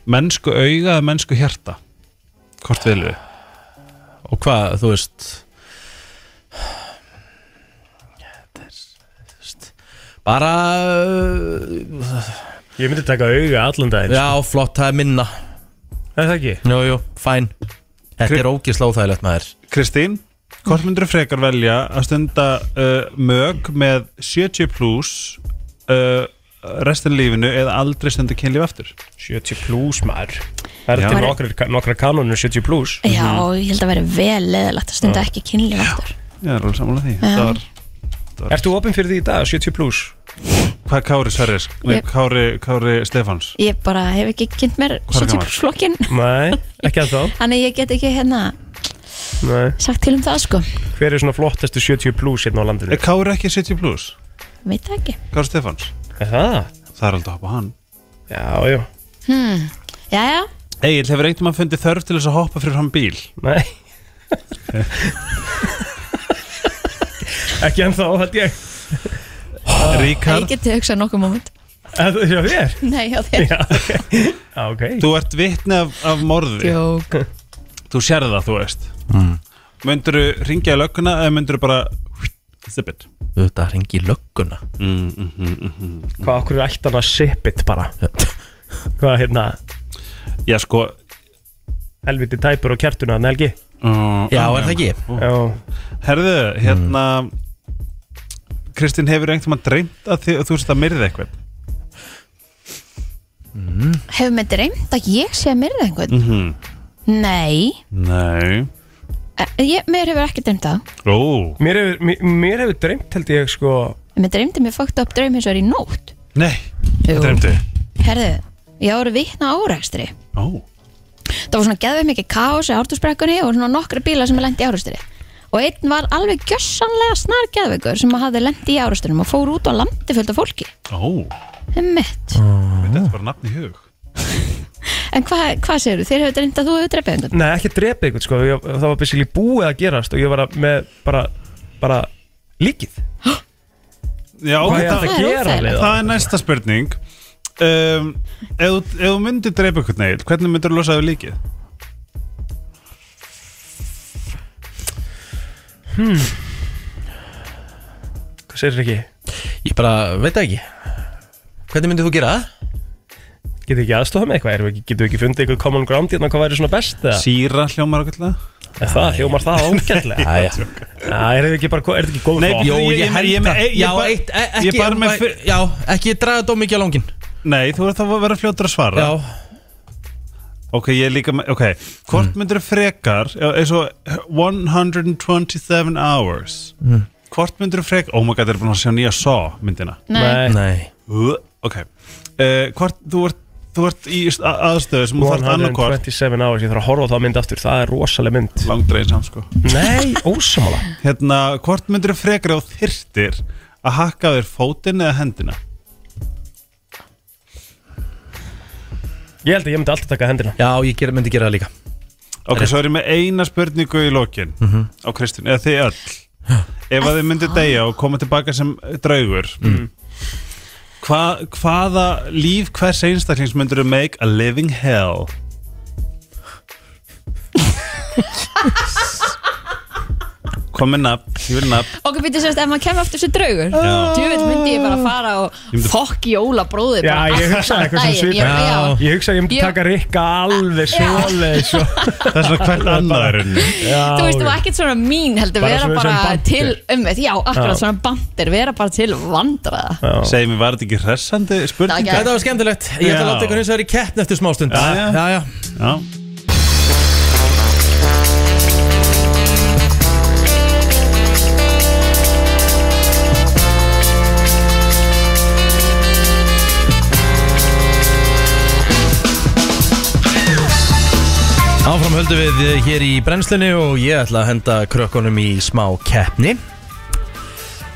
Speaker 6: mennsku auga eða mennsku hjarta Hvort vilu
Speaker 1: Og hvað, þú veist Þetta er, þú veist, Bara
Speaker 3: Ég myndi taka auga allan daginn sko.
Speaker 1: Já, flott, það er minna
Speaker 3: Er Það ekki
Speaker 1: Jú, jú, fæn Þetta er ógisla óþægilegt maður
Speaker 6: Kristín, hvort myndur frekar velja að stunda uh, mög með 70 plus uh, restin lífinu eða aldrei stunda kynlíf aftur
Speaker 3: 70 pluss maður Það er
Speaker 6: Já.
Speaker 3: til nokkra, nokkra kanonur 70 pluss
Speaker 2: Já, ég held að vera vel leðilegt að
Speaker 6: Ah.
Speaker 2: stunda ekki kynlíf aftur
Speaker 6: Ég er alveg sammála því
Speaker 2: Já.
Speaker 6: Það var,
Speaker 3: Ertu opinn fyrir því í dag, 70 pluss?
Speaker 6: Hvað Kári Sverris? Nei,
Speaker 2: Ég-
Speaker 6: Kári, Kári Stefáns
Speaker 2: Ég bara hef ekki kynnt mér
Speaker 6: Hvað er
Speaker 2: 70
Speaker 6: gamall?
Speaker 2: flokkin
Speaker 3: Nei, ekki að þá
Speaker 2: Þannig að ég get ekki hérna
Speaker 3: Nei.
Speaker 2: sagt til um það sko
Speaker 3: Hver er svona flottestu 70 pluss hérna á landinu?
Speaker 6: Er Kári ekki 70 plus?
Speaker 2: Veit það ekki
Speaker 6: Kári Stefáns?
Speaker 3: Er það?
Speaker 6: Það er aldrei að hoppa á hann
Speaker 3: Já, já
Speaker 2: hmm. Jæja,
Speaker 6: Egil, hefur einhvern veginn fundið þörf til þess um að hoppa fyrir hann bíl?
Speaker 3: Nei Ekki ennþá, held ég
Speaker 2: ég
Speaker 6: Ríkard,
Speaker 2: geti hugsað nokkuð moment
Speaker 3: Ah, Er það hjá þér?
Speaker 2: Nei, já þér
Speaker 3: Já, ok Já, ok
Speaker 6: þú ert vitni af, af morði
Speaker 2: Jók
Speaker 6: Þú sérði það, þú veist mm. Möndurðu ringja í lögguna eða möndurðu bara Zip it
Speaker 1: Þetta hringi í lögguna mm,
Speaker 3: Hvað okkur er ættan að sipit bara? Hvað hérna,
Speaker 6: Já, sko
Speaker 3: helviti tæpur og kertuna, Nelgi?
Speaker 6: uh,
Speaker 1: Já, er það ekki?
Speaker 3: Já
Speaker 6: Herðu, hérna Kristín, hefur einhvern veginn dreymt að þið, þú veist að myrði eitthvað
Speaker 2: Hefur mig dreymt að ég sé að myrða einhvern?
Speaker 6: -hmm.
Speaker 2: Nei,
Speaker 6: Nei
Speaker 2: Eh, ég, mér hefur ekki dreymt það
Speaker 6: Ó
Speaker 3: Mér hefur, mér, mér hefur dreymt, held ég, sko
Speaker 2: Mér dreymdi mér fókt upp draum hins vegar í nótt
Speaker 6: Nei,
Speaker 2: Jú.
Speaker 6: dreymdi
Speaker 2: Herðu, ég voru vitna árækstri
Speaker 6: Ó
Speaker 2: það var svona geðveik mikið kaos í ártúrsbrekkunni og svona nokkra bílar sem lendi í árustri og einn var alveg gjössanlega snar geðveikur sem hafði lendi í árustunum og fór út á landi fullt af fólki
Speaker 6: Ó,
Speaker 2: Einmitt.
Speaker 6: þetta er bara nafn í hug
Speaker 2: En hvað hva segirðu? Þeir hefur reyndað að þú hefur drefið undan?
Speaker 3: Nei, ekki drepið eitthvað sko ég, Það var basically búið að gerast og ég var að- með bara, bara líkið
Speaker 6: Já,
Speaker 3: Hvað er
Speaker 6: þetta,
Speaker 3: þetta
Speaker 2: það
Speaker 3: að
Speaker 2: er
Speaker 3: gera
Speaker 2: óþægilegt.
Speaker 3: við
Speaker 6: það er næsta spurning um, ef, þú- ef þú myndir dreipa eitthvað neil hvernig myndir þú losa þau líkið?
Speaker 3: Hvað segir ekki?
Speaker 1: Ég bara veit það ekki Hvernig myndið þú gera það?
Speaker 3: Getur ekki aðstofa með eitthvað? Erum við ekki- Getum við ekki fundið eitthvað common ground hérna hvað væri svona best? eða?
Speaker 6: Sýra hljómar okkur það?
Speaker 3: Er Það hljómar það ágætlega
Speaker 1: Æja
Speaker 3: Það er ekki bara, er þetta ekki góð
Speaker 6: Nei,
Speaker 3: flokk?
Speaker 1: Jó,
Speaker 6: Ég-
Speaker 1: ég
Speaker 6: ég-
Speaker 1: held
Speaker 6: ég-
Speaker 1: það
Speaker 6: ég- ég
Speaker 1: Já,
Speaker 6: bara-
Speaker 1: eitt, e-
Speaker 6: ég
Speaker 1: ekki
Speaker 6: bara með fyr-
Speaker 1: Já, ekki draga þetta of mikið á langin
Speaker 6: Nei, þú verður þá að vera fljótur að svara
Speaker 1: Já,
Speaker 6: Ok, ég er líka með, ok Hvort myndir þú frekar já, eins og 127 hours Hvort myndir þú frekar Oh my god, það er búin að sjá nýja Saw myndina
Speaker 2: Nei,
Speaker 1: nei
Speaker 6: Uh, Ok uh, Hvort, þú ert, þú ert í st- a- aðstöðu sem þú þarft annarkvort
Speaker 3: 127 hours, ég þarf að horfa á það mynd aftur Það er rosaleg mynd
Speaker 6: Langdrein samt sko
Speaker 3: Nei, ósamála
Speaker 6: Hérna, hvort myndir þú frekar á þyrtir að hakka á þér fótinn eða hendina?
Speaker 3: Ég held að ég myndi alltaf taka hendina
Speaker 1: Já, ég ger, myndi gera það líka
Speaker 6: Ok, svo er ég með eina spurningu í lokin
Speaker 1: Mhm.
Speaker 6: á Kristján, eða þið öll Ef að þið myndir deyja og koma tilbaka sem draugur
Speaker 1: Mm.
Speaker 6: hva, Hvaða líf hvers einstaklings myndir þú make a living hell? Hvað með nafn? Ég vil nafn
Speaker 2: Ok, býttu semst, ef maður kemur aftur sér draugur Djúvill myndi ég bara fara og fokk í óla bróðir
Speaker 3: Já, ég hugsaði eitthvað sem svipað.
Speaker 2: Já,
Speaker 3: Ég hugsa að ég myndi
Speaker 2: Ég-
Speaker 3: taka Rikka alveg svoleiðis og
Speaker 6: Það er svona hvert annaðurinn
Speaker 3: Já,
Speaker 2: Þú veist, þú var ekkert svona mín heldur
Speaker 3: Bara
Speaker 2: vera
Speaker 3: svona-
Speaker 2: bara
Speaker 3: svona bandir.
Speaker 2: til um Já, akkurat
Speaker 3: Já.
Speaker 2: svona bandir, vera bara til vandraða
Speaker 6: Segðu mér, var þetta ekki hressandi spurning?
Speaker 2: Já.
Speaker 1: Þetta var skemmtilegt Ég ætla að
Speaker 6: Já.
Speaker 1: láta ykkur eins og það er í keppn eftir smástund
Speaker 6: Já, já.
Speaker 1: já, já.
Speaker 6: Já.
Speaker 1: Áfram höldum við eh, hér í brennslunni og ég ætla að henda krökkunum í smá keppni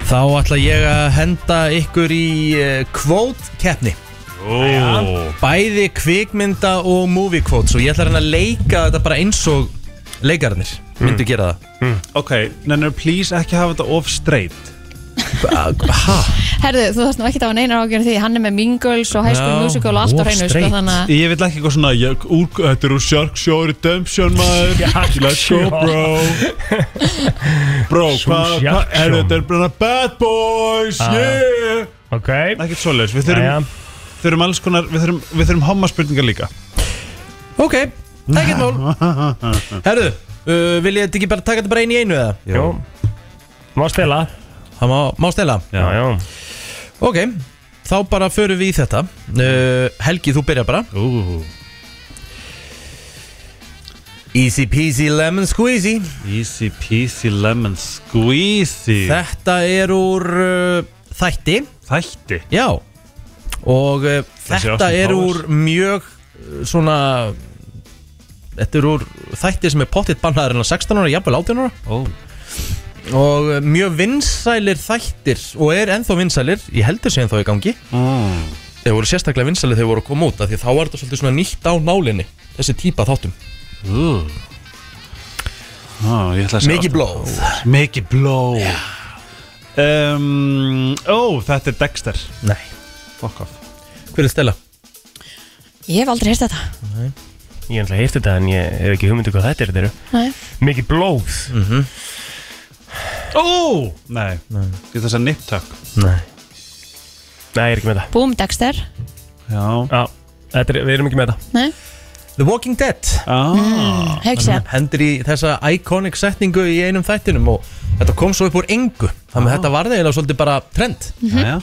Speaker 1: Þá ætla ég að henda ykkur í eh, kvót keppni
Speaker 6: Ó.
Speaker 1: Bæði kvikmynda og movie quotes og ég ætla að reyna að leika þetta bara eins og leikarnir myndu gera það
Speaker 6: Ok, nennir please ekki hafa þetta of straight
Speaker 1: Ba- Ha?
Speaker 2: Herðu, þú þarfst nú ekkert að hafa neinar ágjörn því Hann er með Mean Girls og High School
Speaker 1: Já,
Speaker 2: Musical og allt á
Speaker 1: of
Speaker 2: hreinu sko,
Speaker 1: straight.
Speaker 2: Þannig að
Speaker 6: Ég vil ekki eitthvað svona ég, úr, Þetta er úr Shark Shore Redemption maður Let's go bro Bro, hvað hva,
Speaker 3: Shark
Speaker 6: er
Speaker 3: Shore.
Speaker 6: þetta er bara bad boys
Speaker 3: Ah.
Speaker 6: Yeah
Speaker 3: Ok
Speaker 6: Ekkert svoleiðis, við
Speaker 3: Jæja.
Speaker 6: þurfum, þurfum alls konar Við þurfum, við þurfum homma spurningar líka
Speaker 1: Ok, ekkert mál Herðu, uh, vil ég ekki bara taka þetta bara einu í einu eða?
Speaker 3: Jú Má stela
Speaker 1: Það má, má stela
Speaker 3: Já, já
Speaker 1: Ok, þá bara förum við í þetta uh, Helgi, þú byrjar bara
Speaker 6: Ooh.
Speaker 1: Easy peasy lemon squeezy
Speaker 6: Easy peasy lemon squeezy
Speaker 1: Þetta er úr uh, þætti
Speaker 6: Þætti
Speaker 1: Já Og uh,
Speaker 6: Þessi
Speaker 1: þetta
Speaker 6: Austin
Speaker 1: er
Speaker 6: Powers.
Speaker 1: úr mjög uh, svona Þetta er úr þætti sem er pottitt bannaður en 16 ára, jafnvel 18 ára
Speaker 6: oh.
Speaker 1: Og uh, mjög vinsælir þættir Og er ennþá vinsælir, ég heldur sé ennþá í gangi
Speaker 6: mm.
Speaker 1: Þeir voru sérstaklega vinsælir þegar voru að koma út af Því að þá var þetta svolítið svona nýtt á nálinni Þessi típa af þáttum
Speaker 6: Ooh. Ó, ég ætla að sjá
Speaker 1: Mikið blóð
Speaker 6: Mikið blóð um, Ó, þetta er Dexter
Speaker 1: Nei
Speaker 6: Fuck off
Speaker 1: Hver er Stella?
Speaker 2: ég hef aldrei heyrt þetta
Speaker 3: Ég ætla að heyrta þetta en ég hef ekki hugmyndu hvað þetta er þeirra
Speaker 2: Nei.
Speaker 3: Mikið blóð
Speaker 6: Ó, Mhm. nei, nei. Ég ætla að segja niptak
Speaker 1: Nei
Speaker 3: Nei, ég er ekki með það
Speaker 2: Boom Dexter
Speaker 6: Já
Speaker 3: Já, þetta er, við erum ekki með það
Speaker 2: Nei, Mm,
Speaker 1: The Walking Dead
Speaker 6: ah.
Speaker 2: hugsa
Speaker 1: Hendir í þessa iconic setningu í einum þættinum Og þetta kom svo upp úr engu Þannig að þetta varði eiginlega svolítið bara trend
Speaker 2: Mhm.
Speaker 6: Jæja.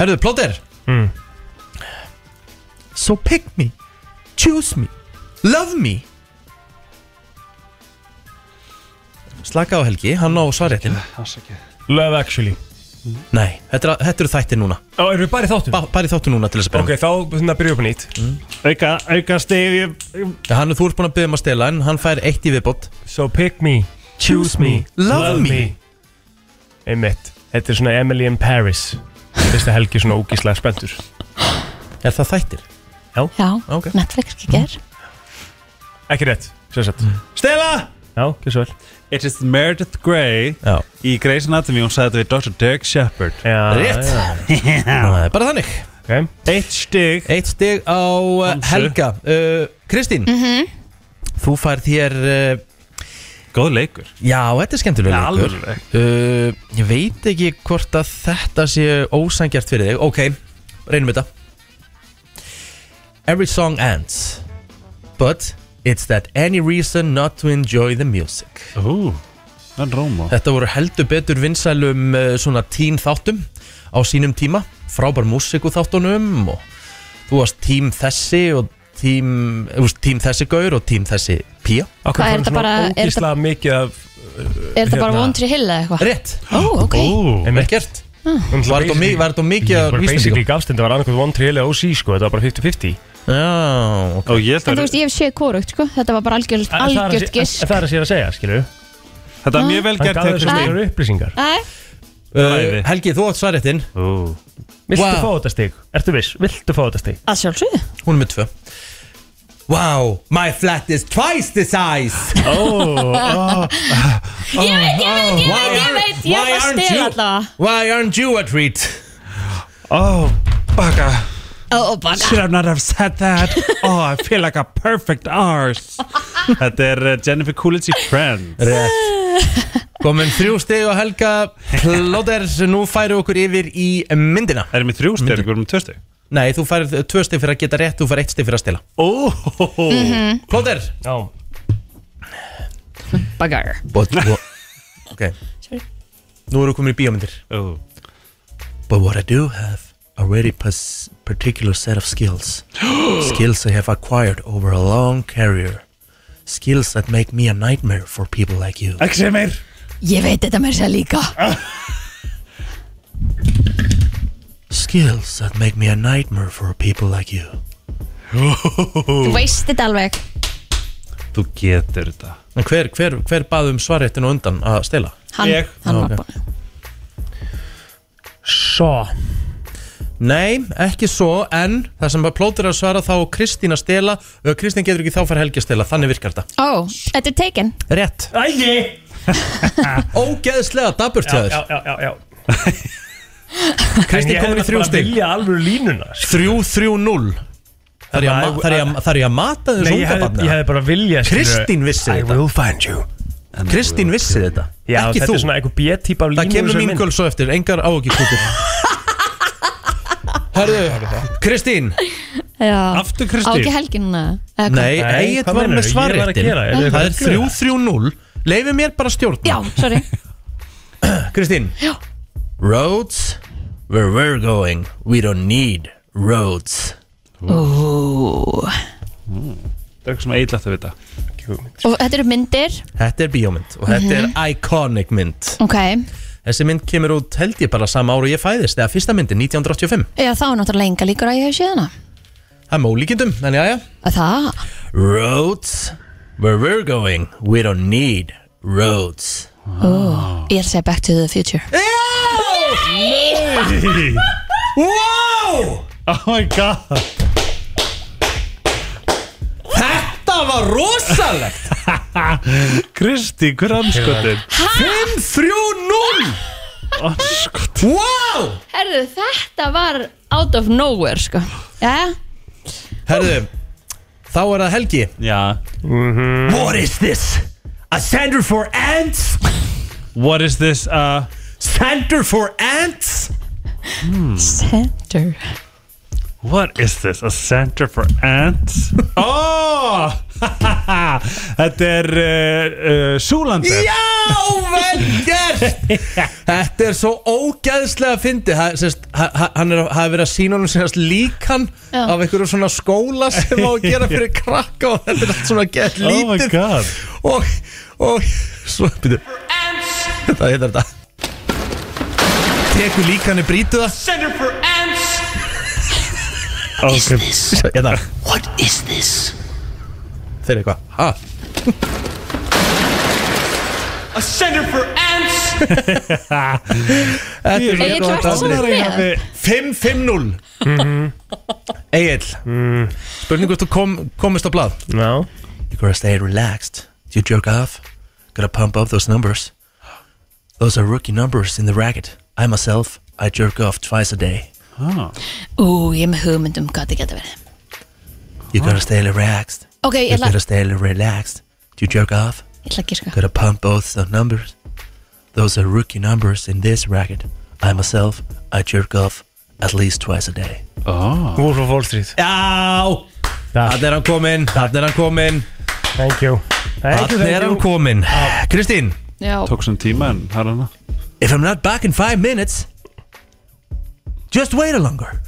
Speaker 1: Herðu, plóter
Speaker 3: Mm.
Speaker 1: So pick me Choose me Love me Slaka á Helgi, hann á svarréttin
Speaker 3: Love Actually
Speaker 1: Nei, þetta, er- þetta eru þættir núna
Speaker 3: Ó, erum við bara í þáttum?
Speaker 1: ba Bari þáttu núna til þess að byrja
Speaker 3: Ok, þá þannig að byrja upp á nýtt
Speaker 6: Auka, auka stig ég-
Speaker 1: okay. Hann þú ert búin að byggja um að stela En hann fær eitt í viðbót
Speaker 3: So pick me, choose me,
Speaker 1: Love me.
Speaker 3: Einmitt, þetta er svona Emily in Paris Fyrsta helgi svona ógíslega spenntur
Speaker 1: Er það þættir? Ah,
Speaker 3: Já. Mm.
Speaker 1: Ok.
Speaker 2: Netflix ekki ger
Speaker 3: Ekki rétt, sem sagt
Speaker 1: Mm.
Speaker 3: Stella! Já, ekki svo vel
Speaker 6: It is Meredith Grey
Speaker 1: Já.
Speaker 6: í Grey's Anatomy, hún sagði þetta við Dr. Dirk Shepard
Speaker 3: já,
Speaker 1: Rétt.
Speaker 3: já.
Speaker 1: Það er bara þannig
Speaker 3: Okay.
Speaker 6: Eitt stig
Speaker 1: Eitt stig á uh,
Speaker 6: Hamsu.
Speaker 1: Helga Uh, Kristín Þú fær þér uh,
Speaker 6: Góð leikur
Speaker 1: Já, þetta er skemmtilega
Speaker 6: Já,
Speaker 1: leikur
Speaker 6: alveg.
Speaker 1: uh, Ég veit ekki hvort að þetta sé ósangjart fyrir þig Ok, reynum þetta Every song ends But it's that any reason not to enjoy the music
Speaker 6: Ú, það er Róma
Speaker 1: Þetta voru heldur betur vinsælum eh, svona teen þáttum á sínum tíma frábær músiku þáttunum og þú varst tím þessi og tím, þú veist, tím þessi gaur og tím þessi pía
Speaker 3: Akkur
Speaker 2: Hvað er þetta bara- er þetta-
Speaker 3: Ógísla mikið af
Speaker 2: Er þetta bara
Speaker 3: Hérna.
Speaker 2: One Tree Hill eða eitthvað?
Speaker 1: Rétt,
Speaker 2: Ó, ok Ah.
Speaker 6: Ú,
Speaker 1: vel gert Var þetta mi- var þetta mikið af
Speaker 3: Basically
Speaker 1: vísnendingum?
Speaker 3: gafst þetta var annarkoð One Tree eða OC sko Þetta var bara 50-50
Speaker 1: Já, ok
Speaker 6: og ég
Speaker 2: En þú
Speaker 6: þarf
Speaker 2: veist, ég hef séð korugt, sko Þetta var bara algjört,
Speaker 3: En það er að
Speaker 2: algjört
Speaker 3: sé-
Speaker 2: gisk
Speaker 3: en Það er að sér að segja, skilju
Speaker 6: Þetta er mjög vel
Speaker 3: Hann
Speaker 6: gert
Speaker 3: gaf
Speaker 6: hjá
Speaker 3: þessu
Speaker 6: Kristín
Speaker 3: meira upplýsingar
Speaker 2: Æ,
Speaker 1: uh, Helgi, þú átt svarréttin
Speaker 6: Ú.
Speaker 3: Viltu
Speaker 1: Wow.
Speaker 3: fá þetta stig? Ertu viss? Viltu fá þetta stig?
Speaker 2: að sjálfsögðu
Speaker 1: Hún er með tvö Wow, my flat is twice the size
Speaker 2: Ég veit, ég veit, ég
Speaker 1: Why
Speaker 2: veit, ég
Speaker 1: aren't-
Speaker 2: veit Ég
Speaker 1: why
Speaker 2: var
Speaker 1: aren't
Speaker 2: stil
Speaker 1: you-
Speaker 2: allavega
Speaker 1: Why aren't you a treat?
Speaker 6: Oh, baka
Speaker 2: Ó, baka
Speaker 6: Should I not have said that? Oh, I feel like a perfect arse Þetta er uh, Jennifer Coolidge í Friends
Speaker 1: Rétt Komin þrjú stig og Helga Plóter, nú færu okkur yfir í myndina
Speaker 6: Erum við þrjú styrk, erum við tvö styrk?
Speaker 1: Nei, þú fær tvö stið fyrir að geta rétt, þú fær eitt stið fyrir að stila
Speaker 6: Ó,
Speaker 2: Mhm.
Speaker 1: Plóter
Speaker 3: Já
Speaker 2: Bagar
Speaker 1: But what Ok Nú erum við komin í bíómyndir
Speaker 6: Ó.
Speaker 1: But what I do have a very pers- particular set of skills Skills I have acquired over a long career Skills that make me a nightmare for people like you
Speaker 6: Ekki segja meir
Speaker 2: Ég veit þetta mér sér líka
Speaker 1: Skills that make me a nightmare for people like you
Speaker 2: Þú veist þetta alveg
Speaker 6: Þú getur þetta
Speaker 1: En hver, hver, hver baðum svarréttinu undan að stela?
Speaker 2: Hann,
Speaker 6: Ég.
Speaker 2: hann var
Speaker 1: Ok.
Speaker 2: búin
Speaker 3: Svo
Speaker 1: Nei, ekki svo, en það sem að plótir að svara þá á Kristín að stela og ef Kristín getur ekki þá fær Helgi að stela, þannig virkar þetta
Speaker 2: Ó, þetta er taken
Speaker 1: Rétt
Speaker 3: Ægji
Speaker 1: Ógeðslega daburt hjá
Speaker 3: Já,
Speaker 1: þér
Speaker 3: já, já, já En
Speaker 1: Kristín
Speaker 3: ég
Speaker 1: komin
Speaker 3: hefði
Speaker 1: í þrjú
Speaker 3: bara
Speaker 1: stig
Speaker 3: vilja alvöru línuna sko.
Speaker 1: 3-3-0 Þar ég að ma- þarf ég að- þarf ég að mata
Speaker 3: Nei,
Speaker 1: þessu
Speaker 3: ég hefði, ég
Speaker 1: ungabarni
Speaker 3: hefði bara vilja skilurðu.
Speaker 1: Kristín vissi
Speaker 3: I
Speaker 1: þetta.
Speaker 3: will find you
Speaker 1: Kristín vissi þetta,
Speaker 3: Já,
Speaker 1: ekki
Speaker 3: þetta
Speaker 1: þú
Speaker 3: er svona einhver B-típa af línu
Speaker 1: Það kemur mín göl svo eftir, engar á ekki kútur Herðu, Kristín
Speaker 2: Já Á
Speaker 6: Aftur
Speaker 2: ekki
Speaker 6: Kristín
Speaker 2: helgi núna eða hvað?
Speaker 1: Nei,
Speaker 3: Nei,
Speaker 1: Egil
Speaker 3: hvað
Speaker 1: var með
Speaker 3: meinarðu? Ég var að
Speaker 1: svarréttin
Speaker 3: gera, er þið
Speaker 1: Það
Speaker 3: eitthvað
Speaker 1: er
Speaker 3: að gera?
Speaker 1: 3-3-0 Leifi mér bara að stjórna
Speaker 2: Já, sorry
Speaker 1: Kristín
Speaker 2: Já.
Speaker 1: Roads Where we're going We don't need roads
Speaker 2: Ó.
Speaker 6: Það er eitthvað sem eitthvað að vita
Speaker 2: Og þetta eru myndir
Speaker 1: Þetta er bíómynd og þetta
Speaker 2: Mhm.
Speaker 1: er iconic mynd
Speaker 2: Ok
Speaker 1: Þessi mynd kemur út held ég bara sama ára og ég fæðist eða fyrsta myndin 1985
Speaker 2: Já, þá er náttúrulega enga líkur að ég hef séð hana
Speaker 1: Það er með ólíkindum, en já já
Speaker 2: Að Það
Speaker 1: Roads Where we're going We don't need roads Ah.
Speaker 2: Ég er að segja Back to the Future
Speaker 1: Wow!
Speaker 6: Oh my god
Speaker 1: Þetta var rosalegt
Speaker 6: Kristi, hver er anskotin?
Speaker 1: 5-3-0
Speaker 6: Anskot
Speaker 1: Wow!
Speaker 2: Herðu, þetta var out of nowhere, sko Já,
Speaker 1: Herðu, þá er það Helgi
Speaker 6: Já
Speaker 1: What is this? A center for ants?
Speaker 6: What is this? Uh,
Speaker 1: Center for ants?
Speaker 2: center
Speaker 6: hmm. what is this? A center for ants? oh! Þetta er uh, uh, Súlander
Speaker 1: Já, vel gert Þetta er svo ógæðslega fyndi ha, sérst, ha, ha- Hann er að- hafi verið að sína honum sérst líkan
Speaker 2: Já.
Speaker 1: af einhverju svona skóla sem á að gera fyrir krakka og þetta er allt svona gett
Speaker 6: Oh my
Speaker 1: lítið
Speaker 6: god
Speaker 1: og, og svo byrju Þetta heitir þetta Tekur líkani brýtu það
Speaker 6: okay.
Speaker 1: Hérna,
Speaker 5: What is this?
Speaker 1: þeir eitthvað Ha?
Speaker 5: A center for ants
Speaker 1: Þetta er
Speaker 2: Egill,
Speaker 1: mjög
Speaker 2: varstu
Speaker 1: gott
Speaker 2: svona
Speaker 1: afrið.
Speaker 2: með?
Speaker 1: 5-5-0 Mhm. Egil Spurning hvort þú kom, komist á blað
Speaker 3: Já
Speaker 1: You're gonna stay relaxed You jerk off Gotta pump up those numbers Those are rookie numbers in the racket I myself, I jerk off twice a day
Speaker 2: Ú, ég er með hugmyndum hvað þetta getur verið
Speaker 1: You gotta stay relaxed
Speaker 2: Ok, ég
Speaker 1: You
Speaker 2: ætla,
Speaker 1: gotta stay relaxed You jerk off
Speaker 2: ég ætla að gíska
Speaker 1: Gotta pump both the numbers Those are rookie numbers in this racket I myself, I jerk off At least twice a day
Speaker 3: Wolf of Wall Street
Speaker 1: Já
Speaker 3: Takk,
Speaker 1: Þannig er hann kominn, þannig er hann kominn
Speaker 3: thank you Thank you,
Speaker 1: Þannig er hann
Speaker 3: thank you Ah.
Speaker 1: kominn Kristín
Speaker 2: Já,
Speaker 6: Tók svona tíma en það er hana
Speaker 1: If I'm not back in five minutes Just wait a longer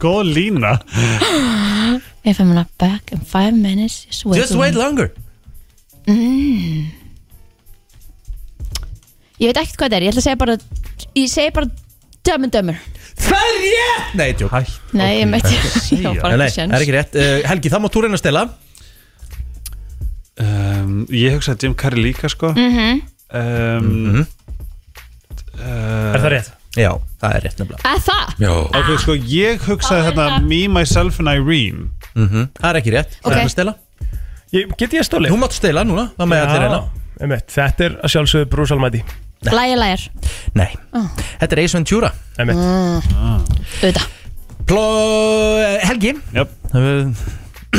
Speaker 6: Góð lína
Speaker 2: if I'm not back in five minutes Just wait, Mm.
Speaker 1: Just wait longer
Speaker 2: Ég veit ekkert hvað þetta er, ég ætla að segja bara Ég segi bara dömur dömur
Speaker 1: Það er rétt Nei, tjók Nei,
Speaker 2: Nei, ég meitt Ég var bara ekki
Speaker 1: nei, það er
Speaker 2: sjans
Speaker 1: ekki rétt uh, Helgi, það má túrin að stela
Speaker 6: um, Ég hugsaði Jim Carrey líka sko
Speaker 2: Mhm.
Speaker 6: um,
Speaker 3: Er það rétt?
Speaker 1: Mhm. Já, það er rétt nefnilega
Speaker 2: Að það?
Speaker 6: eh, Ok, sko, ég
Speaker 2: Hvað
Speaker 6: hugsaði
Speaker 2: er
Speaker 6: hérna
Speaker 2: það?
Speaker 6: Me, Myself and Irene
Speaker 1: Mhm. Það er ekki rétt
Speaker 2: Ok.
Speaker 1: Það er að stela
Speaker 3: Ég, get ég stólið?
Speaker 1: Þú mátt stela núna Það með allir hérna. reyna
Speaker 3: Einmitt, þetta er að sjálfsögðu Bruce Almighty
Speaker 2: Læja læjar
Speaker 1: Nei Þetta er Ace Ventura
Speaker 3: Einmitt
Speaker 2: Auðvitað
Speaker 1: Pló... eh, Helgi
Speaker 6: Jöp.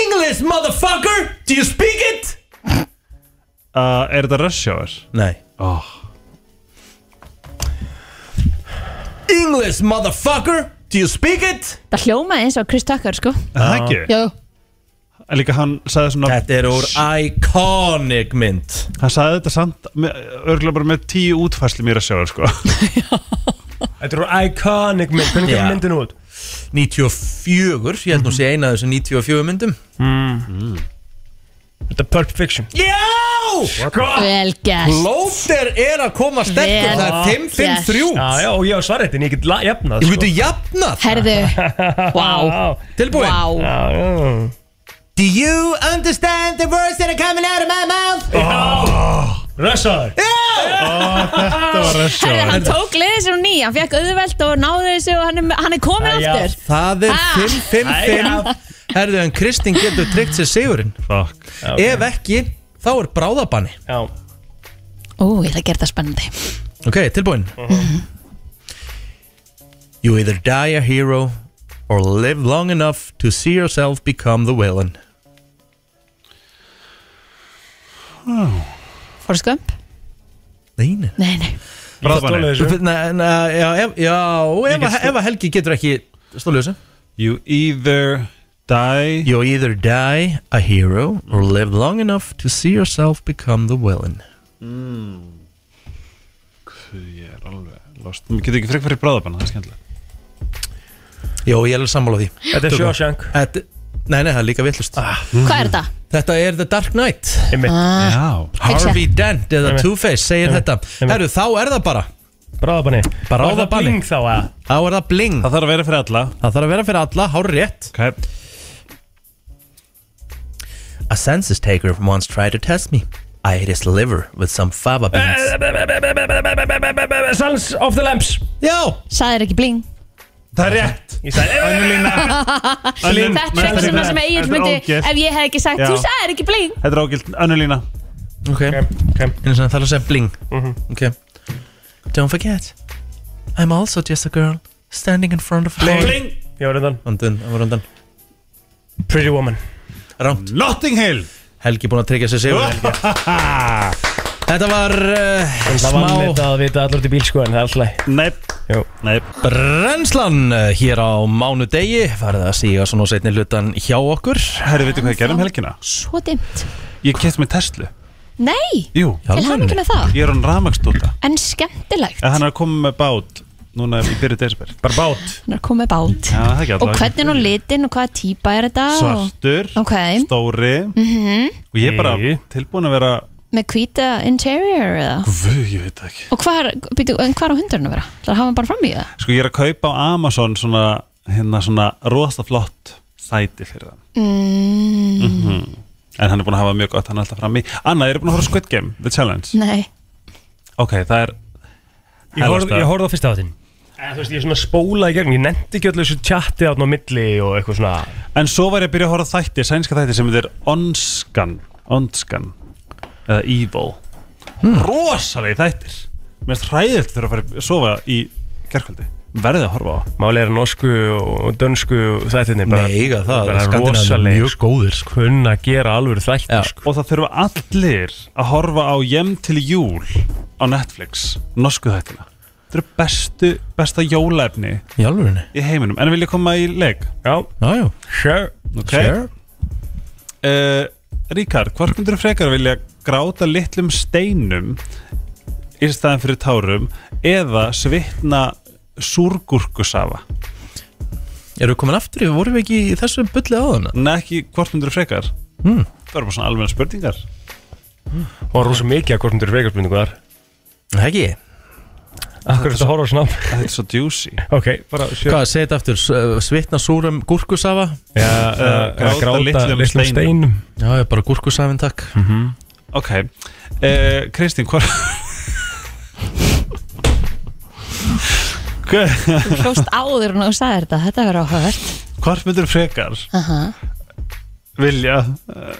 Speaker 1: English, motherfucker Do you speak it?
Speaker 6: uh, Er þetta Rush Hour?
Speaker 1: Nei
Speaker 6: Oh.
Speaker 1: English, motherfucker Do you speak it?
Speaker 2: Það hljómaði eins og Chris Tucker, sko
Speaker 6: Það ekki?
Speaker 2: Jó
Speaker 6: En Líka hann sagði svona
Speaker 1: Þetta er úr iconic mynd
Speaker 6: Hann sagði þetta samt Örgulega bara með tíu útfæsli mér að sjá sko.
Speaker 3: Þetta eru iconic mynd, hvernig
Speaker 1: Já.
Speaker 3: kemur myndin út?
Speaker 1: 94, ég held nú sé eina af þessu 94 myndum
Speaker 3: Hmm.
Speaker 1: Hmm.
Speaker 3: Þetta er Pulp Fiction
Speaker 1: Já!
Speaker 2: Vel gæst
Speaker 1: Lóter er að koma sterkur
Speaker 2: Vel
Speaker 1: Það er 5-5-3
Speaker 3: Já, já, og ég á svarréttin, ég get la- jafnað sko.
Speaker 1: Ég veitu jafnað
Speaker 2: Herðu Vá
Speaker 3: Já,
Speaker 1: Tilbúin
Speaker 2: Vá
Speaker 3: já, já
Speaker 1: Do you understand the words that are coming out of my mouth?
Speaker 3: Rössaður
Speaker 2: Herðu, hann tók liðið sem ný Hann fekk auðvelt og náði þessu Og hann er, hann er komin
Speaker 3: Æja.
Speaker 2: aftur
Speaker 1: Það er
Speaker 2: Ah.
Speaker 1: 5-5-5 Herðu en Kristinn getur tryggt sér sigurinn
Speaker 6: Fuck
Speaker 1: Ef ekki, þá er bráðabanni
Speaker 3: Já,
Speaker 2: Ú, ég ætla að gera það spennandi
Speaker 1: Ok, tilbúin
Speaker 2: Mhm.
Speaker 1: You either die a hero Or live long enough to see yourself become the villain
Speaker 2: Forrest Gump?
Speaker 1: Nei, nei
Speaker 2: Nei, nei
Speaker 3: ég get stólið
Speaker 1: Þú
Speaker 3: þessu
Speaker 1: finn- Nei, nei, já, ef, já, ef,
Speaker 3: Ég get
Speaker 1: að-
Speaker 3: stó-
Speaker 1: ef að Helgi getur ekki stólu þessu
Speaker 6: You either die
Speaker 1: You either die a hero or live long enough to see yourself become the villain
Speaker 6: Ég er alveg lost Mér getur ekki frekk fyrir bráðabanna, það er skemmtilega
Speaker 1: Jó, ég er alveg sammála því
Speaker 3: Þetta er Shawshank Ah.
Speaker 1: Þetta, Nei, nei, það er líka villust
Speaker 2: Hvað er þetta? Ah.
Speaker 1: Þetta er The Dark Knight
Speaker 3: Einmitt,
Speaker 6: Já
Speaker 1: Harvey Dent eða
Speaker 3: Einmitt.
Speaker 1: Two-Face segir
Speaker 3: Einmitt.
Speaker 1: þetta
Speaker 3: Einmitt.
Speaker 1: Herru, þá er það bara
Speaker 3: bráðabanni
Speaker 1: Bráðabanni.
Speaker 3: Var það bling þá að
Speaker 1: Þá er það bling
Speaker 6: Það þarf að vera fyrir alla
Speaker 1: Það þarf að vera fyrir alla, hár rétt
Speaker 6: okay.
Speaker 1: A census taker once tried to test me I ate his liver with some fava beans
Speaker 3: Sons of the Lamps
Speaker 1: Já,
Speaker 2: Sæðir ekki bling
Speaker 6: Það er rétt
Speaker 3: Ég sagði
Speaker 6: Önnur-
Speaker 2: Þetta er eitthvað sem, sem Egil
Speaker 6: Þetta er
Speaker 2: myndi
Speaker 6: ógilt.
Speaker 2: Ef ég hef ekki sagt,
Speaker 6: Já.
Speaker 2: þú sæðir ekki bling
Speaker 6: Þetta er ágilt Önnulína
Speaker 1: ok
Speaker 3: ok. Mhm.
Speaker 1: Einu sinni, Það er að segja bling Ok Don't forget I'm also just a girl Standing in front of a
Speaker 3: Bling Ég var undan
Speaker 1: Andun, það var undan
Speaker 3: Pretty Woman
Speaker 1: Rámt
Speaker 6: Notting Hill
Speaker 1: Helgi búinn að tryggja sér sigur Helgi. Þetta var uh,
Speaker 3: Það var mitt
Speaker 1: smá
Speaker 3: að vita allur til bíl sko en það er alltaf leið.
Speaker 6: Nei
Speaker 3: Jú.
Speaker 6: Nei
Speaker 1: brennslan uh, hér á mánudegi farið að síga svona setni hlutan hjá okkur
Speaker 6: Herri, veitu hvað ég gerði um helgina?
Speaker 2: Svo dimmt
Speaker 6: Ég kefti mig Tesla
Speaker 2: Nei,
Speaker 6: Jú
Speaker 2: til hann ekki með það
Speaker 6: Ég er hann rafmagnstúta
Speaker 2: En skemmtilegt
Speaker 6: En hann er að koma með bát Núna í byrju desember Já,
Speaker 3: Bara bát
Speaker 2: Hann er að koma með bát
Speaker 6: það er ekki
Speaker 2: Og
Speaker 6: allavega
Speaker 2: hvernig er nú litin og hvaða típa er þetta og-
Speaker 6: Svartur
Speaker 2: Ok, Mhm.
Speaker 6: Stóri Og ég er bara
Speaker 3: Í.
Speaker 6: tilbúin að vera
Speaker 2: með hvíta interior eða
Speaker 6: Guð, ég veit það ekki
Speaker 2: Og hvað er, býtu, en hvað er á hundurinn að vera? Það hafa hann bara fram í það
Speaker 6: Sko, ég er að kaupa á Amazon svona Hérna svona rosa flott Sæti fyrir það
Speaker 2: mm.
Speaker 6: en hann er búin að hafa mjög gott, hann er alltaf frammi Anna, er búin að horfa á Squid Game, The Challenge
Speaker 2: Nei,
Speaker 6: ok, það er
Speaker 3: Ég horfði ég horfði á fyrsta þáttinn En þú veist, ég svona spólaði í gegn, ég nefndi ekki öllu þessu chatti átna á milli og eitthvað svona
Speaker 6: en svo var ég að byrja að horfa á þætti, sænska þætti sem þetta er Onskan Onskan, eða Evil
Speaker 1: Hmm.
Speaker 6: rosalegi þættir mér finnst hræðilt þurfa að fara að sofa í gerkvöldi, verðið að horfa á
Speaker 3: Máli er norsku og dönsku þættinni bara
Speaker 1: Nei, eiga það,
Speaker 3: bara
Speaker 1: Skandinavíu
Speaker 3: rosaleg,
Speaker 1: mjög
Speaker 3: sko.
Speaker 1: góðir, sko.
Speaker 3: Kunna að gera alvöru þætti,
Speaker 1: Já.
Speaker 3: sko
Speaker 6: og það þurfa allir að horfa á Jem til jól á Netflix, norsku þættina þetta eru bestu, besta jólaefni
Speaker 1: Í alvörinni?
Speaker 6: í heiminum, en vil ég koma í leik
Speaker 3: Já,
Speaker 1: Jájú,
Speaker 3: sure
Speaker 6: ok, uh, Ríkard, hvort myndur frekar vilja gráta litlum steinum í staðan fyrir tárum eða svitna súrgúrkusafa
Speaker 1: Erum við komin aftur, við vorum við ekki í þessu bulli áðan Hmm.
Speaker 6: Nei, ekki hvort myndur frekar það eru bara svona alveg spurningar
Speaker 3: Og rosa mikið að hvort myndir vegarspurningu þar
Speaker 1: Það ekki
Speaker 3: Akkur þetta horfa svona á-
Speaker 6: þetta er svo juicy
Speaker 3: Ok, bara sjö
Speaker 1: Hvað, segið aftur, s- uh, svitna súrum Eh, gúrkusafa
Speaker 3: Já, eh, eða- eða
Speaker 6: Gráta litlum steinum.
Speaker 1: Já, ég er bara gúrkusafin, takk
Speaker 3: Mhm.
Speaker 6: ok, uh, Kristín, hvort Hva-
Speaker 2: þú hlóst áður en þú sagði þetta Þetta verður áhugavert
Speaker 6: hvort myndur frekar
Speaker 2: Aha.
Speaker 6: vilja uh,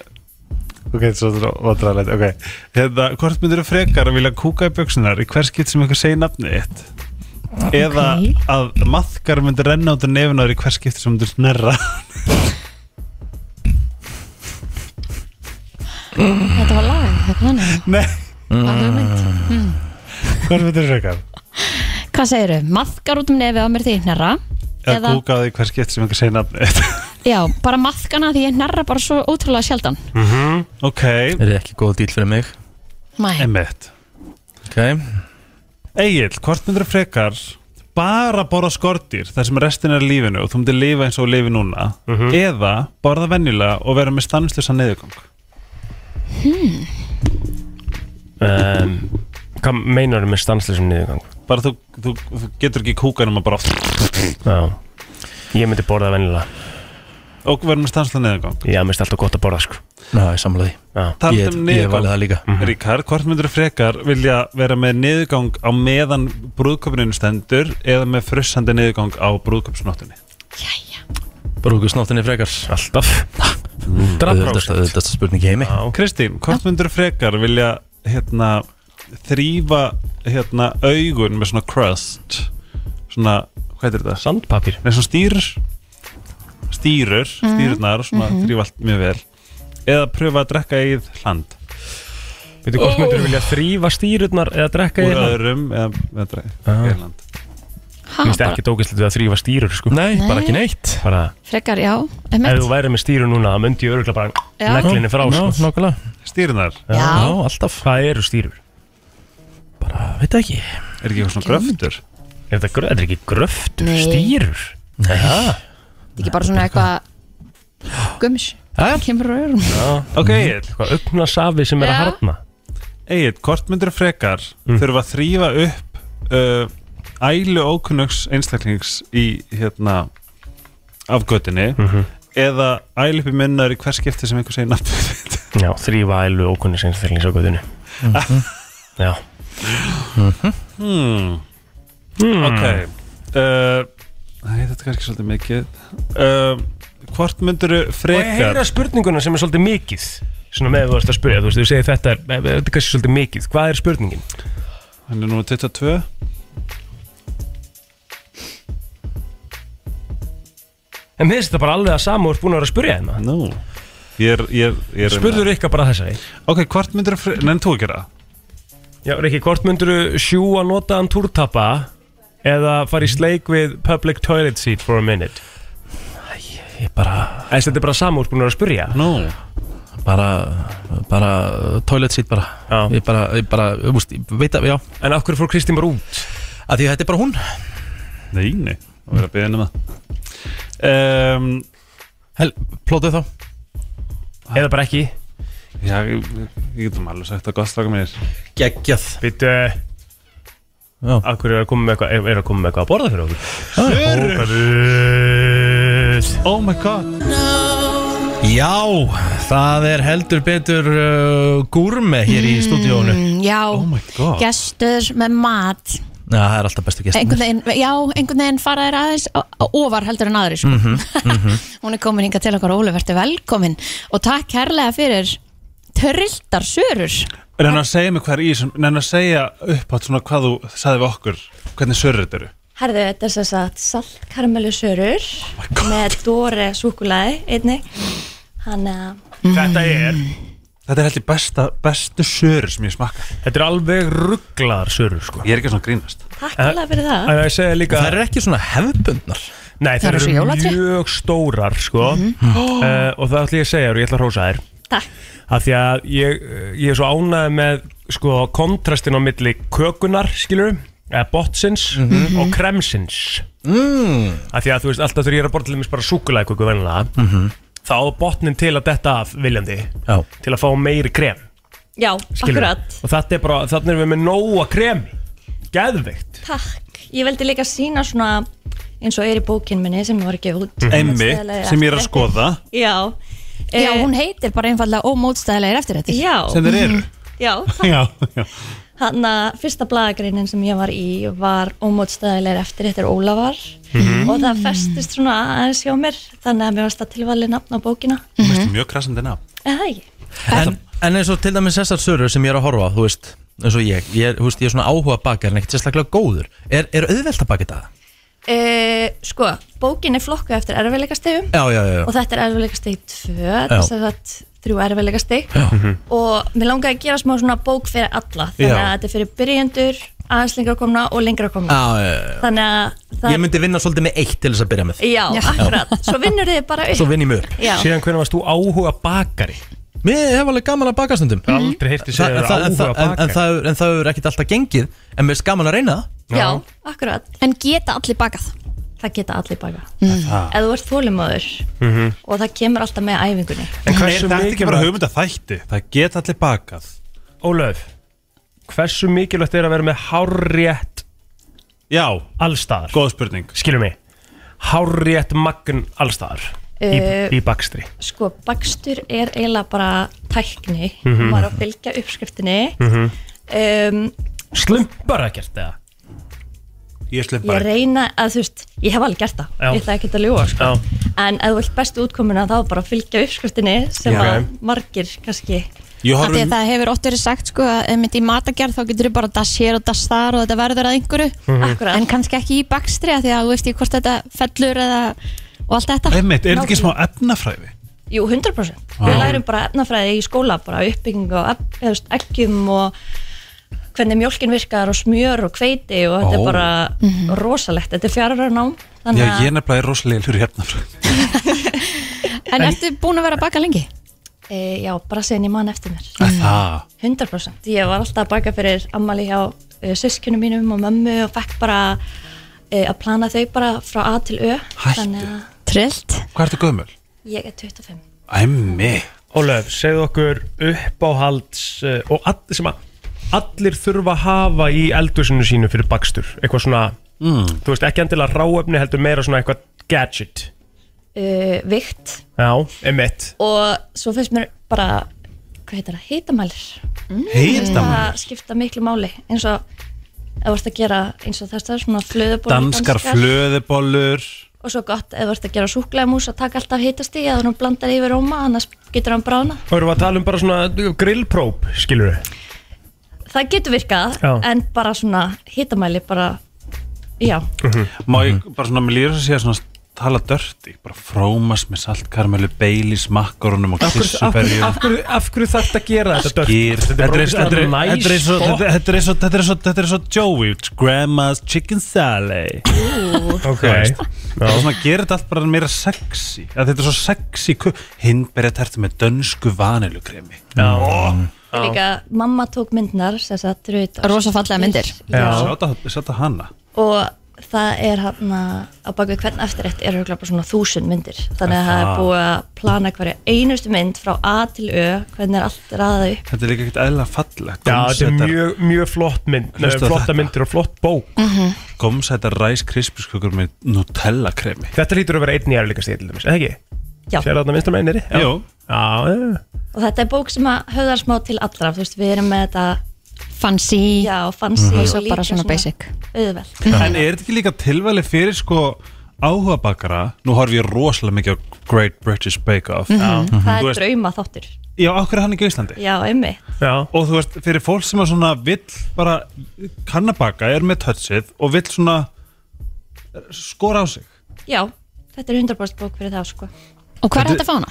Speaker 6: ok, svo vandrarlegt ok, hérna, hvort myndir þú frekar að vilja kúka í buksunar í hvers skitt sem ykkur segir nafnið þitt eða
Speaker 2: Ok.
Speaker 6: að maðkar myndir renna út af nefinar í hvers skitt sem myndir snerra
Speaker 2: Þetta var lag, þetta var nefn
Speaker 6: nei,
Speaker 2: mm.
Speaker 6: hvort myndir þú frekar
Speaker 2: Hvað segirðu? Maðkar út um nefið á mér því ég hnerra
Speaker 6: eða,
Speaker 2: Eða-
Speaker 6: kúka á því hvers skitt sem ykkur segir nafnið þitt
Speaker 2: Já, bara maðkana því ég hnerra bara svo ótrúlega sjaldan
Speaker 6: Mhm. ok,
Speaker 1: Er þið ekki góð dýl fyrir mig?
Speaker 2: Mæ,
Speaker 6: emitt
Speaker 1: Ok Já,
Speaker 6: Egil, hvort myndir þú frekar bara borða skortir þar sem restin er í lífinu og þú myndir lifa eins og lifi núna
Speaker 1: Mhm.
Speaker 6: eða borða venjulega og vera með stannislusa niðurgang
Speaker 1: Hmm.
Speaker 3: um, Hvað meinar með stanslisum niðurgang?
Speaker 6: bara þú, þú, þú getur ekki kúka nema bara oft
Speaker 3: Já Ég myndi borða venjulega
Speaker 6: og verður með stanslega neðangang
Speaker 3: Ég mist alltaf gott að borða, sko
Speaker 1: ég samla því
Speaker 3: Já,
Speaker 1: Ég,
Speaker 6: Talandum
Speaker 1: ég valið
Speaker 6: neðangang
Speaker 1: það líka
Speaker 3: Mhm.
Speaker 6: Ríkar, hvort myndur frekar vilja vera með neðangang á meðan brúðköpuninu stendur eða með frussandi neðangang á brúðköpsnóttunni
Speaker 2: jæja
Speaker 1: Brúkusnáttinni frekar Mm,
Speaker 3: alltaf
Speaker 1: Öðvöldasta, öðvöldasta spurning í heimi
Speaker 3: Já.
Speaker 6: Kristín, hvort myndur frekar vilja hérna, þrýfa hérna, augun með svona crust svona, hvað er þetta?
Speaker 3: Sandpapír Mm.
Speaker 6: Nei, svona stýrur stýrur, stýrurnar svona
Speaker 3: Mm-hmm.
Speaker 6: þrýfa allt mjög vel eða pröfa að drekka eigið hland
Speaker 3: Veitu hvort myndir vilja þrýfa stýrurnar eða drekka
Speaker 6: úr
Speaker 3: hérna? í það?
Speaker 6: öðrum eða, eða dre-
Speaker 3: Ah.
Speaker 6: Írland
Speaker 2: Ha,
Speaker 3: Minnst
Speaker 2: bara,
Speaker 3: ekki dókislega við að þrýfa stýrur sko
Speaker 1: Nei,
Speaker 2: Nei.
Speaker 1: bara ekki neitt
Speaker 3: Bara,
Speaker 2: Frekar, já,
Speaker 3: ef
Speaker 2: emmett
Speaker 3: þú væri með stýru núna þá myndi ég örgulega bara
Speaker 2: Já.
Speaker 3: neglinni frá
Speaker 1: Já,
Speaker 3: sko
Speaker 1: nákvæmlega
Speaker 6: Stýrnar,
Speaker 2: Já,
Speaker 1: Já, alltaf
Speaker 3: Hvað eru stýrur?
Speaker 1: Bara, veit ekki
Speaker 6: er ekki eitthvað svona gröftur
Speaker 3: Er þetta, grö- þetta er ekki gröftur?
Speaker 2: Nei.
Speaker 3: Stýrur?
Speaker 1: Já
Speaker 2: þetta er ekki bara svona eitthvað Gums,
Speaker 1: Já.
Speaker 2: kemur úr öðrum
Speaker 6: Ok, Egil,
Speaker 3: Eitthvað augna safi sem er að Mm.
Speaker 2: Já.
Speaker 3: harna
Speaker 6: Egil, hvort myndir frekar þurfa að þrýfa upp uh, ælu ókunnugs einstaklings í hérna afgötinni
Speaker 3: Mhm.
Speaker 6: eða ælu upp í munnar í hvers skipti sem einhver segir nafnið þitt?
Speaker 3: Já, þrýfa ælu ókunni sem þegar á guðinu
Speaker 1: Mhm.
Speaker 3: Já,
Speaker 6: hmm.
Speaker 3: Hmm.
Speaker 6: Ok uh, Nei, þetta er kannski svolítið mikið uh, Hvort myndir
Speaker 3: og ég
Speaker 6: frekar
Speaker 3: heyra spurninguna sem er svolítið mikið Svona með þú ert að spyrja, þú veist, þú segir þetta er, er, er kannski svolítið mikið, hvað er spurningin?
Speaker 6: Hann er númer 22
Speaker 3: En minnst þetta bara alveg að sama og ert búin að vera að spyrja hérna
Speaker 6: Nú Ég er, ég er, ég er
Speaker 3: Spurður ykkar bara þessari
Speaker 6: Ok, hvort myndir að Nei, en þú ekki það
Speaker 3: Já, Rikki, hvort myndur þú sjúa notaðan túrtappa eða fara í
Speaker 1: Mhm.
Speaker 3: sleik við public toilet seat for a minute?
Speaker 1: Ég bara,
Speaker 3: En þetta er bara sama úrspunar að spyrja
Speaker 6: Nú
Speaker 1: bara, bara Toilet seat bara
Speaker 3: Já.
Speaker 1: Ég bara, ég bara, þú veist, ég veit að, já
Speaker 3: En af hverju fór Kristín bara út?
Speaker 1: að Því að þetta er bara hún
Speaker 6: Nei, nei Það verður að byggja henni það
Speaker 3: Ehm,
Speaker 6: um,
Speaker 1: Hel, plótuð þá
Speaker 3: Eða bara ekki?
Speaker 6: Já, ég, ég getum alveg sagt að gott stráka mér
Speaker 1: Geggjað
Speaker 3: Býttu
Speaker 1: Já.
Speaker 3: Af hverju er að koma með eitthvað er- er að koma með eitthvað að borða fyrir okkur? Hörur
Speaker 6: Oh my god
Speaker 1: Já, Það er heldur betur uh, gúrme hér í stúdíónu
Speaker 2: Mm, já,
Speaker 6: Oh my god
Speaker 2: gestur með mat
Speaker 1: Já, það er alltaf bestu gestur
Speaker 2: einhvern veginn, já, einhvern veginn fara þér aðeins á- á- ofar heldur en aðri sko.
Speaker 1: Mm.
Speaker 3: Mhm,
Speaker 2: hún er komin hingað til okkar Ólef, ertu velkomin og takk kærlega fyrir törrildar sörur
Speaker 6: Nenna að segja mig hvað er í þessum Nenna að segja upp átt svona hvað þú sagði við okkur Hvernig sörrið þetta eru
Speaker 10: Herðu, þetta er sem sagt saltkarmelusörur oh með dóri súkulaði einnig. Þannig að
Speaker 3: Þetta er,
Speaker 6: Þetta er heldur besta, bestu sörur sem ég smakka
Speaker 3: þetta er alveg rugglar sörur sko
Speaker 6: Ég er ekki svona að grínast
Speaker 10: takk alveg fyrir það.
Speaker 3: En ég segja líka
Speaker 1: Það eru ekki svona hefðbundnar
Speaker 3: Nei,
Speaker 2: Það
Speaker 3: það
Speaker 2: eru svo
Speaker 3: eru
Speaker 2: jólatré.
Speaker 3: mjög stórar sko. uh, og það ætla ég að segja þér og ég ætla að hrósa þér
Speaker 10: Mhm. Oh. Takk.
Speaker 3: af því að ég, eh, ég er svo ánægð með sko, kontrastin á milli kökunar skilur eða botsins
Speaker 10: Mhm.
Speaker 3: og kremsins mm. af því að þú veist alltaf þegar ég er að borða til þess bara súkulæðköku venlega þá á botnin til að detta af viljandi
Speaker 1: Já,
Speaker 3: til að fá meiri krem
Speaker 10: Já,
Speaker 3: skilurðu.
Speaker 10: akkurat.
Speaker 3: og þetta er bara, þannig erum við með nóga kremi geðveikt
Speaker 10: Takk. Ég veldi líka sína svona eins og er í bókin minni sem ég var ekki út.
Speaker 6: Emmi, Mhm. sem ég er að skoða
Speaker 10: Já. Eh,
Speaker 2: já, hún heitir bara einfallega ómótstæðilegir eftir þetta
Speaker 10: Já, Mhm.
Speaker 6: Sem þeir eru
Speaker 10: já.
Speaker 6: Já, já
Speaker 10: Þannig að fyrsta blagagreinin sem ég var í var ómótstæðilegur eftir þetta er Ólafar
Speaker 6: Mhm.
Speaker 1: Mm.
Speaker 10: og það festist svona aðeins hjá mér þannig að mér varst að tilvalið nafn á bókina.
Speaker 6: Þú veist, mjög krassandi nafn
Speaker 10: Er það ekki?
Speaker 1: en, en eins og til dæmis þessar sörur sem ég er að horfa á, þú veist eins og ég, ég, er- þú veist, ég er svona áhuga bakar en ekkert sérstaklega góður Er, er auðvelt að baka þetta?
Speaker 10: E, sko, bókin er flokkuð eftir erfiðleikastegum
Speaker 1: Já, já, já, já.
Speaker 10: og þetta er erfiðleikasteg 2, þess að það þrjú erfiðleikasteg
Speaker 3: Mhm.
Speaker 10: og mér langaði að gera smá svona bók fyrir alla þannig að
Speaker 1: Já.
Speaker 10: þetta er fyrir byrjendur, aðeins lengra komna og lengra komna
Speaker 1: Já, já, já,
Speaker 10: þannig að
Speaker 1: já.
Speaker 10: það,
Speaker 1: Ég myndi vinna svolítið með eitt til þess að byrja með
Speaker 10: já, akkurat svo vinnur þið bara upp
Speaker 1: Svo vinn ég mig upp
Speaker 10: já,
Speaker 3: síðan hvernig varst þú áhuga bakari
Speaker 1: Mér hef alveg gaman að baka stundum
Speaker 3: aldrei heyrti
Speaker 1: Þa,
Speaker 3: segja
Speaker 1: en, það,
Speaker 3: þér
Speaker 1: en, það,
Speaker 3: áhuga
Speaker 1: en, en,
Speaker 3: bakari
Speaker 1: það, en það hefur ekkert alltaf gengið En mér er gaman að reyna það
Speaker 10: já, akkurat
Speaker 2: en geta allir bakað
Speaker 10: það geta allir baka
Speaker 1: Mm.
Speaker 10: eða þú ert þólimaður og það kemur alltaf með æfingunni
Speaker 3: En
Speaker 6: Er
Speaker 3: Mhm. hversu
Speaker 6: þetta ekki bara
Speaker 3: mikilvægt,
Speaker 6: hugmynda þætti? Það get allir bakað
Speaker 3: Ólöf Hversu mikilvægt er að vera með hárrétt
Speaker 6: Já,
Speaker 3: allstaðar
Speaker 6: góð spurning
Speaker 3: Skilum mig Hárrétt magn allstaðar í,
Speaker 10: Eh,
Speaker 3: í bakstri
Speaker 10: sko, bakstur er eiginlega bara tækni,
Speaker 6: Mhm.
Speaker 10: maður á að fylgja uppskriftinni um,
Speaker 3: Slumpar ekkert Mhm. eða
Speaker 6: Ég slepp
Speaker 10: ég
Speaker 6: bara
Speaker 10: reyna að þú veist, ég hef alveg gert það
Speaker 3: Já.
Speaker 10: ég ætla ekki að ljúa sko.
Speaker 3: Já.
Speaker 10: en ef þú vilt bestu útkomuna þá bara fylgja uppskriftinni sem
Speaker 6: Já.
Speaker 10: að margir kannski
Speaker 6: Ég
Speaker 2: Af því að
Speaker 6: horfum
Speaker 2: það hefur oft verið sagt sko að einmitt í matagerð þá getur þú bara dass hér og dass þar og þetta verður að einhverju
Speaker 3: Mhm.
Speaker 10: Akkúrat.
Speaker 2: en kannski ekki í bakstri af því að þú veist ekki hvort þetta fellur eða og allt þetta
Speaker 6: Einmitt, er þetta ekki smá efnafræði?
Speaker 10: jú, 100% við lærum bara efnafræði í skóla bara uppbygging og ef- eða, þú veist, eggjum og hvernig mjólkin virkar og smjör og hveiti og þetta
Speaker 6: Ó.
Speaker 10: er bara
Speaker 2: Mhm.
Speaker 10: rosalegt, þetta er fjarar nám
Speaker 6: Já,
Speaker 10: þannig að
Speaker 6: ég er nefnilega rosalega hlur í efnafræði
Speaker 2: en, ertu búin að vera að baka lengi?
Speaker 10: e, já, bara segin ég man eftir mér
Speaker 6: Það
Speaker 10: 100% ég var alltaf að baka fyrir ammali hjá uh, sískinu mínum og mömmu og fekk bara uh, að plana þau bara frá A til Ö
Speaker 6: Hættu.
Speaker 10: þannig að
Speaker 2: Trillt
Speaker 6: Hvað ertu gömul?
Speaker 10: ég er 25
Speaker 6: Æmi
Speaker 3: Ólöf, segðu okkur uppáhalds uh, og all, sem að allir þurfa að hafa í eldusinu sínu fyrir bakstur eitthvað svona,
Speaker 6: Mm.
Speaker 3: þú veist, ekki endilega ráefni heldur meira svona eitthvað gadget
Speaker 10: uh, vikt
Speaker 3: Já, emitt
Speaker 10: og svo finnst mér bara hvað heitir það, hitamælir
Speaker 6: Heiðdamann
Speaker 10: það skipta miklu máli eins og ef þú ert að gera eins og þess að svona flöðuból
Speaker 6: Danskar flöðubollur
Speaker 10: og svo gott ef þú ert að gera súklaðimús að taka alltaf hitastíð að hún blandar yfir róma annars getur hann brána
Speaker 3: Og erum við að tala um bara svona grillpróp, skilur við?
Speaker 10: það getur virkað
Speaker 3: Já.
Speaker 10: en bara svona hitamæli bara já,
Speaker 3: Mhm.
Speaker 6: Má ég bara svona, mér líður þess að sé að svona tala dörti, bara frómas með saltkarmelu, beilis, makkarunum og kissuferjum
Speaker 3: af hverju þarf þetta að gera þetta
Speaker 6: Gýr, þetta er eins- þetta er- þetta er eins og þetta-
Speaker 3: dörft?
Speaker 6: þetta er eins og- þetta er eins og- þetta er eins og Joey Grandma's Chicken Salad
Speaker 3: Ok,
Speaker 6: Það er svona að gera þetta allt bara meira sexy að Þetta er svo sexy Hinnberja terti með dönsku Mm. vanilukremi
Speaker 10: líka mamma tók myndnar sem sagt rauð
Speaker 2: Rosa fallega myndir.
Speaker 10: já.
Speaker 6: Sjáta hana
Speaker 10: og það er hann á bakvið hvern eftirrétt er huglega bara svona þúsund myndir þannig að það er búið að plana hverja einustu mynd frá A til Ö hvernig er allt raðið upp
Speaker 6: Þetta er líka ekkert eðla fallegt
Speaker 3: Já, þetta er
Speaker 6: Gómsætar-
Speaker 3: mjög, mjög flott mynd nei,
Speaker 6: Hlustaðu á
Speaker 3: Flotta
Speaker 6: þetta.
Speaker 3: myndir og flott bók
Speaker 6: Gómsætar ræs krispuskökur með Nutella kremi
Speaker 3: Þetta lítur að vera einn í erleika stíð til dæmis, eða ekki?
Speaker 10: Já.
Speaker 3: Sér þarna minnstur með einri? Jú Já, já,
Speaker 10: og þetta er bók sem að höfðar smá til allra þú veist, við erum með þetta
Speaker 2: fancy,
Speaker 10: já, fancy
Speaker 2: Mhm.
Speaker 10: og
Speaker 2: Svo
Speaker 10: líka
Speaker 2: bara svona basic.
Speaker 10: auðvelt
Speaker 6: En er þetta ekki líka tilvæli fyrir sko áhuga bakara, nú horf ég rosalega mikið á Great British Bake Off
Speaker 10: Mhm. það
Speaker 6: Þú
Speaker 10: er
Speaker 6: veist,
Speaker 10: drauma þáttur
Speaker 6: Já, okkur er hann ekki á Íslandi
Speaker 10: já, einmitt
Speaker 3: Já.
Speaker 6: Og þú veist, fyrir fólk sem er svona vill bara kannabaka, er með touchið og vill svona skora á sig
Speaker 10: já, þetta er 100% bók fyrir það sko.
Speaker 2: Og hvað er hægt að fá hana?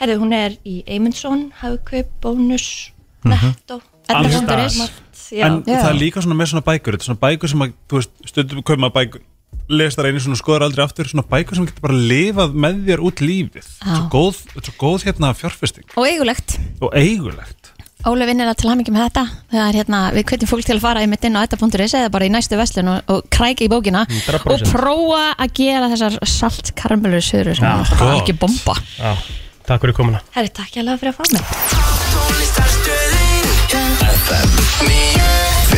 Speaker 10: herðu, hún er í Eymundsson Hagkaup, Bónus, Netto
Speaker 6: Mhm. Alls
Speaker 10: Edda
Speaker 6: staðar.
Speaker 10: Margt, já.
Speaker 6: En það er líka svona með svona bækur Þetta er svona bækur sem að, þú veist, stundum kaup maður bækur Lest það einu svona og skoðar aldrei aftur Svona bækur sem getur bara lifað með þér út lífið Þetta er
Speaker 2: Já.
Speaker 6: svo góð, þetta er svo góð hérna fjárfesting
Speaker 2: Og eigulegt
Speaker 6: Og eigulegt
Speaker 2: Ólef vinnir að til hamingi með þetta það er hérna, við hvetjum fólk til að fara einmitt inn á þetta.is eða bara í næstu veslun og, og krækja í bókina
Speaker 6: 100%.
Speaker 2: og prófa að gera þessar saltkarmelur sögur sem
Speaker 3: Já,
Speaker 2: er bara
Speaker 3: gott.
Speaker 2: ekki bomba
Speaker 3: já Takk fyrir komuna
Speaker 10: herri, takk ég alveg fyrir að fá mig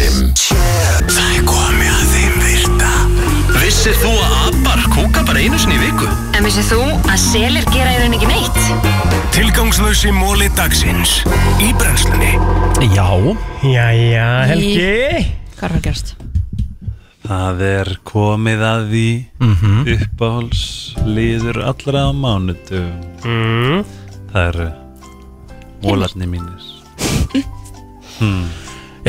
Speaker 4: Það er komið að þeim virta Vissir þú að abar kúka bara einu sinni í viku?
Speaker 5: En vissið þú að selir gera í rauninni ekki neitt?
Speaker 4: Tilgangslösi móli dagsins Í brennslunni
Speaker 1: Já
Speaker 3: Jæja,
Speaker 4: Helgi.
Speaker 2: Hvað er að gerast?
Speaker 6: Það er komið að því
Speaker 1: Mhm.
Speaker 6: uppáhalsliður allra á mánutu
Speaker 3: mm.
Speaker 6: Það eru mólarni mínir
Speaker 1: hmm.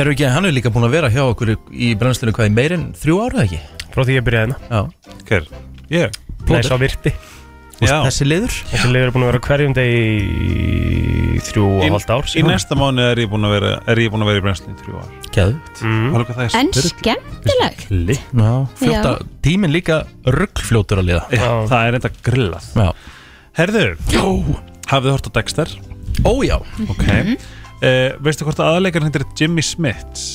Speaker 1: Eru ekki, hann er líka búin að vera hjá okkur í brennslunni hvað í meirinn þrjú ára eða ekki?
Speaker 3: Frá því ég byrjaði
Speaker 1: hérna
Speaker 6: Já Hver? Ég?
Speaker 3: Nei, sá virti
Speaker 1: Já. Þessi liður?
Speaker 3: Þessi liður er búin að vera á hverjum degi í þrjú og halvt ár
Speaker 6: Í næsta mánu er ég búin að vera, er ég búin að vera í brennslunni í þrjú ár
Speaker 1: Gæðugt
Speaker 3: mm.
Speaker 2: En skemmtileg
Speaker 1: Já, fljóta,
Speaker 2: Já.
Speaker 1: tíminn líka ruggfljótur að liða
Speaker 6: Já, það er enda grillað
Speaker 1: Já.
Speaker 6: Herðu, Jó. hafið hort á Dexter?
Speaker 1: Ójá
Speaker 6: Ok uh, Veistu hvort aðleikarinn heitir Jimmy Smits?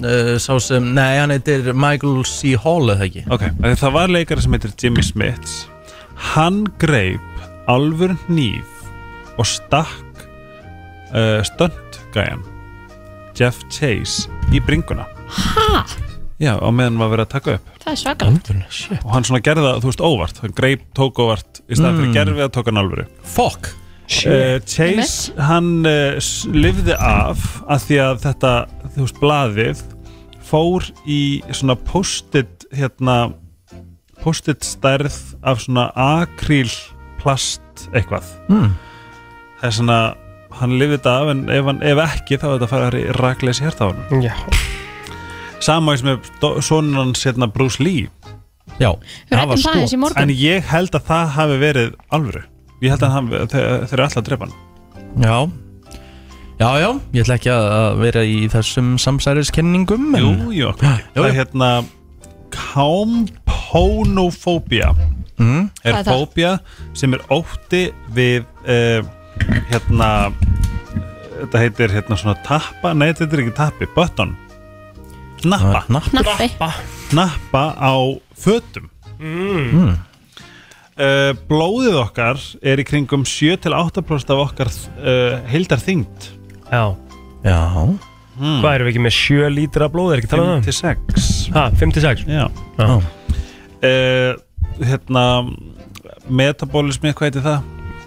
Speaker 1: uh, Sá sem, nei, hann heitir Michael C. Hall eða ekki
Speaker 6: Ok, af því það var leikari sem heitir Jimmy Smits Hann greip alvur hníf og stakk uh, stöndgæjan Jeff Chase í bringuna
Speaker 2: Ha,
Speaker 6: Já, á meðan var verið að taka upp
Speaker 2: það er svakalegt
Speaker 6: og hann svona gerði það, þú veist, óvart hann greip, tók óvart, í staðan fyrir
Speaker 1: Mm.
Speaker 6: gerfi að tók hann alvöru
Speaker 1: Fuck
Speaker 6: uh, Chase, hann uh, lifði af að því að þetta, þú veist, blaðið fór í svona post-it hérna, post-it stærð af svona akríl plast eitthvað
Speaker 1: Mm.
Speaker 6: það er svona, hann lifði þetta af en ef, hann, ef ekki þá er þetta að fara í rakleis hérta á hann
Speaker 3: Já
Speaker 6: Sama eins með sonin hans hérna Bruce Lee
Speaker 1: Já,
Speaker 2: Við ræddum það aðeins í morgun.
Speaker 6: En ég held að það hafi verið alvöru Ég held að hann, þeir, þeir eru alltaf að drepa hann
Speaker 1: Já Já, já, ég ætla ekki að- að vera í þessum samsæriskenningum en...
Speaker 6: Jú, jú, okkur ekki. það er hérna Kamponofóbia
Speaker 1: Mm.
Speaker 6: Er
Speaker 1: Hvað er það?
Speaker 6: fóbia sem er ótti við uh, hérna þetta heitir hérna svona tappa nei þetta er ekki tappi, button Ah, nappa
Speaker 2: Nappi
Speaker 6: nappa á fötum
Speaker 3: Mm.
Speaker 6: uh, blóðið okkar er í kringum 7-8% af okkar uh, heildar þyngd
Speaker 3: Já
Speaker 1: Já
Speaker 6: Hmm.
Speaker 4: Hmm.
Speaker 3: Hvað erum við ekki með 7 lítra blóð, er ekki talað um það?
Speaker 6: 5-6
Speaker 3: Ha, 5-6?
Speaker 6: Já,
Speaker 3: Já.
Speaker 6: uh, hérna metabolismi, hvað heitir það?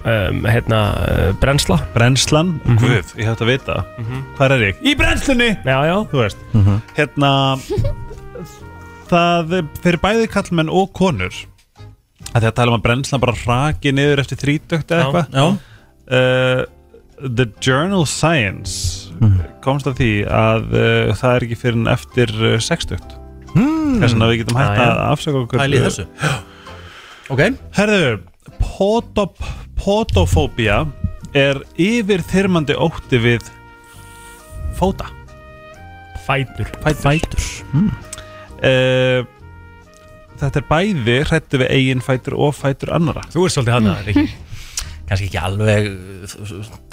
Speaker 3: Um, hérna, uh, brennsla Mhm.
Speaker 6: Brennslan, guð, ég hef þetta að vita mm Hvað er ég? Í brennslunni!
Speaker 3: Já, já Mhm.
Speaker 6: Þú veist
Speaker 4: Mhm.
Speaker 6: Hérna Það er fyrir bæði kallmenn og konur að því að tala um að brennslan bara raki niður eftir þrítökt eða
Speaker 3: Já,
Speaker 6: eitthvað
Speaker 3: já.
Speaker 6: uh, The Journal Science komst að því að uh, það er ekki fyrir en eftir uh, sextökt
Speaker 1: Mm.
Speaker 6: þess vegna við getum hægt
Speaker 1: Já, já.
Speaker 6: að afsaka okkur eh,
Speaker 1: Pæli í þessu. Ok
Speaker 6: Herðu, potop, potofóbía er yfirþyrmandi ótti við fóta Hmm.
Speaker 3: Fætur
Speaker 1: Fætur, Fætur. Mm.
Speaker 6: Eh, Þetta er bæði hrættu við eigin fætur og fætur Hmm. annara
Speaker 3: Þú er svolítið hann að Riki
Speaker 1: Kannski ekki alveg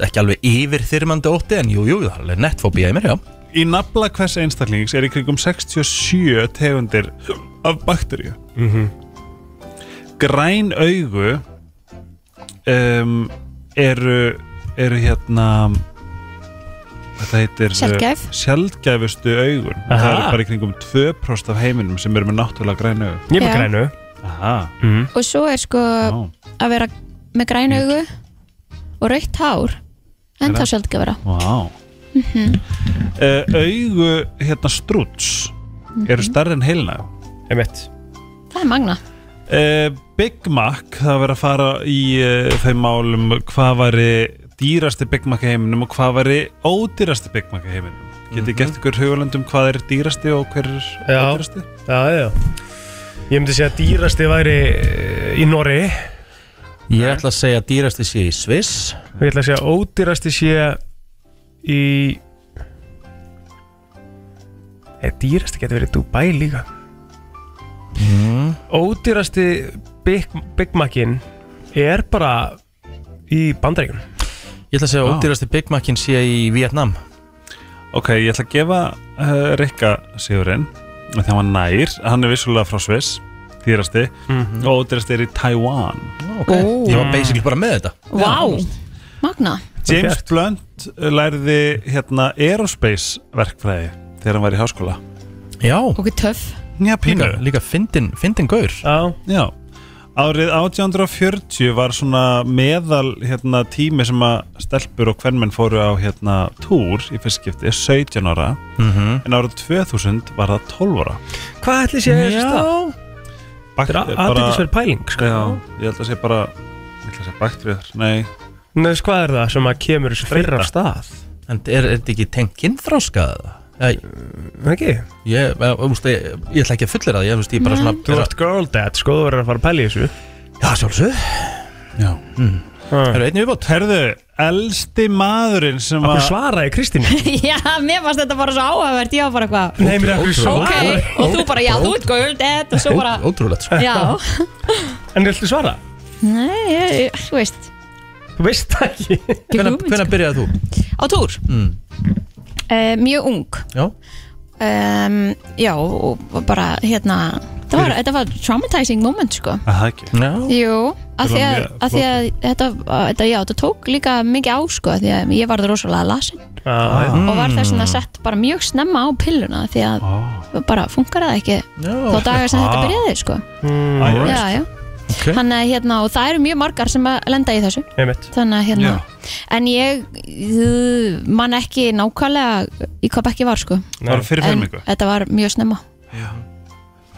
Speaker 1: ekki alveg yfirþyrmandi ótti en jú, jú, það er alveg nettfóbía í mér, já
Speaker 6: Í nafla hvers einstaklings er í kringum 67 tegundir af bakteríu
Speaker 3: Mhm.
Speaker 6: Græn augu um, eru, eru hérna þetta heitir uh,
Speaker 2: Sjaldgæf.
Speaker 6: sjaldgæfustu augun
Speaker 3: Aha.
Speaker 6: það eru bara í kringum 2% af heiminum sem eru með náttúrulega græn augu
Speaker 3: Ég er með
Speaker 2: Já.
Speaker 3: grænu
Speaker 6: Aha.
Speaker 3: Mm.
Speaker 2: Og svo er sko að vera með græn augu og rautt hár en þá sjálf ekki að vera Mhm.
Speaker 6: Vá uh, Augu hérna struts eru starri en heilna
Speaker 3: Einmitt
Speaker 2: það er magna
Speaker 6: uh, Big Mac, það verið að fara í uh, þeim málum hvað væri dýrasti Big Mac í heiminum og hvað væri ódýrasti Big Mac í heiminum Getið gert ykkur hugulendum hvað er dýrasti og hver er
Speaker 3: Já.
Speaker 6: ódýrasti?
Speaker 3: Já, já Ég myndi segja að dýrasti væri eh, í Norri
Speaker 1: Ég ætla að segja að dýrasti sé í Sviss
Speaker 3: og ég ætla að segja að ódýrasti sé í Eða dýrasti getur verið Dubai líka
Speaker 1: mm.
Speaker 3: Ódýrasti Big, Big Mac-in er bara í bandaríkjum
Speaker 1: Ég ætla að segja að
Speaker 6: Vá.
Speaker 1: ódýrasti Big Mac-in sé í Vietnam
Speaker 6: Ok, ég ætla að gefa uh, Rikka Sigurinn þegar hann var nær, hann er vissulega frá Sviss dýrasti
Speaker 3: Mhm.
Speaker 6: og ódýrasti er í Taiwan
Speaker 1: okay. Ég var basically bara með þetta
Speaker 2: Vá, magna
Speaker 6: James Blunt eh, lærði hérna aerospace verkfræði þegar hann var í háskóla
Speaker 1: Já,
Speaker 2: okkur töff
Speaker 6: Já,
Speaker 1: líka, líka fyndin, fyndin gaur
Speaker 3: Já,
Speaker 6: Já Árið 1840 var svona meðal hérna, tími sem að stelpur og hvernmenn fóru á hérna, túr í fyrstskipti 17 ára
Speaker 1: Mhm.
Speaker 6: en árið 2000 var það 12 ára
Speaker 3: Hvað ætli sé að
Speaker 1: Já.
Speaker 3: það?
Speaker 6: Bakt,
Speaker 3: Þetta er aðdýrtisverð pæling sko.
Speaker 6: Já, ég held að sé bara ég held að sé bakt við þér, nei
Speaker 3: Nei, veist hvað er það sem að kemur þessu fyrra af stað?
Speaker 1: En er, er þetta ekki tengt kynþráskaða? Ég,
Speaker 3: Mm, Ekki?
Speaker 1: ég, ég, ég, ég ætla ekki að fullera það Ég, veist, ég bara svona
Speaker 3: Þú ert girl dad, sko, þú verður að fara að pæla í þessu
Speaker 1: Já, sjálfsög
Speaker 6: Já.
Speaker 1: mm.
Speaker 3: Það
Speaker 1: Er einnig viðbót?
Speaker 6: Herðu, elsti maðurinn sem
Speaker 3: Akkur
Speaker 6: að
Speaker 3: svaraði Kristín
Speaker 2: Já, mér fannst þetta bara svo áhugavert Ég var bara eitthvað
Speaker 3: Nei, mér er akkur
Speaker 2: Ok,
Speaker 3: svaraði
Speaker 2: og þú bara, já, þú ert göld Þetta og svo bara,
Speaker 1: Ó- Ótrúlegt sko.
Speaker 2: já
Speaker 3: En viltu svara?
Speaker 2: Nei, ég, ég, þú veist
Speaker 3: Þú veist það ekki
Speaker 2: ekki
Speaker 1: Hvenær
Speaker 2: hugmynd,
Speaker 1: hvenær byrjaði þú?
Speaker 2: sko. Á túr,
Speaker 1: Mm.
Speaker 2: uh, mjög ung
Speaker 1: Já,
Speaker 2: um, Já, og og bara, hérna Þetta var, þetta var traumatizing moment, sko
Speaker 6: Að Það ekki
Speaker 1: já.
Speaker 2: Jú, af
Speaker 6: Þetta
Speaker 2: því
Speaker 6: var
Speaker 2: að,
Speaker 6: mjög
Speaker 2: að, því að þetta, að þetta, já, þetta tók líka mikið á, sko af Því að ég varð rosalega lasin
Speaker 9: Ah,
Speaker 3: Já,
Speaker 2: Og var þess að sett bara mjög snemma á pilluna Því að bara funkar það ekki Þá
Speaker 1: já.
Speaker 2: dagar sem þetta byrjaði, sko
Speaker 3: Mm.
Speaker 6: Æ,
Speaker 2: já, já.
Speaker 1: Ok.
Speaker 2: Hann, eh, hérna, og það eru mjög margar sem að lenda í þessu
Speaker 3: einmitt
Speaker 2: þannig að hérna en ég uh, man ekki nákvæmlega í hvað bekki var sko
Speaker 6: Það var fyrir
Speaker 2: en
Speaker 6: fermingu
Speaker 2: þetta var mjög snemma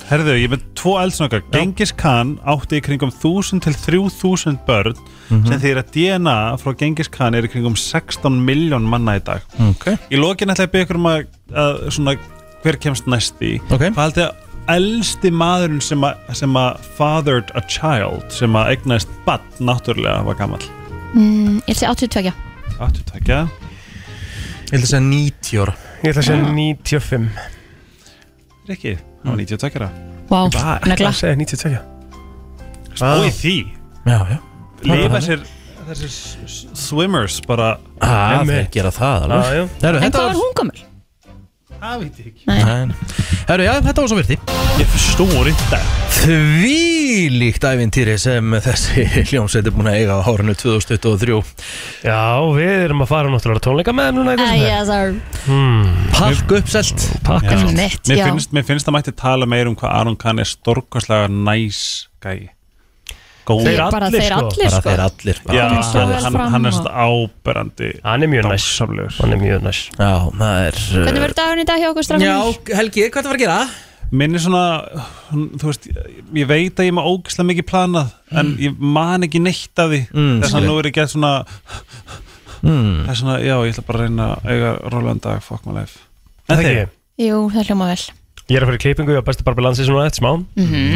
Speaker 6: Herðu, ég er með tvo eldsnöggar Genghis Khan átti í kringum 1000 til 3000 börn
Speaker 1: Mhm.
Speaker 6: sem þýr að DNA frá Genghis Khan er í kringum 16 miljón manna í dag
Speaker 1: Ok,
Speaker 6: Í lokin ætla ég að byggja um að, að svona, hver kemst næst í
Speaker 1: ok
Speaker 6: Hvað haldið að elsti maðurinn sem að, sem að fathered a child sem að eignaðist badn náttúrulega var gamall
Speaker 2: mm, ég sé 82
Speaker 1: Eh.
Speaker 6: Áttu takja
Speaker 1: Ég ætla að segja 90 ára
Speaker 3: Ég ætla að segja 95
Speaker 6: Rikki,
Speaker 1: Mm.
Speaker 6: hann var 90 takkara
Speaker 2: wow,
Speaker 3: Ég ætla
Speaker 2: negla
Speaker 3: að segja 92
Speaker 6: Spói því
Speaker 1: Ah. Já, já
Speaker 6: Lifa sér þessir s- s- swimmers bara Ah,
Speaker 1: Ah, þeir
Speaker 3: Einmitt.
Speaker 1: gera það alveg
Speaker 3: Já, já.
Speaker 1: Heru,
Speaker 2: en hvað var hún gömul?
Speaker 6: Það veit ég ekki
Speaker 1: Herru, já, þetta var svo virti
Speaker 6: Ég förstår inte
Speaker 1: Því líkt ævintýri sem þessi hljómsveit er búin að eiga á hárinu 2023
Speaker 3: Já, við erum að fara náttúrulega á tónleika með þeim núna í þessu
Speaker 10: Æja, sorry
Speaker 1: Hmm. Pakk uppselt
Speaker 6: Já.
Speaker 2: Einmitt,
Speaker 6: mér
Speaker 2: já.
Speaker 6: finnst, mér finnst að mætti tala meir um hvað Aron Kahn er stórkostlega næs gæi Góð
Speaker 3: Þeir
Speaker 2: bara
Speaker 3: allir,
Speaker 2: þeir
Speaker 3: sko.
Speaker 2: allir
Speaker 1: Bara
Speaker 2: sko
Speaker 1: þeir allir bara.
Speaker 6: Já,
Speaker 2: kom svo vel
Speaker 6: hann,
Speaker 2: fram
Speaker 6: hann er
Speaker 2: og-
Speaker 6: st- áberandi
Speaker 3: Hann er mjög næs
Speaker 6: Dásamlegur.
Speaker 3: Hann er mjög næs
Speaker 1: Já, það er uh,
Speaker 2: hvernig verður dagurinn í dag hjá okkur
Speaker 1: Já,
Speaker 2: strafnir?
Speaker 1: Helgi, hvað það var að gera?
Speaker 6: Minn er svona, hún- þú veist ég veit að ég má ógislega mikið planað en ég man ekki neitt af því
Speaker 1: Mm,
Speaker 6: þess að
Speaker 1: skilja.
Speaker 6: nú er ég gert svona
Speaker 1: Mm.
Speaker 6: það er svona, já, ég ætla bara að reyna að eiga rólegan dag, fuck my life En
Speaker 3: Það
Speaker 6: þeir-
Speaker 3: ekki
Speaker 2: jú, það hljóma vel
Speaker 3: Ég er að fara í klippingu á bestu barbi landsins núna eftir smá
Speaker 2: Mhm.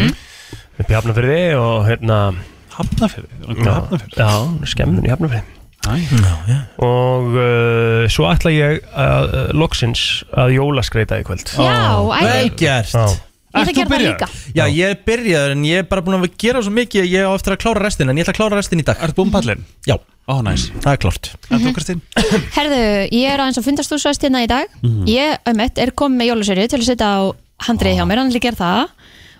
Speaker 3: Upp í Hafnafyrði og hérna
Speaker 6: Hafnarfirði, er hann kominn í Hafnarfirði?
Speaker 3: Já, hún er skemmun í Hafnafyrði
Speaker 6: Æ.
Speaker 3: Og uh, svo ætla ég að, uh, loksins að jólaskreita í kvöld
Speaker 2: já,
Speaker 1: Vel
Speaker 2: æði,
Speaker 1: gert
Speaker 3: Já,
Speaker 2: ég ætla
Speaker 6: Ert
Speaker 2: að gera
Speaker 6: þú
Speaker 2: það
Speaker 6: byrjaður?
Speaker 2: líka
Speaker 1: Já, ég er byrjaður en ég er bara búin að gera svo mikið að Ég á eftir að klára restin en ég ætla að klára restin í dag
Speaker 6: Ertu búinn pallinn?
Speaker 1: Já,
Speaker 6: Ó, næs
Speaker 1: það er klárt
Speaker 6: En
Speaker 2: Mhm.
Speaker 6: þú, Kristín?
Speaker 2: herðu, ég er aðeins að fundast þú hérna í dag
Speaker 1: Mhm.
Speaker 2: ég, ömmett, er komið með jóluserju til að setja á handrið
Speaker 1: Ah.
Speaker 2: hjá mér, hann vil gera það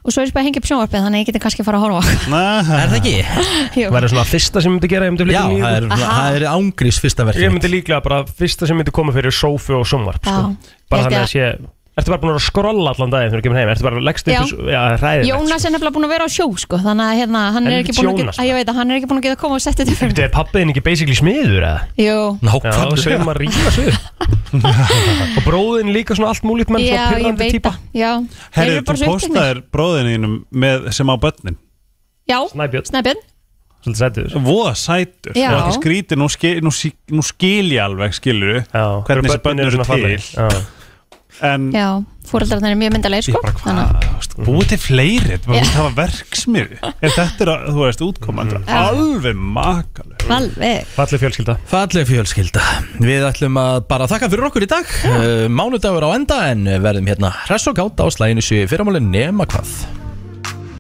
Speaker 2: og svo er ég bara að hengja upp sjónvarpið þannig að ég geti kannski að fara að horfa
Speaker 1: Er það ekki?
Speaker 2: Jú.
Speaker 3: Það er svona fyrsta sem ég myndi gera Ég myndi,
Speaker 1: Já,
Speaker 3: flytja
Speaker 1: það
Speaker 3: mig í-
Speaker 1: er, það er ángrís fyrsta
Speaker 3: ég
Speaker 1: verkefni
Speaker 3: myndi líklega bara fyrsta sem myndi koma fyrir sófu og sjónvarp
Speaker 2: Já,
Speaker 3: sko.
Speaker 2: ég
Speaker 3: Bara
Speaker 2: held
Speaker 3: þannig
Speaker 2: ég
Speaker 3: að sé Ertu bara búin að vera að skrolla allan daginn þegar þú kemur heim? Ertu bara að leggst upp
Speaker 2: Já.
Speaker 3: í s- Já, hræðilegt
Speaker 2: Jónas er nefnilega búin að vera á sjó sko, þannig að hérna, hann er ekki
Speaker 3: Helvítis
Speaker 2: búin að geta,
Speaker 3: Jónas,
Speaker 2: að ég veit að hann er ekki búin að geta að koma og setja þetta fyrir
Speaker 3: Þetta er pappiðin ekki basically smiður eða?
Speaker 2: Jú,
Speaker 3: Já, þú segir maður að rífa sig upp. Og bróðin líka svona allt múlít menn
Speaker 2: já,
Speaker 3: svona
Speaker 2: ég
Speaker 3: pyrrandi
Speaker 2: veit
Speaker 3: típa
Speaker 2: það Já, Þeir
Speaker 6: Herri,
Speaker 2: eru bara
Speaker 6: þú
Speaker 2: svo uppteknir.
Speaker 6: postaðir bróðinum með, sem á börnin
Speaker 2: Já,
Speaker 3: Snæbjörn
Speaker 2: Snæbjörn
Speaker 3: Svolítið sættur
Speaker 6: Voða sætur
Speaker 2: Já.
Speaker 6: Og ekki skrítið, nú, skil, nú, sí- nú skil ég alveg skilur Hvernig þessi
Speaker 3: börnin
Speaker 6: börnin
Speaker 3: eru
Speaker 6: eru
Speaker 3: svona falleg.
Speaker 6: til En
Speaker 2: Já, fóreldrarnir er mjög myndalegir sko Þannig að-
Speaker 6: búið til fleiri Þetta
Speaker 2: Já.
Speaker 6: var að hafa verksmiðu Ef þetta er að, þú veist, útkoman
Speaker 3: Mm.
Speaker 2: Já.
Speaker 6: Alveg makalur
Speaker 2: Alveg
Speaker 3: Falleg fjölskylda
Speaker 1: Falleg fjölskylda Við ætlum að bara þakka fyrir okkur í dag Eh, uh, Mánudagur á enda en verðum hérna hress og gátt á slæginu 7 í fyrramálinn nema hvað